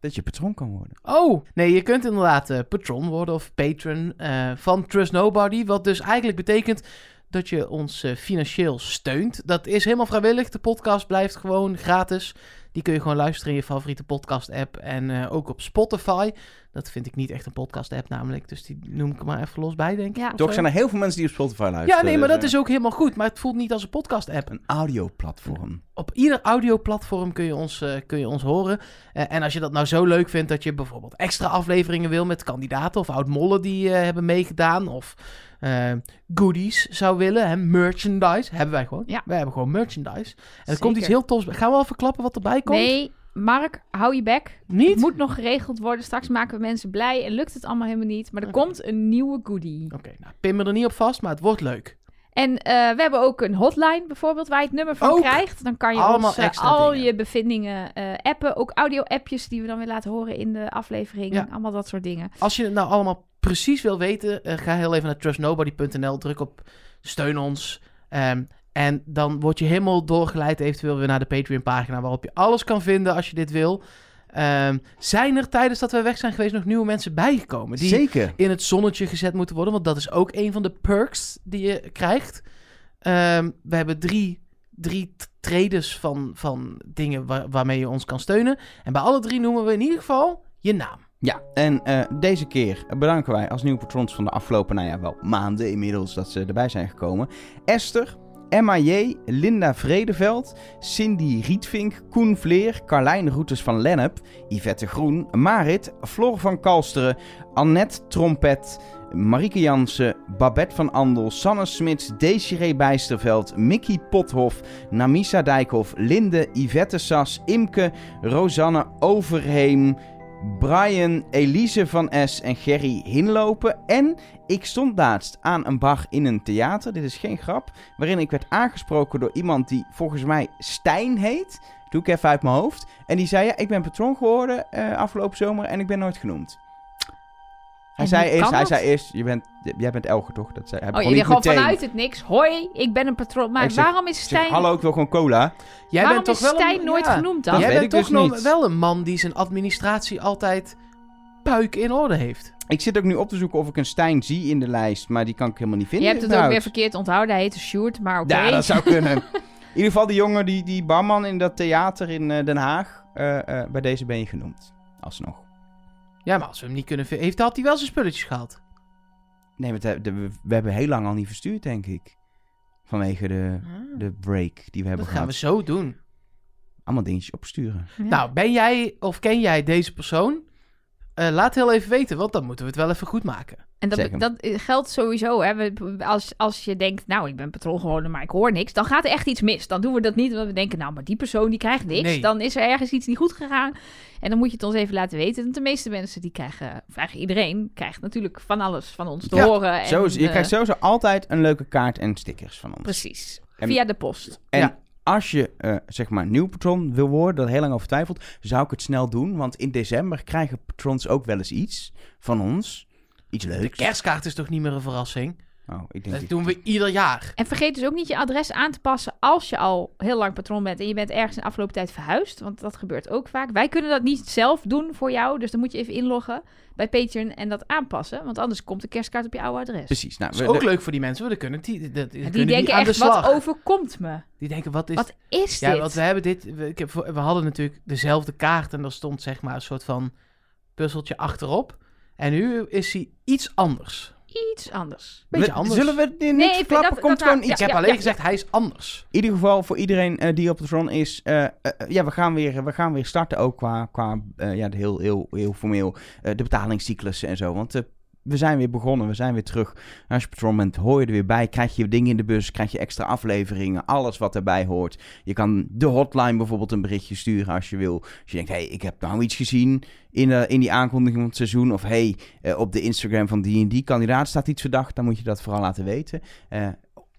S3: Dat je patroon kan worden.
S1: Oh, nee, je kunt inderdaad eh, patron worden of patron eh, van Trust Nobody. Wat dus eigenlijk betekent dat je ons eh, financieel steunt. Dat is helemaal vrijwillig. De podcast blijft gewoon gratis. Die kun je gewoon luisteren in je favoriete podcast-app en eh, ook op Spotify. Dat vind ik niet echt een podcast-app namelijk, dus die noem ik er maar even los bij, denk ik.
S2: Ja.
S1: of
S3: Toch
S1: zo.
S3: zijn er heel veel mensen die op Spotify luisteren.
S1: Ja, nee, maar
S3: dus,
S1: dat is ook helemaal goed. Maar het voelt niet als een podcast-app.
S3: eh, Een audioplatform.
S1: Op ieder audioplatform kun je ons, eh, kun je ons horen. Eh, en als je dat nou zo leuk vindt dat je bijvoorbeeld extra afleveringen wil met kandidaten of oud-mollen die eh, hebben meegedaan. Of eh, goodies zou willen. Hè, merchandise hebben wij gewoon.
S2: Ja.
S1: Wij hebben gewoon merchandise. En er
S2: Zeker.
S1: komt iets heel tofs bij. Gaan we al verklappen wat erbij komt?
S2: Nee, Mark, hou je bek.
S1: Niet?
S2: Het moet nog geregeld worden. Straks maken we mensen blij en lukt het allemaal helemaal niet. Maar er
S1: Oké.
S2: komt een nieuwe goodie.
S1: Oké, nou, pin me er niet op vast, maar het wordt leuk.
S2: En eh, we hebben ook een hotline bijvoorbeeld waar je het nummer van
S1: Ook.
S2: krijgt. Dan kan je
S1: Allemaal
S2: ons eh,
S1: extra
S2: al
S1: dingen.
S2: je bevindingen eh, appen. Ook audio-appjes die we dan weer laten horen in de aflevering.
S1: Ja.
S2: Allemaal dat soort dingen.
S1: Als je het nou allemaal precies wil weten, eh, ga heel even naar trustnobody.nl. Druk op steun ons. ehm, en dan word je helemaal doorgeleid eventueel weer naar de Patreon-pagina... waarop je alles kan vinden als je dit wil. Ehm, zijn er tijdens dat wij weg zijn geweest nog nieuwe mensen bijgekomen... die
S3: Zeker.
S1: in het zonnetje gezet moeten worden? Want dat is ook een van de perks die je krijgt. Ehm, we hebben drie, drie t- tredes van, van dingen waar- waarmee je ons kan steunen. En bij alle drie noemen we in ieder geval je naam.
S3: Ja, en eh, deze keer bedanken wij als nieuwe patrons van de afgelopen, nou ja, wel maanden inmiddels dat ze erbij zijn gekomen. Esther, Emma J., Linda Vredeveld, Cindy Rietvink, Koen Vleer, Carlijn Roeters van Lennep, Yvette Groen, Marit, Flor van Kalsteren, Annette Trompet, Marieke Jansen, Babette van Andel, Sanne Smits, Desiree Bijsterveld, Mickey Pothof, Namisa Dijkhoff, Linde, Yvette Sas, Imke, Rosanne Overheem, Brian, Elise van S en Gerry Hinlopen. En ik stond laatst aan een bar in een theater, dit is geen grap, waarin ik werd aangesproken door iemand die volgens mij Stijn heet. Doe ik even uit mijn hoofd. En die zei, ja, ik ben patroon geworden eh, afgelopen zomer en ik ben nooit genoemd. Hij
S2: En
S3: zei,
S2: hoe
S3: eerst,
S2: kan dat?
S3: hij zei eerst, je bent, jij bent Elge toch? Dat zei, hij
S2: Oh,
S3: begon
S2: je denkt
S3: niet
S2: gewoon
S3: meteen.
S2: vanuit het niks. Hoi, ik ben een patroon. Maar
S3: Ik zeg-
S2: waarom is
S3: Ik zeg,
S2: Stijn,
S3: Hallo, ik wil gewoon cola.
S1: Jij
S2: waarom
S1: bent toch
S2: is
S1: wel
S2: Stijn
S1: een-
S2: nooit
S1: ja.
S2: genoemd
S3: Dat
S2: dan?
S1: Jij
S3: weet
S1: bent
S3: ik
S1: toch
S3: dus
S1: nog
S3: niet.
S1: wel een man die zijn administratie altijd puik in orde heeft.
S3: Ik zit ook nu op te zoeken of ik een Stijn zie in de lijst, maar die kan ik helemaal niet
S2: Je
S3: vinden.
S2: hebt het ook
S3: überhaupt.
S2: weer verkeerd onthouden. Hij heette Sjoerd, maar oké.
S3: nou?" Ja, dat zou kunnen. in ieder geval, die jongen, die, die barman in dat theater in eh, Den Haag, eh, eh, bij deze ben je genoemd. Alsnog.
S1: Ja, maar als we hem niet kunnen... vi- Heeft had hij wel zijn spulletjes gehaald?
S3: Nee, want hij- de- we, we hebben heel lang al niet verstuurd, denk ik. Vanwege de, de break die we hebben
S1: Dat gaan we
S3: gehad.
S1: zo doen.
S3: Allemaal dingetjes opsturen.
S2: Ja.
S1: Nou, ben jij of ken jij deze persoon? Eh, laat heel even weten, want dan moeten we het wel even goed maken.
S2: En dat,
S3: Zeg hem.
S2: dat eh, geldt sowieso. Hè? We- Als, als je denkt, nou, ik ben patrol geworden, maar ik hoor niks. Dan gaat er echt iets mis. Dan doen we dat niet, omdat we denken, nou, maar die persoon die krijgt niks.
S1: Nee.
S2: Dan is er ergens iets niet goed gegaan. En dan moet je het ons even laten weten. Want de meeste mensen, die krijgen, of eigenlijk iedereen, krijgt natuurlijk van alles van ons te
S3: Ja,
S2: horen. En,
S3: Zo is, je
S2: eh,
S3: krijgt sowieso altijd een leuke kaart en stickers van ons.
S2: Precies.
S3: En-
S2: Via de post.
S3: En
S1: Ja.
S3: als je eh, zeg maar nieuw patron wil worden, dat heel lang over twijfelt, zou ik het snel doen. Want in december krijgen patrons ook wel eens iets van ons. Iets
S1: De
S3: leuks.
S1: kerstkaart is toch niet meer een verrassing?
S3: Oh, ik denk
S1: Dat
S3: ik-
S1: doen we ieder jaar.
S2: En vergeet dus ook niet je adres aan te passen als je al heel lang patroon bent en je bent ergens in de afgelopen tijd verhuisd. Want dat gebeurt ook vaak. Wij kunnen dat niet zelf doen voor jou. Dus dan moet je even inloggen bij Patreon en dat aanpassen. Want anders komt de kerstkaart op je oude adres.
S3: Precies. Nou,
S1: Dat
S3: we-
S1: is ook
S3: de-
S1: leuk voor die mensen, want dan kunnen die, dat- die,
S2: En
S1: kunnen
S2: die denken
S1: aan de
S2: echt,
S1: slag.
S2: wat overkomt me?
S1: Die denken, wat is...
S2: Wat is
S1: ja,
S2: dit?
S1: want we hebben dit... We, ik heb, voor- we hadden natuurlijk dezelfde kaart en daar stond zeg maar een soort van puzzeltje achterop. En nu is hij iets anders.
S2: Iets anders.
S1: Beetje
S3: we-
S1: anders.
S3: Zullen we het niet
S2: Nee, ik vind
S3: verklappen?
S2: dat-
S3: Komt
S2: dat
S3: gewoon
S2: raar.
S3: iets.
S1: Ik heb
S2: ja,
S1: alleen
S2: ja,
S1: gezegd, hij is anders.
S3: In ieder geval voor iedereen eh, die op patron is. eh, eh, eh, ja, we gaan, weer, we gaan weer starten ook qua, qua eh, ja, de heel, heel, heel formeel eh, de betalingscyclussen en zo. Want eh, we zijn weer begonnen, we zijn weer terug. Als je patron bent, hoor je er weer bij. Krijg je dingen in de bus, krijg je extra afleveringen, alles wat erbij hoort. Je kan de hotline bijvoorbeeld een berichtje sturen als je wil. Als je denkt, hé, hey, ik heb nou iets gezien in, eh, in die aankondiging van het seizoen. Of hé, hey, eh, op de Instagram van die en die kandidaat staat iets verdacht. Dan moet je dat vooral laten weten. Eh,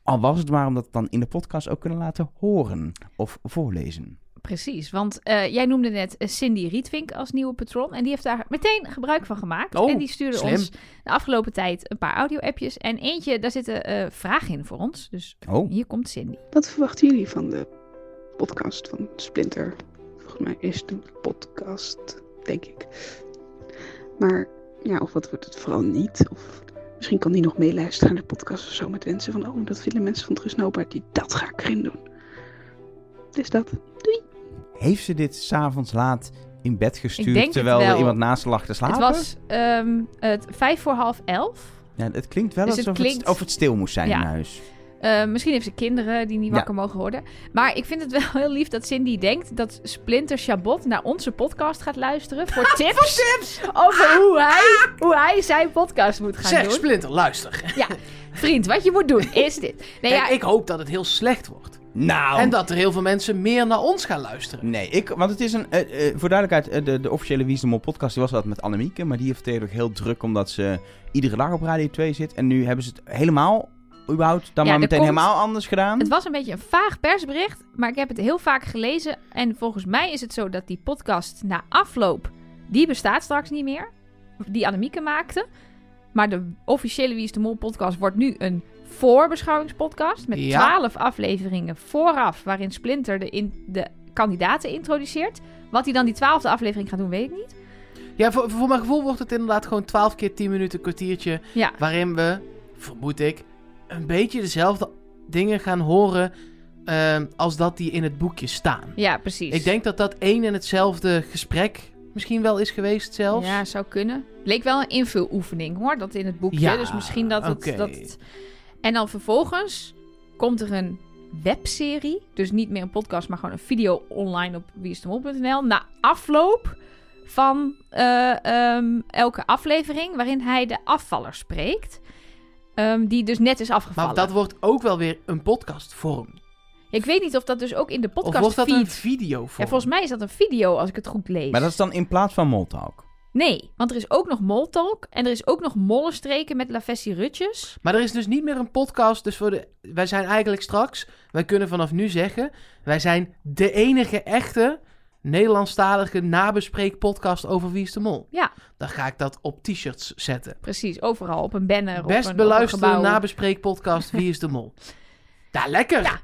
S3: al was het maar omdat we het dan in de podcast ook kunnen laten horen of voorlezen.
S2: Precies, want eh, jij noemde net eh, Cindy Rietvink als nieuwe patron. En die heeft daar meteen gebruik van gemaakt.
S1: Oh,
S2: en die stuurde
S1: slim.
S2: ons de afgelopen tijd een paar audio-appjes. En eentje, daar zitten eh, vragen in voor ons. Dus
S3: Oh,
S2: hier komt Cindy.
S5: Wat verwachten jullie van de podcast van Splinter? Volgens mij is het een podcast, denk ik. Maar ja, of wat wordt het vooral niet? Of misschien kan die nog meeluisteren aan de podcast of zo met wensen van... Oh, dat vinden mensen van Trusnobaard, die dat ga ik erin doen. Dus dat.
S3: heeft ze dit s'avonds laat in bed
S2: Ik denk
S3: gestuurd
S2: het
S3: terwijl er
S2: wel.
S3: iemand naast ze lag te slapen?
S2: Het was ehm, het vijf voor half elf.
S3: Ja, het klinkt wel
S2: Dus het
S3: alsof het,
S2: klinkt-
S3: of het stil moest zijn
S2: Ja.
S3: in huis.
S2: Eh, misschien heeft ze kinderen die niet
S3: Ja.
S2: wakker mogen worden. Maar ik vind het wel heel lief dat Cindy denkt dat Splinter Chabot naar onze podcast gaat luisteren voor tips. Over hoe hij, hoe hij zijn podcast moet gaan
S1: Zeg,
S2: doen.
S1: Splinter, luister.
S2: Vriend, wat je moet doen is dit. Nee, ja,
S1: Kijk, ik hoop dat het heel slecht wordt.
S3: Nou,
S1: En dat er heel veel mensen meer naar ons gaan luisteren.
S3: Nee, ik, want het is een. eh, eh, voor duidelijkheid, eh, de, de officiële Wie is de Mol podcast die was dat met Annemieke. Maar die heeft tegenwoordig heel druk omdat ze iedere dag op Radio 2 zit. En nu hebben ze het helemaal, überhaupt, dan
S2: Ja,
S3: maar
S2: er
S3: meteen
S2: komt-
S3: helemaal anders gedaan.
S2: het was een beetje een vaag persbericht, maar ik heb het heel vaak gelezen. En volgens mij is het zo dat die podcast na afloop, die bestaat straks niet meer. Die Annemieke maakte. Maar de officiële Wie is de Mol podcast wordt nu een voorbeschouwingspodcast. Met
S1: Ja.
S2: twaalf afleveringen vooraf, waarin Splinter de, in, de kandidaten introduceert. Wat hij dan die twaalfde aflevering gaat doen, weet ik niet.
S1: Ja, voor, voor mijn gevoel wordt het inderdaad gewoon 12 keer 10 minuten, kwartiertje.
S2: Ja.
S1: Waarin we, vermoed ik, een beetje dezelfde dingen gaan horen. ehm, als dat die in het boekje staan.
S2: Ja, precies.
S1: Ik denk dat dat één en hetzelfde gesprek misschien wel is geweest zelfs.
S2: Ja, zou kunnen. Leek wel een invuloefening hoor, dat in het boekje.
S1: Ja,
S2: dus misschien dat het,
S1: oké.
S2: dat het- En dan vervolgens komt er een webserie. Dus niet meer een podcast, maar gewoon een video online op wieistemol.nl. Na afloop van eh, ehm, elke aflevering, waarin hij de afvaller spreekt. Ehm, die dus net is
S1: Maar
S2: afgevallen.
S1: dat wordt ook wel weer een podcastvorm.
S2: Ik weet niet of dat dus ook in de
S1: Of wordt
S2: podcast
S1: dat een
S2: feed.
S1: video
S2: En volgens mij is dat een video, als ik het goed lees.
S3: Maar dat is dan in plaats van Moltalk.
S2: Nee, want er is ook nog Moltalk en er is ook nog Mollenstreken met Lavessi Rutjes.
S1: Maar er is dus niet meer een podcast. Dus voor de, wij zijn eigenlijk straks, wij kunnen vanaf nu zeggen, wij zijn de enige echte Nederlandstalige nabespreekpodcast over Wie is de Mol.
S2: Ja.
S1: Dan ga ik dat op t-shirts zetten.
S2: Precies, overal op een banner. op een- op
S1: Best
S2: een
S1: beluisterde
S2: gebouw.
S1: nabespreekpodcast Wie is de Mol. Ja, lekker.
S2: Ja.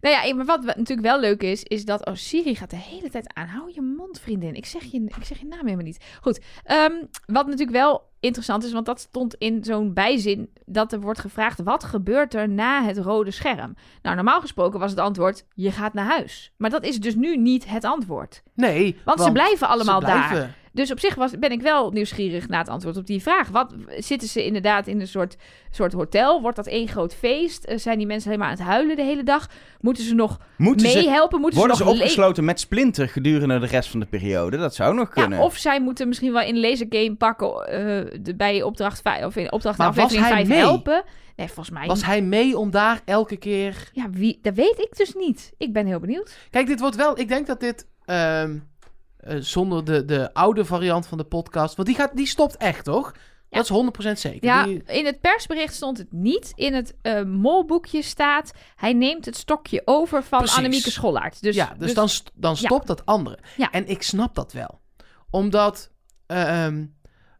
S2: Nou ja, maar wat we- natuurlijk wel leuk is, is dat oh, Siri gaat de hele tijd aan. Hou je mond, vriendin. Ik zeg je, ik zeg je naam helemaal niet. Goed, ehm, wat natuurlijk wel interessant is, want dat stond in zo'n bijzin dat er wordt gevraagd: wat gebeurt er na het rode scherm? Nou, normaal gesproken was het antwoord: je gaat naar huis. Maar dat is dus nu niet het antwoord,
S1: Nee.
S2: want, ze blijven allemaal
S1: ze
S2: daar.
S1: blijven.
S2: Dus op zich was, ben ik wel nieuwsgierig naar het antwoord op die vraag. Wat, zitten ze inderdaad in een soort, soort hotel? Wordt dat één groot feest? Eh, zijn die mensen helemaal aan het huilen de hele dag? Moeten ze nog
S3: Moeten ze,
S2: meehelpen? Moeten
S3: worden ze
S2: nog le-
S3: opgesloten met Splinter gedurende de rest van de periode? Dat zou nog kunnen.
S2: Ja, of zij moeten misschien wel in laser game pakken eh, de, bij opdracht 5 of in opdracht
S1: Maar
S2: aflevering
S1: was hij
S2: 5
S1: mee?
S2: helpen. Nee, volgens mij.
S1: Was hij mee om daar elke keer...
S2: Ja, wie, dat weet ik dus niet. Ik ben heel benieuwd.
S1: Kijk, dit wordt wel. Ik denk dat dit. ehm, eh, zonder de, de oude variant van de podcast. Want die, gaat, die stopt echt, toch? Dat is 100% zeker.
S2: Ja,
S1: Die-
S2: in het persbericht stond het niet. In het eh, molboekje staat: hij neemt het stokje over van
S1: Precies.
S2: Annemieke Schollaert. Dus,
S1: ja, dus, dan, st- dan
S2: ja.
S1: stopt dat andere.
S2: Ja.
S1: En ik snap dat wel. Omdat ehm,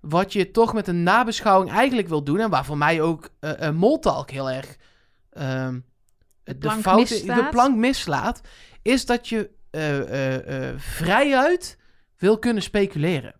S1: wat je toch met een nabeschouwing eigenlijk wil doen... en waar voor mij ook eh eh, Moltalk heel erg ehm, de,
S2: plank
S1: fouten, de
S2: misslaat.
S1: plank mislaat... is dat je eh, eh, eh, vrijuit wil kunnen speculeren.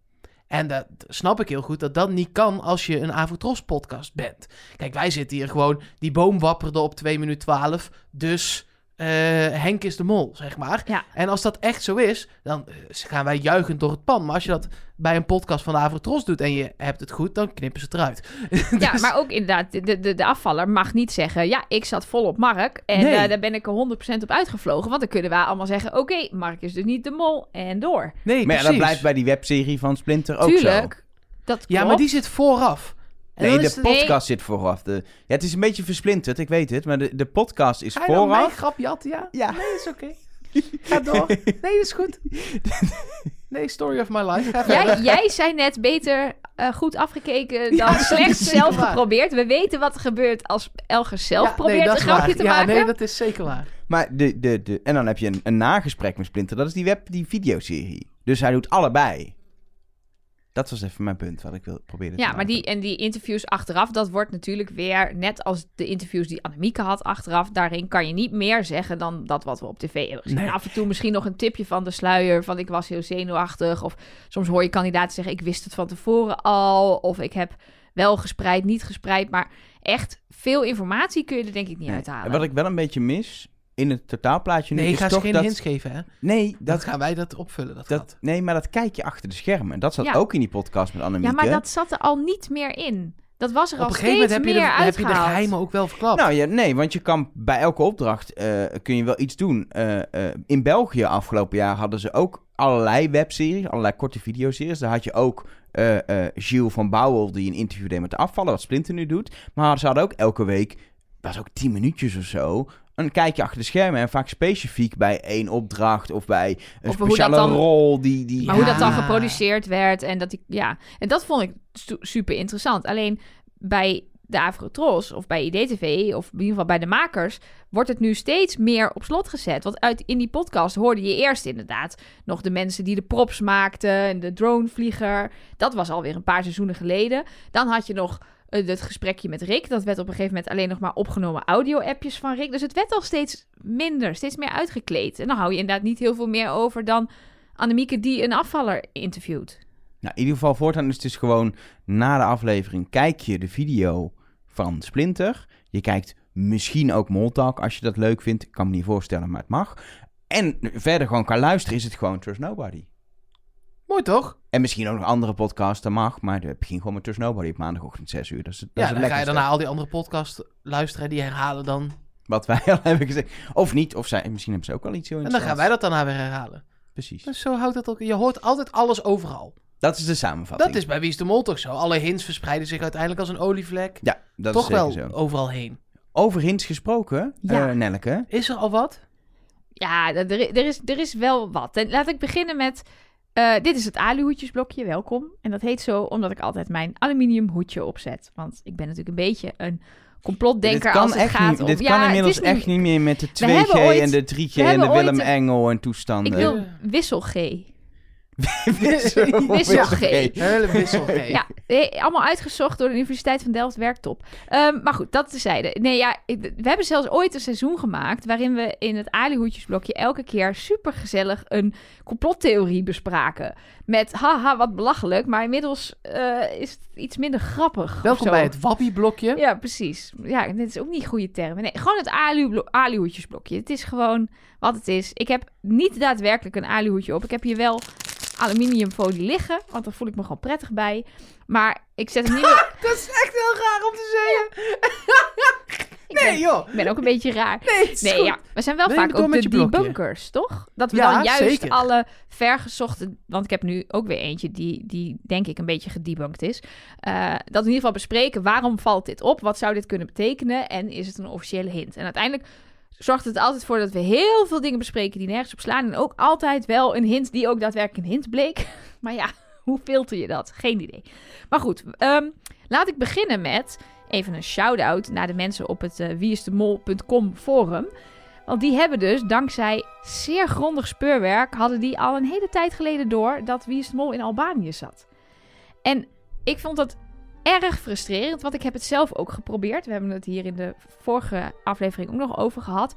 S1: En dat snap ik heel goed, dat dat niet kan als je een Avotros-podcast bent. Kijk, wij zitten hier gewoon, die boom wapperde op 2 minuut 12, dus eh, Henk is de mol, zeg maar.
S2: Ja.
S1: En als dat echt zo is, dan eh, gaan wij juichend door het pan. Maar als je dat bij een podcast van de Avrotros doet en je hebt het goed, dan knippen ze het eruit. Dus-
S2: Ja, maar ook inderdaad, de, de, de afvaller mag niet zeggen... ja, ik zat vol op Mark en
S1: Nee.
S2: eh, daar ben ik er 100% op uitgevlogen. Want dan kunnen wij allemaal zeggen... oké, Mark is dus niet de mol en door.
S1: Nee,
S3: maar ja, dat
S1: precies.
S3: blijft bij die webserie van Splinter ook
S2: Tuurlijk,
S3: zo.
S2: dat klopt.
S1: Ja, maar die zit vooraf. En
S3: Nee,
S1: dan
S3: de
S1: is het-
S2: Nee.
S3: podcast zit vooraf. De, ja, het is een beetje versplinterd, ik weet het. Maar de, de podcast is
S1: Ga je dan mijn
S3: vooraf.
S1: grap jatten, ja?
S3: Ja.
S1: Nee, is oké. Ga door. Nee, is goed. Nee, story of my life. Ga verder.
S2: Jij, jij zei net beter eh, goed afgekeken dan
S1: Ja, dat
S2: slecht
S1: is
S2: zelf
S1: waar.
S2: geprobeerd. We weten wat er gebeurt als Elger zelf
S1: Ja,
S2: probeert
S1: nee, dat
S2: een
S1: is
S2: grapje
S1: waar.
S2: te
S1: ja,
S2: maken.
S1: nee, dat is zeker waar.
S3: Maar de, de, de, en dan heb je een, een nagesprek met Splinter. Dat is die, web, die videoserie. Dus hij doet allebei. Dat was even mijn punt wat ik wil proberen te
S2: Ja, maar
S3: maken.
S2: die, en die interviews achteraf, dat wordt natuurlijk weer, net als de interviews die Annemieke had achteraf, daarin kan je niet meer zeggen dan dat wat we op tv hebben gezien.
S1: Nee.
S2: Af en toe misschien nog een tipje van de sluier, van ik was heel zenuwachtig. Of soms hoor je kandidaten zeggen, ik wist het van tevoren al. Of ik heb wel gespreid, niet gespreid. Maar echt, veel informatie kun je er denk ik niet
S3: Nee.
S2: uithalen.
S3: En Wat ik wel een beetje mis in het totaalplaatje nu
S1: Nee, ik
S3: is
S1: ga ze
S3: toch
S1: geen
S3: dat...
S1: hints geven, hè?
S3: Nee,
S1: Dat
S3: dat,
S1: gaan wij dat opvullen, dat,
S3: dat,
S1: gat.
S3: nee, maar dat kijk je achter de schermen. Dat zat
S2: Ja.
S3: ook in die podcast met Annemieke.
S2: ja, maar dat zat er al niet meer in. Dat was er
S1: Op
S2: al
S1: een
S2: steeds
S1: gegeven moment heb je,
S2: meer
S1: de, heb je de
S2: uitgehaald.
S1: geheimen ook wel verklapt.
S3: Nou ja, nee, want je kan bij elke opdracht eh, kun je wel iets doen. Eh, eh, in België afgelopen jaar hadden ze ook allerlei webseries, allerlei korte videoseries. Daar had je ook eh eh Gilles van Bouwel die een interview deed met de afvallen, wat Splinter nu doet. Maar ze hadden ook elke week, was ook 10 minuutjes of zo. Een kijkje achter de schermen en vaak specifiek bij één opdracht of bij een
S2: Of hoe dat
S3: speciale
S2: dan-
S3: rol die, die
S2: Maar hoe dat dan
S1: Ja.
S2: geproduceerd werd en dat die, ja, en dat vond ik su- super interessant. Alleen bij de Avrotros of bij IDTV of in ieder geval bij de makers wordt het nu steeds meer op slot gezet. Want uit in die podcast hoorde je eerst inderdaad nog de mensen die de props maakten en de dronevlieger. Dat was alweer een paar seizoenen geleden. Dan had je nog eh, het gesprekje met Rick. Dat werd op een gegeven moment alleen nog maar opgenomen audio-appjes van Rick. Dus het werd al steeds minder, steeds meer uitgekleed. En dan hou je inderdaad niet heel veel meer over dan Annemieke die een afvaller interviewt.
S3: Nou, in ieder geval voortaan is het dus gewoon na de aflevering kijk je de video van Splinter. Je kijkt misschien ook Moltalk als je dat leuk vindt. Ik kan me niet voorstellen, maar het mag. En verder gewoon kan luisteren is het gewoon Trust Nobody.
S1: Mooi toch?
S3: En misschien ook nog andere podcasts, dat mag. Maar ik begin gewoon met Trust Nobody op maandagochtend 6 uur. Dat is, dat
S1: Ja,
S3: is het
S1: dan ga je
S3: lekkerste.
S1: daarna al die andere podcasts luisteren. Die herhalen dan
S3: Wat wij al hebben gezegd. Of niet, of zij, misschien hebben ze ook wel iets heel
S1: En dan
S3: interessants.
S1: gaan wij dat daarna weer herhalen.
S3: Precies.
S1: Dus zo houdt dat ook. Je hoort altijd alles overal.
S3: Dat is de samenvatting.
S1: Dat is bij Wie is de Mol toch zo. Alle hints verspreiden zich uiteindelijk als een olievlek.
S3: Ja, dat
S1: toch
S3: is zeker
S1: wel
S3: zo.
S1: overal heen.
S3: Over hints gesproken,
S2: Ja.
S3: eh, Nelleke.
S1: Is er al wat?
S2: Ja, d- er, i- er, is, er is wel wat. En laat ik beginnen met... eh, dit is het aluhoedjesblokje, welkom. En dat heet zo omdat ik altijd mijn aluminium hoedje opzet. Want ik ben natuurlijk een beetje een complotdenker
S3: dit kan,
S2: als het
S3: echt
S2: gaat
S3: niet,
S2: om...
S3: dit
S2: Ja,
S3: kan
S2: het
S3: inmiddels
S2: is
S3: echt niet meer met de
S2: hebben
S3: 2G
S2: ooit-
S3: en de 3G
S2: we
S3: en de
S2: hebben ooit
S3: Willem
S2: een-
S3: Engel en toestanden.
S2: Ik wil wissel G. Wissel
S3: Wissel-
S2: G.
S3: Wissel G.
S1: Hele wissel. G.
S2: Ja, eh, allemaal uitgezocht door de Universiteit van Delft, werktop. Ehm, maar goed, dat tezijde. Nee, ja, ik- we hebben zelfs ooit een seizoen gemaakt... waarin we in het Alihoedjesblokje elke keer supergezellig een complottheorie bespraken. Met haha, wat belachelijk, maar inmiddels eh, is het iets minder grappig. of
S1: Welkom
S2: zo.
S1: bij het Wappie-blokje.
S2: Ja, precies. Ja, dit is ook niet goede termen. Nee, gewoon het alu- aluhoedjesblokje. Het is gewoon wat het is. Ik heb niet daadwerkelijk een aluhoedje op. Ik heb hier wel aluminiumfolie liggen, want daar voel ik me gewoon prettig bij. Maar ik zet hem niet meer...
S1: Dat is echt heel raar om te zeggen.
S2: Ik ben,
S1: Nee, joh.
S2: ik ben ook een beetje raar.
S1: Nee, het is
S2: Nee,
S1: goed.
S2: ja. We zijn wel
S1: Neem het
S2: vaak
S1: door
S2: ook
S1: met
S2: de
S1: je blokje.
S2: debunkers, toch? Dat we
S1: Ja,
S2: dan juist
S1: zeker.
S2: alle vergezochte... Want ik heb nu ook weer eentje die, die denk ik een beetje gedebunked is. Eh, dat we in ieder geval bespreken, waarom valt dit op? Wat zou dit kunnen betekenen? En is het een officiële hint? En uiteindelijk zorgt het altijd voor dat we heel veel dingen bespreken die nergens op slaan. En ook altijd wel een hint die ook daadwerkelijk een hint bleek. Maar ja, hoe filter je dat? Geen idee. Maar goed, ehm, laat ik beginnen met even een shout-out naar de mensen op het eh wieisdemol.com forum. Want die hebben dus, dankzij zeer grondig speurwerk, hadden die al een hele tijd geleden door dat Wie is de Mol in Albanië zat. En ik vond dat erg frustrerend, want ik heb het zelf ook geprobeerd. We hebben het hier in de vorige aflevering ook nog over gehad.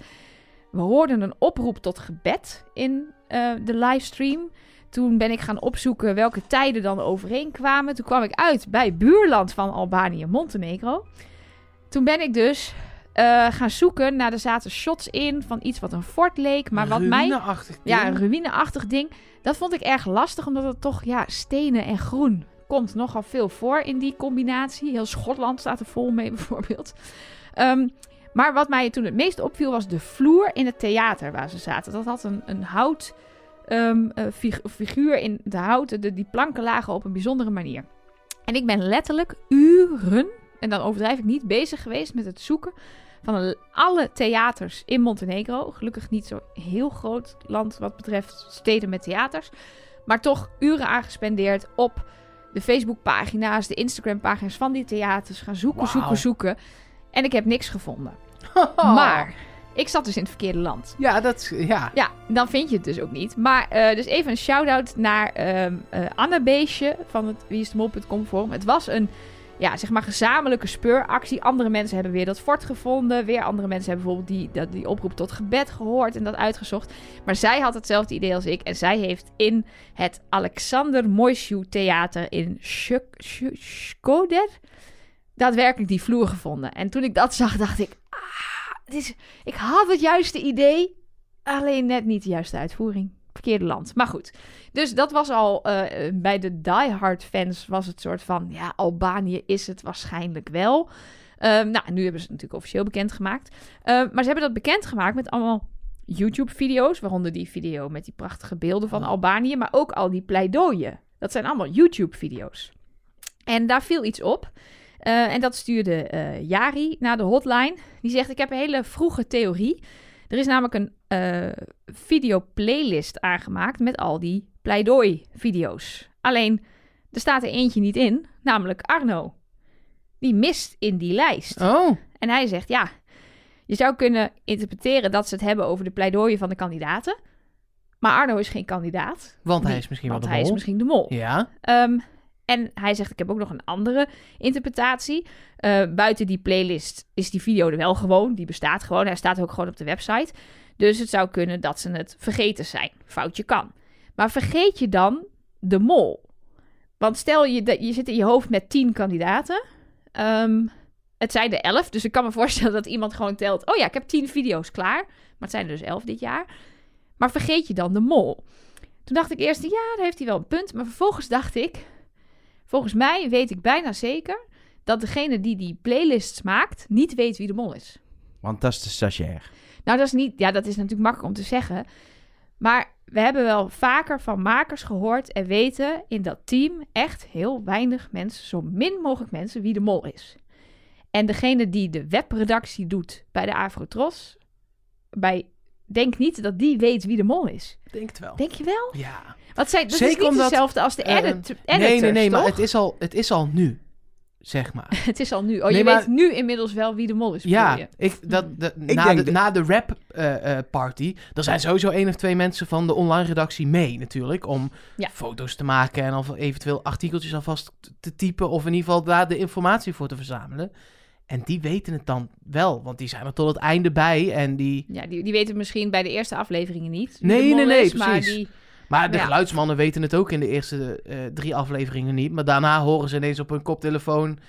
S2: We hoorden een oproep tot gebed in eh, de livestream. Toen ben ik gaan opzoeken welke tijden dan overeenkwamen. Toen kwam ik uit bij buurland van Albanië, Montenegro. Toen ben ik dus eh, gaan zoeken naar er zaten shots in van iets wat een fort leek. Maar wat mij
S1: Ruïneachtig
S2: ja,
S1: ding.
S2: een ruïneachtig ding. Dat vond ik erg lastig, omdat het toch, ja, stenen en groen komt nogal veel voor in die combinatie. Heel Schotland staat er vol mee, bijvoorbeeld. Ehm, maar wat mij toen het meest opviel, was de vloer in het theater waar ze zaten. Dat had een, een hout ehm, eh, fig- figuur in de houten. De, die planken lagen op een bijzondere manier. En ik ben letterlijk uren, en dan overdrijf ik niet, bezig geweest met het zoeken van een- alle theaters in Montenegro. Gelukkig niet zo'n heel groot land wat betreft steden met theaters. Maar toch uren aangespendeerd op de Facebookpagina's, de Instagrampagina's van die theaters. Gaan zoeken,
S1: Wauw.
S2: zoeken, zoeken. En ik heb niks gevonden.
S1: Oh.
S2: Maar ik zat dus in het verkeerde land.
S1: Ja, dat is... Ja.
S2: Ja, dan vind je het dus ook niet. Maar eh, dus even een shout-out naar ehm eh Anne Beesje van het wieisdemol.com forum. Het was een ja, zeg maar gezamenlijke speuractie. Andere mensen hebben weer dat fort gevonden. Weer andere mensen hebben bijvoorbeeld die, dat, die oproep tot gebed gehoord en dat uitgezocht. Maar zij had hetzelfde idee als ik. En zij heeft in het Alexander Moishu Theater in Shuk- Shuk- Shkoder daadwerkelijk die vloer gevonden. En toen ik dat zag, dacht ik... Ah, dit is, ik had het juiste idee, Alleen net niet de juiste uitvoering. Verkeerde land. Maar goed. Dus dat was al eh, eh, bij de diehard fans was het soort van... Ja, Albanië is het waarschijnlijk wel. Ehm, nou, nu hebben ze het natuurlijk officieel bekendgemaakt. Ehm, maar ze hebben dat bekendgemaakt met allemaal YouTube-video's. Waaronder die video met die prachtige beelden van Albanië. Maar ook al die pleidooien. Dat zijn allemaal YouTube-video's. En daar viel iets op. Eh, en dat stuurde eh, Jari naar de hotline. Die zegt, ik heb een hele vroege theorie. Er is namelijk een eh video-playlist aangemaakt met al die pleidooi-video's. Alleen, er staat er eentje niet in, namelijk Arno. Die mist in die lijst.
S1: Oh.
S2: En hij zegt, ja, je zou kunnen interpreteren dat ze het hebben over de pleidooien van de kandidaten. Maar Arno is geen kandidaat,
S1: Want hij
S2: Die-
S1: is misschien wel
S2: want
S1: de
S2: hij is
S1: mol.
S2: misschien de mol.
S1: Ja.
S2: Ehm, en hij zegt, ik heb ook nog een andere interpretatie. Eh, buiten die playlist is die video er wel gewoon. Die bestaat gewoon. Hij staat ook gewoon op de website. Dus het zou kunnen dat ze het vergeten zijn. Foutje kan. Maar vergeet je dan de mol? Want stel je, dat je zit in je hoofd met tien kandidaten. Ehm, het zijn er elf. Dus ik kan me voorstellen dat iemand gewoon telt. Oh ja, ik heb tien video's klaar. Maar het zijn er dus elf dit jaar. Maar vergeet je dan de mol? Toen dacht ik eerst, ja, daar heeft hij wel een punt. Maar vervolgens dacht ik, volgens mij weet ik bijna zeker dat degene die die playlists maakt niet weet wie de mol is.
S3: Want dat is de stagiair.
S2: Nou, dat is niet. Ja, dat is natuurlijk makkelijk om te zeggen. Maar we hebben wel vaker van makers gehoord en weten in dat team echt heel weinig mensen, zo min mogelijk mensen, wie de mol is. En degene die de webredactie doet bij de Afrotros, bij, denk niet dat die weet wie de mol is.
S1: Denk het wel.
S2: Denk je wel?
S1: Ja.
S2: Want zij, dat is
S1: Zeker
S2: niet
S1: omdat,
S2: hetzelfde als de
S1: eh,
S2: edit, editors,
S1: Nee, nee, nee, maar
S2: toch?
S1: het is, al, het is al nu, zeg maar.
S2: Het is al nu. Oh,
S1: Nee,
S2: je
S1: maar-
S2: weet nu inmiddels wel wie de mol is. bedoel
S1: Ja,
S2: je?
S1: ik, dat, de, na,
S3: denk
S1: de,
S3: dat-
S1: na de rap eh, eh, party, er zijn sowieso één of twee mensen van de online redactie mee natuurlijk, om
S2: Ja.
S1: foto's te maken en al eventueel artikeltjes alvast t- te typen of in ieder geval daar de informatie voor te verzamelen. En die weten het dan wel, want die zijn er tot het einde bij en die...
S2: Ja, die, die weten misschien bij de eerste afleveringen niet. wie
S1: Nee,
S2: de mol
S1: nee, nee,
S2: is, maar
S1: precies.
S2: die-
S1: Maar de
S2: Ja.
S1: geluidsmannen weten het ook in de eerste eh, drie afleveringen niet, maar daarna horen ze ineens op hun koptelefoon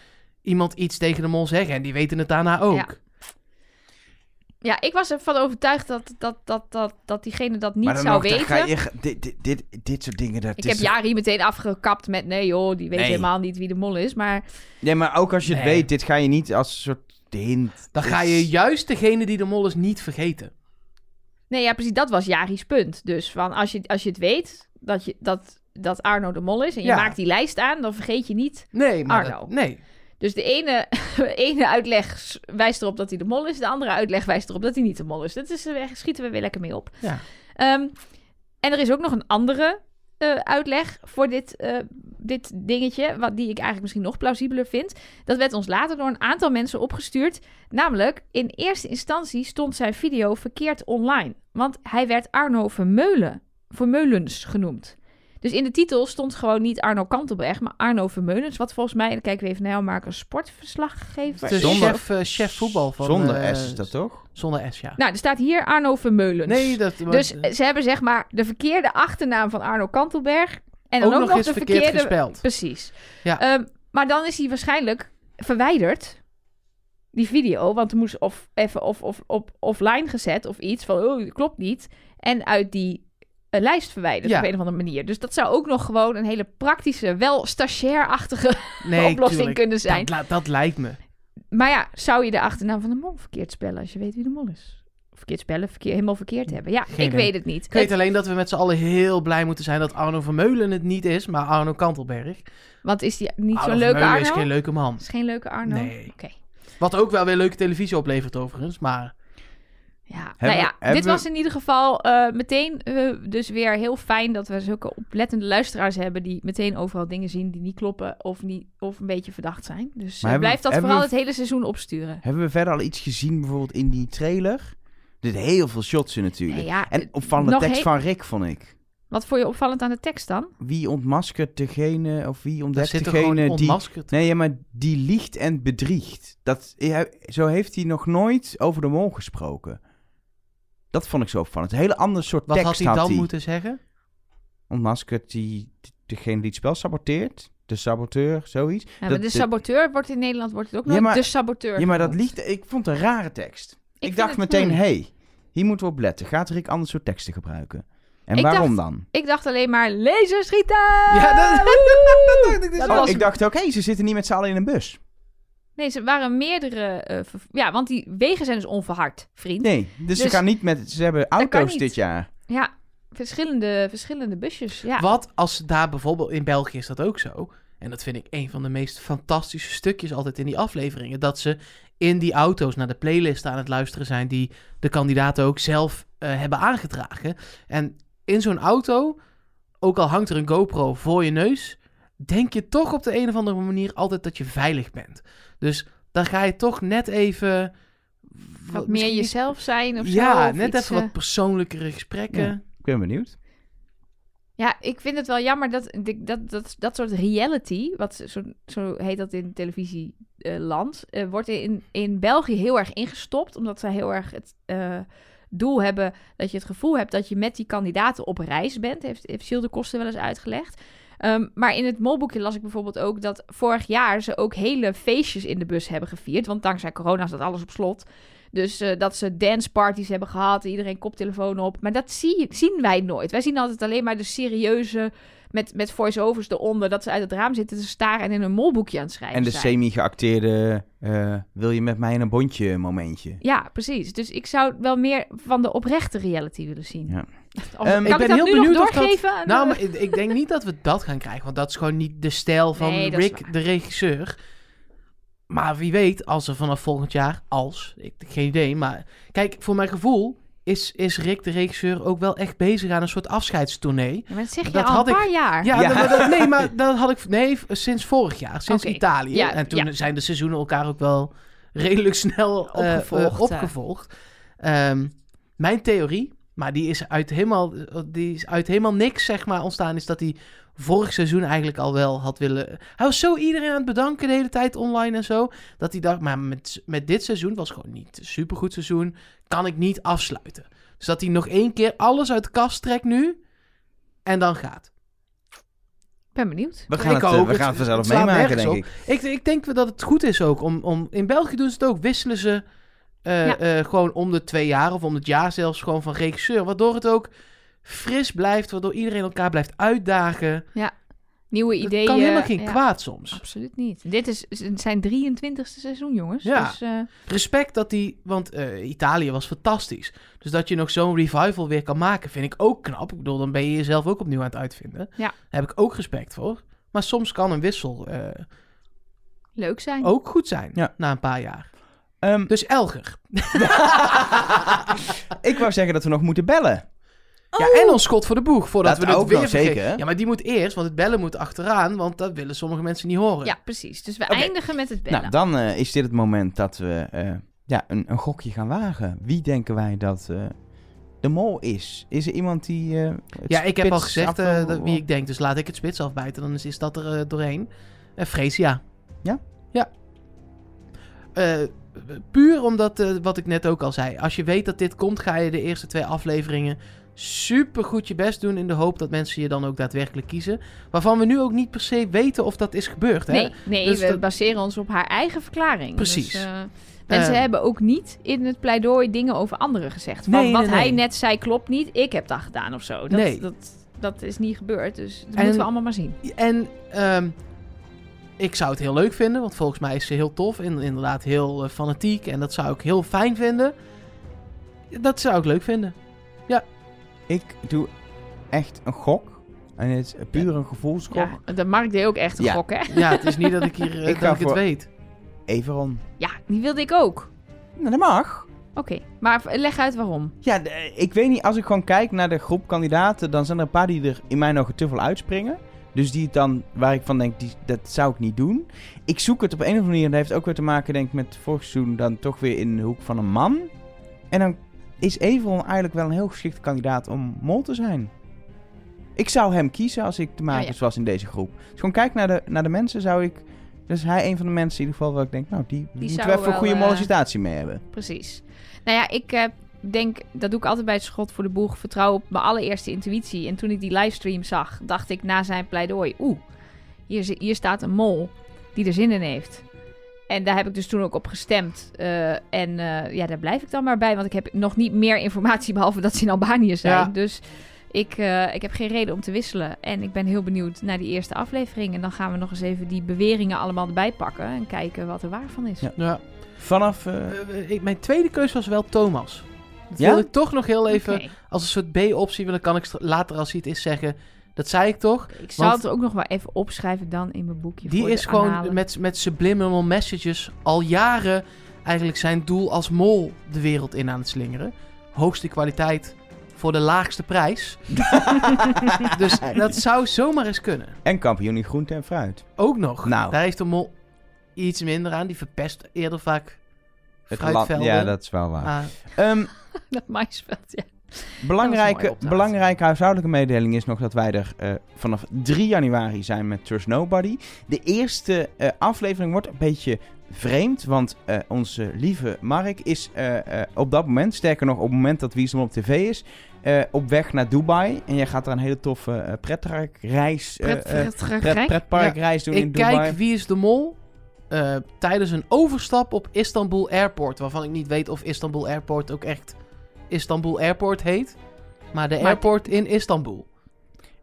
S1: iemand iets tegen de mol zeggen en die weten het daarna ook.
S2: Ja. Ja, ik was ervan overtuigd dat, dat, dat, dat, dat diegene dat niet
S3: maar dan
S2: zou
S3: nog, dan
S2: weten.
S3: ga je ge- dit, dit, dit, dit soort dingen, dat
S2: Ik
S3: is...
S2: heb Jari meteen afgekapt met nee joh, die weet
S3: Nee.
S2: helemaal niet wie de mol is. Maar
S3: Nee, maar ook als je het
S1: Nee.
S3: weet, dit ga je niet als soort hint.
S1: Dan
S3: Dit
S1: ga
S3: is-
S1: je juist degene die de mol is niet vergeten.
S2: nee, ja precies, dat was Jari's punt. Dus van als je, als je het weet dat, je, dat, dat Arno de mol is en je
S1: Ja.
S2: maakt die lijst aan, dan vergeet je niet.
S1: Nee, maar
S2: Arno.
S1: dat- nee.
S2: Dus de ene, ene uitleg s- wijst erop dat hij de mol is, de andere uitleg wijst erop dat hij niet de mol is. Dat is, daar schieten we weer lekker mee op.
S1: Ja.
S2: Ehm, en er is ook nog een andere eh, uitleg voor dit, eh, dit dingetje, wat, die ik eigenlijk misschien nog plausibeler vind. Dat werd ons later door een aantal mensen opgestuurd. Namelijk, in eerste instantie stond zijn video verkeerd online. Want hij werd Arno Vermeulen, Vermeulens genoemd. Dus in de titel stond gewoon niet Arno Kantelberg, maar Arno Vermeulens. Wat volgens mij, en dan kijken we even naar jou, Mark, een sportverslaggever.
S1: De
S2: is.
S3: Zonder-
S1: chef, eh, chef voetbal van...
S3: Zonder
S1: eh,
S3: S is dat toch?
S1: Zonder S, ja.
S2: Nou, er staat hier Arno Vermeulens.
S1: nee, dat... maar-
S2: Dus eh, ze hebben zeg maar de verkeerde achternaam van Arno Kantelberg. En dan
S1: ook
S2: ook,
S1: nog eens
S2: de
S1: verkeerd
S2: verkeerde...
S1: gespeld.
S2: Precies.
S1: Ja.
S2: Ehm, maar dan is hij waarschijnlijk verwijderd. Die video, want er moest of even of, of, op offline gezet of iets van, oh, dat klopt niet. En uit die eh, lijst verwijderd
S1: Ja.
S2: op een of andere manier. Dus dat zou ook nog gewoon een hele praktische, wel stagiair-achtige
S1: nee,
S2: oplossing
S1: tuurlijk.
S2: kunnen zijn.
S1: Dat, la- dat lijkt me.
S2: Maar ja, zou je de achternaam van de mol verkeerd spellen als je weet wie de mol is? Verkeerd spellen, verkeer, helemaal verkeerd hebben. Ja,
S1: Geen
S2: ik
S1: idee.
S2: weet het niet.
S1: Ik weet alleen dat we met z'n allen heel blij moeten zijn dat Arno Vermeulen het niet is, maar Arno Kantelberg.
S2: Want is die niet
S1: Arno
S2: zo'n leuke
S1: Vermeulen
S2: Arno?
S1: is geen leuke man.
S2: Is geen leuke Arno?
S1: Nee.
S2: Oké.
S1: Wat ook wel weer leuke televisie oplevert overigens, maar...
S2: Ja, nou
S3: Hebben-
S2: ja, dit
S3: hebben-
S2: was in ieder geval eh, meteen eh, dus weer heel fijn dat we zulke oplettende luisteraars hebben die meteen overal dingen zien die niet kloppen of, niet, of een beetje verdacht zijn. Dus
S3: Maar
S2: eh,
S3: hebben we-
S2: blijf dat
S3: hebben
S2: vooral
S3: we-
S2: het hele seizoen opsturen.
S3: Hebben we verder al iets gezien bijvoorbeeld in die trailer? Er zitten heel veel shots in natuurlijk.
S2: Nee, ja, eh,
S3: en opvallende
S2: nog
S3: tekst
S2: he-
S3: van Rick, vond ik.
S2: Wat vond je opvallend aan de tekst dan?
S3: Wie ontmaskert degene, of wie
S1: Er
S3: ontdekt
S1: zit er
S3: degene
S1: gewoon
S3: die...
S1: onmaskerd.
S3: Nee, ja, maar die liegt en bedriegt. Dat, ja, zo heeft hij nog nooit over de mol gesproken. Dat vond ik zo opvallend. Een hele ander soort
S1: Wat
S3: tekst
S1: had hij dan
S3: hij.
S1: moeten zeggen?
S3: Ontmaskert die, degene die het spel saboteert. De saboteur, zoiets.
S2: Ja, maar
S3: Dat-
S2: de
S3: dat-
S2: saboteur wordt in Nederland wordt het ook
S3: Ja,
S2: nog
S3: maar-
S2: de saboteur.
S3: Ja, maar dat
S2: genoemd.
S3: liegt... Ik vond het een rare tekst. Ik,
S2: vind
S3: dacht
S2: het-
S3: meteen,
S2: hmm.
S3: hé, hey, hier moeten we op letten. Gaat Rick anders soort teksten gebruiken? En
S2: Ik
S3: waarom dan?
S2: Ik dacht alleen maar laser schieten.
S1: Ja, dat-
S2: Woe!
S1: ik dus
S2: Dat
S1: ook.
S3: Oh,
S2: was-
S3: ik dacht ook, hé, ze zitten niet met z'n allen in een bus.
S2: Nee, ze waren meerdere. eh, ver- ja, want die wegen zijn dus onverhard, vriend.
S3: Nee, dus, ze
S2: Dus-
S3: gaan niet met... Ze hebben
S2: kan
S3: auto's
S2: niet.
S3: dit jaar.
S2: Ja, verschillende, verschillende busjes. Ja.
S1: Wat als daar bijvoorbeeld in België is dat ook zo. En dat vind ik een van de meest fantastische stukjes altijd in die afleveringen. Dat ze in die auto's naar de playlisten aan het luisteren zijn die de kandidaten ook zelf eh, hebben aangedragen. En in zo'n auto, ook al hangt er een GoPro voor je neus, denk je toch op de een of andere manier altijd dat je veilig bent. Dus dan ga je toch net even.
S2: Wat meer
S1: misschien iets-
S2: jezelf zijn of zo.
S1: Ja,
S2: of
S1: net
S2: iets,
S1: even
S2: eh,
S1: wat persoonlijkere gesprekken.
S3: Ja. Ik ben benieuwd.
S2: Ja, ik vind het wel jammer dat dat, dat, dat, dat soort reality, wat ze- zo, zo heet dat in televisieland, eh, wordt in, in België heel erg ingestopt. Omdat zij heel erg het eh, doel hebben dat je het gevoel hebt dat je met die kandidaten op reis bent. Heeft, heeft Gilles de Koster wel eens uitgelegd. Ehm, maar in het molboekje las ik bijvoorbeeld ook dat vorig jaar ze ook hele feestjes in de bus hebben gevierd. Want dankzij corona zat alles op slot. Dus eh, dat ze danceparties hebben gehad, iedereen koptelefoon op. Maar dat zie, zien wij nooit. Wij zien altijd alleen maar de serieuze met, met voice-overs eronder, dat ze uit het raam zitten te staren en in een molboekje aan het schrijven
S3: En de
S2: zijn.
S3: semi-geacteerde eh, wil je met mij in een bondje momentje.
S2: Ja, precies. Dus ik zou wel meer van de oprechte reality willen zien.
S3: Ja.
S2: Of,
S3: Ehm,
S2: kan
S3: ik
S2: ik,
S1: ben
S2: dat
S1: heel
S2: nu nog
S1: benieuwd of dat-
S2: doorgeven? aan
S1: Nou,
S2: de-
S1: maar ik, ik denk niet dat we dat gaan krijgen. Want dat is gewoon niet de stijl van
S2: Nee, dat is
S1: Rick,
S2: waar.
S1: de regisseur. Maar wie weet, als er vanaf volgend jaar, als, ik, geen idee. Maar kijk, voor mijn gevoel is, is Rick, de regisseur, ook wel echt bezig aan een soort afscheidstournee.
S2: Ja, maar dat zeg je
S1: dat
S2: al
S1: had ik-
S2: een paar jaar.
S1: Ja,
S3: Ja.
S1: Maar dat, nee, maar dat had ik nee, sinds vorig jaar, sinds
S2: Oké.
S1: Italië.
S2: Ja,
S1: en toen
S2: ja.
S1: zijn de seizoenen elkaar ook wel redelijk snel eh, eh,
S2: Opgevolgd, eh.
S1: opgevolgd. Ehm, mijn theorie, maar die is, uit helemaal, die is uit helemaal niks zeg maar, ontstaan, is dat hij vorig seizoen eigenlijk al wel had willen... Hij was zo iedereen aan het bedanken de hele tijd online en zo, dat hij dacht, maar met, met dit seizoen was gewoon niet een supergoed seizoen, kan ik niet afsluiten. Dus dat hij nog één keer alles uit de kast trekt nu en dan gaat.
S2: Ik ben benieuwd.
S3: We
S1: Ik
S3: gaan, het, eh,
S1: ook.
S3: we
S1: Het-
S3: gaan het vanzelf
S1: het slaat
S3: meemaken,
S1: nergens
S3: denk
S1: op.
S3: ik.
S1: Ik, ik denk dat het goed is ook om, om. In België doen ze het ook. Wisselen ze eh,
S2: Ja.
S1: eh, gewoon om de twee jaar of om het jaar zelfs gewoon van regisseur. Waardoor het ook fris blijft. Waardoor iedereen elkaar blijft uitdagen.
S2: Nieuwe
S1: Het
S2: ideeën.
S1: kan helemaal geen
S2: ja,
S1: kwaad soms.
S2: Absoluut niet. Dit is, het zijn 23e seizoen, jongens.
S1: Ja.
S2: Dus, eh,
S1: Respect dat die. Want eh, Italië was fantastisch. Dus dat je nog zo'n revival weer kan maken, vind ik ook knap. Ik bedoel, dan ben je jezelf ook opnieuw aan het uitvinden.
S2: Ja.
S1: Daar heb ik ook respect voor. Maar soms kan een wissel eh,
S2: leuk zijn.
S1: ook goed zijn
S3: Ja.
S1: na een paar jaar.
S3: Ehm,
S1: Dus Elger.
S3: ik wou zeggen dat we nog moeten bellen.
S1: Ja, en ons schot voor de boeg, voordat
S3: Dat
S1: we dit
S3: ook
S1: weer
S3: nog
S1: vergeten.
S3: zeker, hè?
S1: Oh. Ja, maar die moet eerst, want het bellen moet achteraan, want dat willen sommige mensen niet horen.
S2: Ja, precies. Dus we
S3: Oké.
S2: eindigen met het bellen.
S3: Nou, dan eh, is dit het moment dat we eh, ja, een, een gokje gaan wagen. Wie denken wij dat eh, de mol is? Is er iemand die... eh, het
S1: Ja, ik heb al
S3: spits
S1: gezegd
S3: af-
S1: eh, dat- wie ik denk, dus laat ik het spits afbijten, dan is, is dat er eh, doorheen. Eh Freesia.
S3: Ja?
S1: Ja. Eh, puur omdat, eh, wat ik net ook al zei, als je weet dat dit komt, ga je de eerste twee afleveringen super goed je best doen in de hoop dat mensen je dan ook daadwerkelijk kiezen. Waarvan we nu ook niet per se weten of dat is gebeurd, hè?
S2: nee, nee
S1: Dus
S2: we
S1: dat-
S2: baseren ons op haar eigen verklaring.
S1: Precies.
S2: Dus, eh, mensen
S1: Eh.
S2: hebben ook niet in het pleidooi dingen over anderen gezegd. Van,
S1: Nee,
S2: wat
S1: nee,
S2: hij
S1: nee.
S2: net zei klopt niet, ik heb dat gedaan of zo. Dat,
S1: Nee.
S2: dat, dat is niet gebeurd, dus dat
S1: En-
S2: moeten we allemaal maar zien.
S1: En ehm, ik zou het heel leuk vinden, want volgens mij is ze heel tof en inderdaad heel eh, fanatiek. En dat zou ik heel fijn vinden. Dat zou ik leuk vinden.
S3: Ik doe echt een gok. En het is puur een gevoelsgok.
S2: Ja, de Mark deed ook echt een
S3: Ja.
S2: gok, hè?
S1: Ja, het is niet dat ik hier eh,
S3: Ik
S1: dat
S3: ga
S1: ik het
S3: voor-
S1: weet.
S3: Everon.
S2: Ja, die wilde ik ook.
S3: Nou, dat mag.
S2: Oké, maar v- leg uit waarom.
S3: Ja, de- ik weet niet. Als ik gewoon kijk naar de groep kandidaten, dan zijn er een paar die er in mijn ogen te veel uitspringen. Dus die het dan, waar ik van denk, die, dat zou ik niet doen. Ik zoek het op een of andere manier. En dat heeft ook weer te maken, denk ik, met vorig seizoen dan toch weer in de hoek van een man. En dan is Everon eigenlijk wel een heel geschikte kandidaat om mol te zijn. Ik zou hem kiezen als ik de makers
S2: Oh ja.
S3: was in deze groep. Dus gewoon kijk naar de, naar de mensen, zou ik... Dus hij een van de mensen in ieder geval waar ik denk, nou, die, moeten
S2: zou
S3: we even een
S2: wel,
S3: goede
S2: eh,
S3: mollicitatie mee hebben.
S2: Precies. Nou ja, ik eh, denk, dat doe ik altijd bij het schot voor de boeg, vertrouw op mijn allereerste intuïtie. En toen ik die livestream zag, dacht ik na zijn pleidooi, oeh, hier, zi- hier staat een mol die er zin in heeft. En daar heb ik dus toen ook op gestemd. Eh, en eh, ja, daar blijf ik dan maar bij, want ik heb nog niet meer informatie behalve dat ze in Albanië zijn.
S1: Ja.
S2: Dus ik, eh, ik heb geen reden om te wisselen. En ik ben heel benieuwd naar die eerste aflevering. En dan gaan we nog eens even die beweringen allemaal erbij pakken en kijken wat er waar van is.
S3: Ja.
S1: Ja.
S3: Vanaf... eh,
S1: Eh, ik- mijn tweede keus was wel Thomas. Dat
S3: Ja?
S1: wil ik toch nog heel even
S2: Oké.
S1: als een soort B-optie willen. Kan ik stra- later als hij het is zeggen. Dat zei ik toch.
S2: Ik zou
S1: Want-
S2: het ook nog wel even opschrijven dan in mijn boekje.
S1: Die
S2: voor de
S1: is gewoon
S2: aanhalen.
S1: met, met subliminal messages al jaren eigenlijk zijn doel als mol de wereld in aan het slingeren. Hoogste kwaliteit voor de laagste prijs. dus dat zou zomaar eens kunnen.
S3: En kampioen in groente en fruit.
S1: Ook nog.
S3: Nou.
S1: Daar heeft de mol iets minder aan. Die verpest eerder vaak fruitvelden.
S3: Ja, dat is wel waar.
S1: Ah,
S3: Ehm,
S2: dat maïsveld, ja.
S1: Eh,
S3: belangrijke,
S2: opdracht.
S3: belangrijke huishoudelijke mededeling is nog dat wij er eh, vanaf 3 januari zijn met Trust Nobody. De eerste eh, aflevering wordt een beetje vreemd, want eh, onze lieve Mark is eh, eh, op dat moment, sterker nog op het moment dat Wie is de Mol op tv is, eh, op weg naar Dubai. En jij gaat daar een hele toffe eh pretparkreis, eh,
S2: Pret-
S3: eh,
S2: pret-
S3: pret,
S2: pret-
S3: pretparkreis doen in
S1: ik
S3: Dubai.
S1: kijk wie is de mol eh, tijdens een overstap op Istanbul Airport. Waarvan ik niet weet of Istanbul Airport ook echt Istanbul Airport heet. Maar de
S2: Maar-
S1: airport in Istanbul.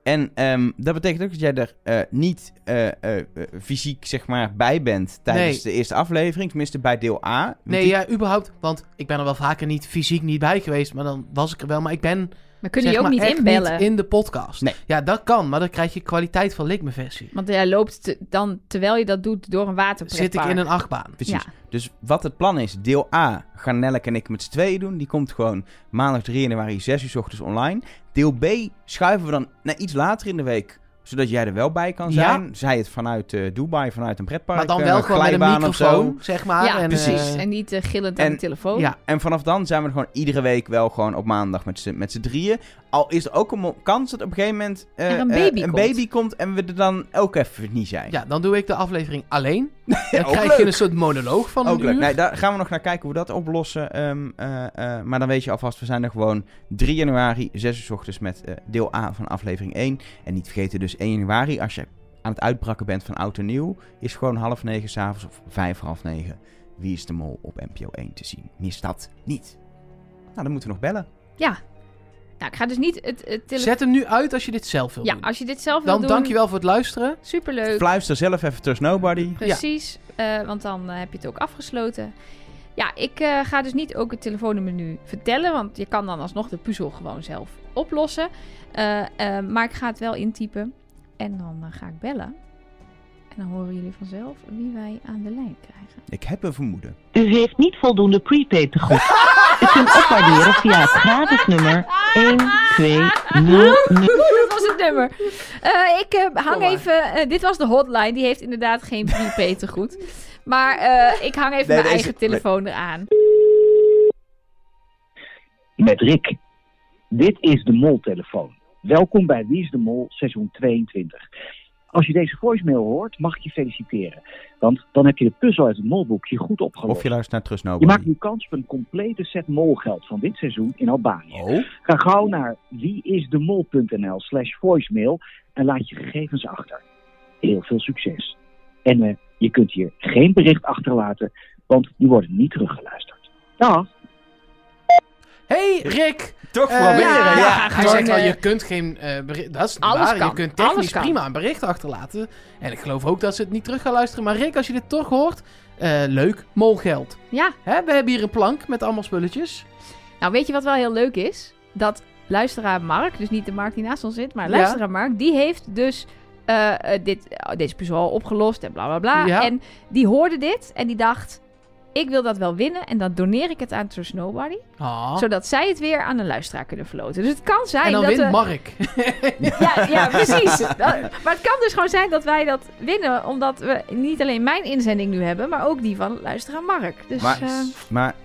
S3: En ehm, dat betekent ook dat jij er eh, niet eh, eh, eh, fysiek zeg maar, bij bent tijdens de eerste aflevering. Tenminste bij deel A. Want
S1: Nee,
S3: die-
S1: ja, überhaupt. Want ik ben er wel vaker niet fysiek niet bij geweest. Maar dan was ik er wel. Maar ik ben
S2: Maar kunnen
S1: zeg
S2: jullie ook
S1: maar,
S2: niet
S1: echt
S2: inbellen?
S1: in de podcast.
S3: Nee.
S1: Ja, dat kan. Maar dan krijg je kwaliteit van Likme-versie.
S2: Want jij loopt te- dan, terwijl je dat doet, door een waterpretpark.
S1: Zit ik in een achtbaan.
S3: Precies.
S2: Ja.
S3: Dus wat het plan is, deel A gaan Nelleke en ik met z'n tweeën doen. Die komt gewoon maandag 3 januari 6 uur 's ochtends online. Deel B schuiven we dan naar iets later in de week, zodat jij er wel bij kan
S1: Ja.
S3: zijn. Zij het vanuit eh, Dubai, vanuit een pretpark.
S1: Maar dan
S3: eh,
S1: wel gewoon met een
S3: glijbaan of zo.
S1: microfoon, zeg maar.
S2: Ja,
S1: en,
S3: precies.
S1: eh,
S2: En niet eh, gillend aan
S3: En-
S2: de telefoon.
S1: ja.
S3: En vanaf dan zijn we er gewoon iedere week wel gewoon op maandag met z'n- met z'n drieën. Al is er ook een mo- kans dat op een gegeven moment eh,
S2: Er een
S3: eh,
S2: baby
S3: een
S2: komt.
S3: baby komt en we er dan ook even niet zijn.
S1: ja, dan doe ik de aflevering alleen. Dan
S3: ook
S1: krijg je
S3: leuk.
S1: een soort monoloog van
S3: Ook
S1: een
S3: leuk.
S1: uur.
S3: Nee, daar gaan we nog naar kijken hoe we dat oplossen. Ehm, eh, eh, maar dan weet je alvast, we zijn er gewoon 3 januari, 6 uur 's ochtends met eh, deel A van aflevering 1. En niet vergeten dus 1 januari, als je aan het uitbrakken bent van oud en nieuw, is gewoon half negen s'avonds of vijf, half negen. Wie is de mol op NPO 1 te zien? Mis dat niet. Nou, dan moeten we nog bellen.
S2: Nou, ik ga dus niet het, het telefoon...
S1: Zet hem nu uit als je dit zelf wil
S2: Ja,
S1: doen.
S2: als je dit zelf wil
S1: Dan
S2: doen,
S1: dankjewel voor het luisteren.
S2: superleuk.
S3: Fluister zelf even Trust Nobody.
S2: Precies, eh, want dan eh, heb je het ook afgesloten. Ja, ik eh, ga dus niet ook het telefoonnummer nu vertellen, want je kan dan alsnog de puzzel gewoon zelf oplossen. Eh, eh, maar ik ga het wel intypen en dan eh, ga ik bellen. En dan horen jullie vanzelf wie wij aan de lijn krijgen.
S3: Ik heb een vermoeden.
S6: U heeft niet voldoende prepaid te goed. U kunt opwaarderen via het gratis nummer 1200.
S2: Dat was het nummer. Eh, ik eh,
S3: Oh,
S2: hang even. eh, dit was de hotline. Die heeft inderdaad geen prepaid te goed. Maar eh, ik hang even
S3: Nee,
S2: mijn
S3: deze-
S2: eigen telefoon eraan.
S7: met Rick. Dit is de Mol-telefoon. Welkom bij Wie is de Mol, seizoen 22. Als je deze voicemail hoort, mag ik je feliciteren. Want dan heb je de puzzel uit het Molboekje goed opgelost.
S3: Of je luistert naar Trust
S7: Je maakt
S3: Nobody.
S7: nu kans op een complete set molgeld van dit seizoen in Albanië.
S3: Oh,
S7: Ga gauw naar wieisdemol.nl slash voicemail en laat je gegevens achter. Heel veel succes. En eh, je kunt hier geen bericht achterlaten, want die worden niet teruggeluisterd. Dag!
S1: Hey Rick!
S3: toch
S1: Eh,
S3: proberen.
S2: ja,
S3: Ja,
S2: ja,
S1: Hij
S2: Gewoon,
S1: zegt wel,
S2: eh,
S1: je kunt geen eh, bericht... Dat is niet
S2: alles
S1: waar.
S2: kan.
S1: Je kunt
S2: Alles
S1: technisch
S2: kan.
S1: prima een bericht achterlaten. En ik geloof ook dat ze het niet terug gaan luisteren. Maar Rick, als je dit toch hoort... eh, leuk, molgeld.
S2: Ja,
S1: Hè, we hebben hier een plank met allemaal spulletjes.
S2: Nou, weet je wat wel heel leuk is? Dat luisteraar Mark, dus niet de Mark die naast ons zit, maar
S1: Ja.
S2: luisteraar Mark, die heeft dus eh, eh, dit, eh, deze puzzel al opgelost en bla bla bla.
S1: Ja.
S2: En die hoorde dit en die dacht, ik wil dat wel winnen en dan doneer ik het aan Trust Nobody.
S1: Ah.
S2: Zodat zij het weer aan een luisteraar kunnen verloten. Dus het kan zijn
S1: en dan
S2: dat...
S1: wint
S2: we-
S1: Mark.
S2: ja, ja, precies. Dat- maar het kan dus gewoon zijn dat wij dat winnen, omdat we niet alleen mijn inzending nu hebben, maar ook die van luisteraar Mark. Dus
S3: Maar,
S2: eh,
S3: maar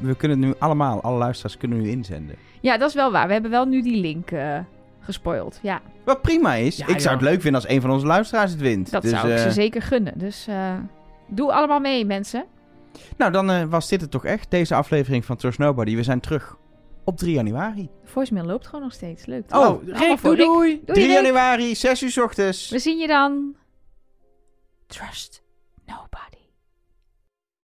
S3: we kunnen het nu allemaal, alle luisteraars kunnen nu inzenden.
S2: ja, dat is wel waar. We hebben wel nu die link eh gespoild, ja.
S3: Wat prima is.
S1: Ja,
S3: ik zou
S1: joh.
S3: het leuk vinden als een van onze luisteraars het wint.
S2: Dat
S3: Dus,
S2: zou ik
S3: eh,
S2: ze zeker gunnen. Dus eh, doe allemaal mee, mensen.
S3: Nou, dan eh, was dit het toch echt, deze aflevering van Trust Nobody. We zijn terug op 3 januari.
S2: De voicemail loopt gewoon nog steeds. Leuk.
S3: Oh,
S1: Rick,
S2: voor
S1: doei
S2: Rick.
S1: doei.
S2: Doei,
S3: 3
S2: Rick.
S3: januari, 6 uur 's ochtends.
S2: We zien je dan. Trust nobody.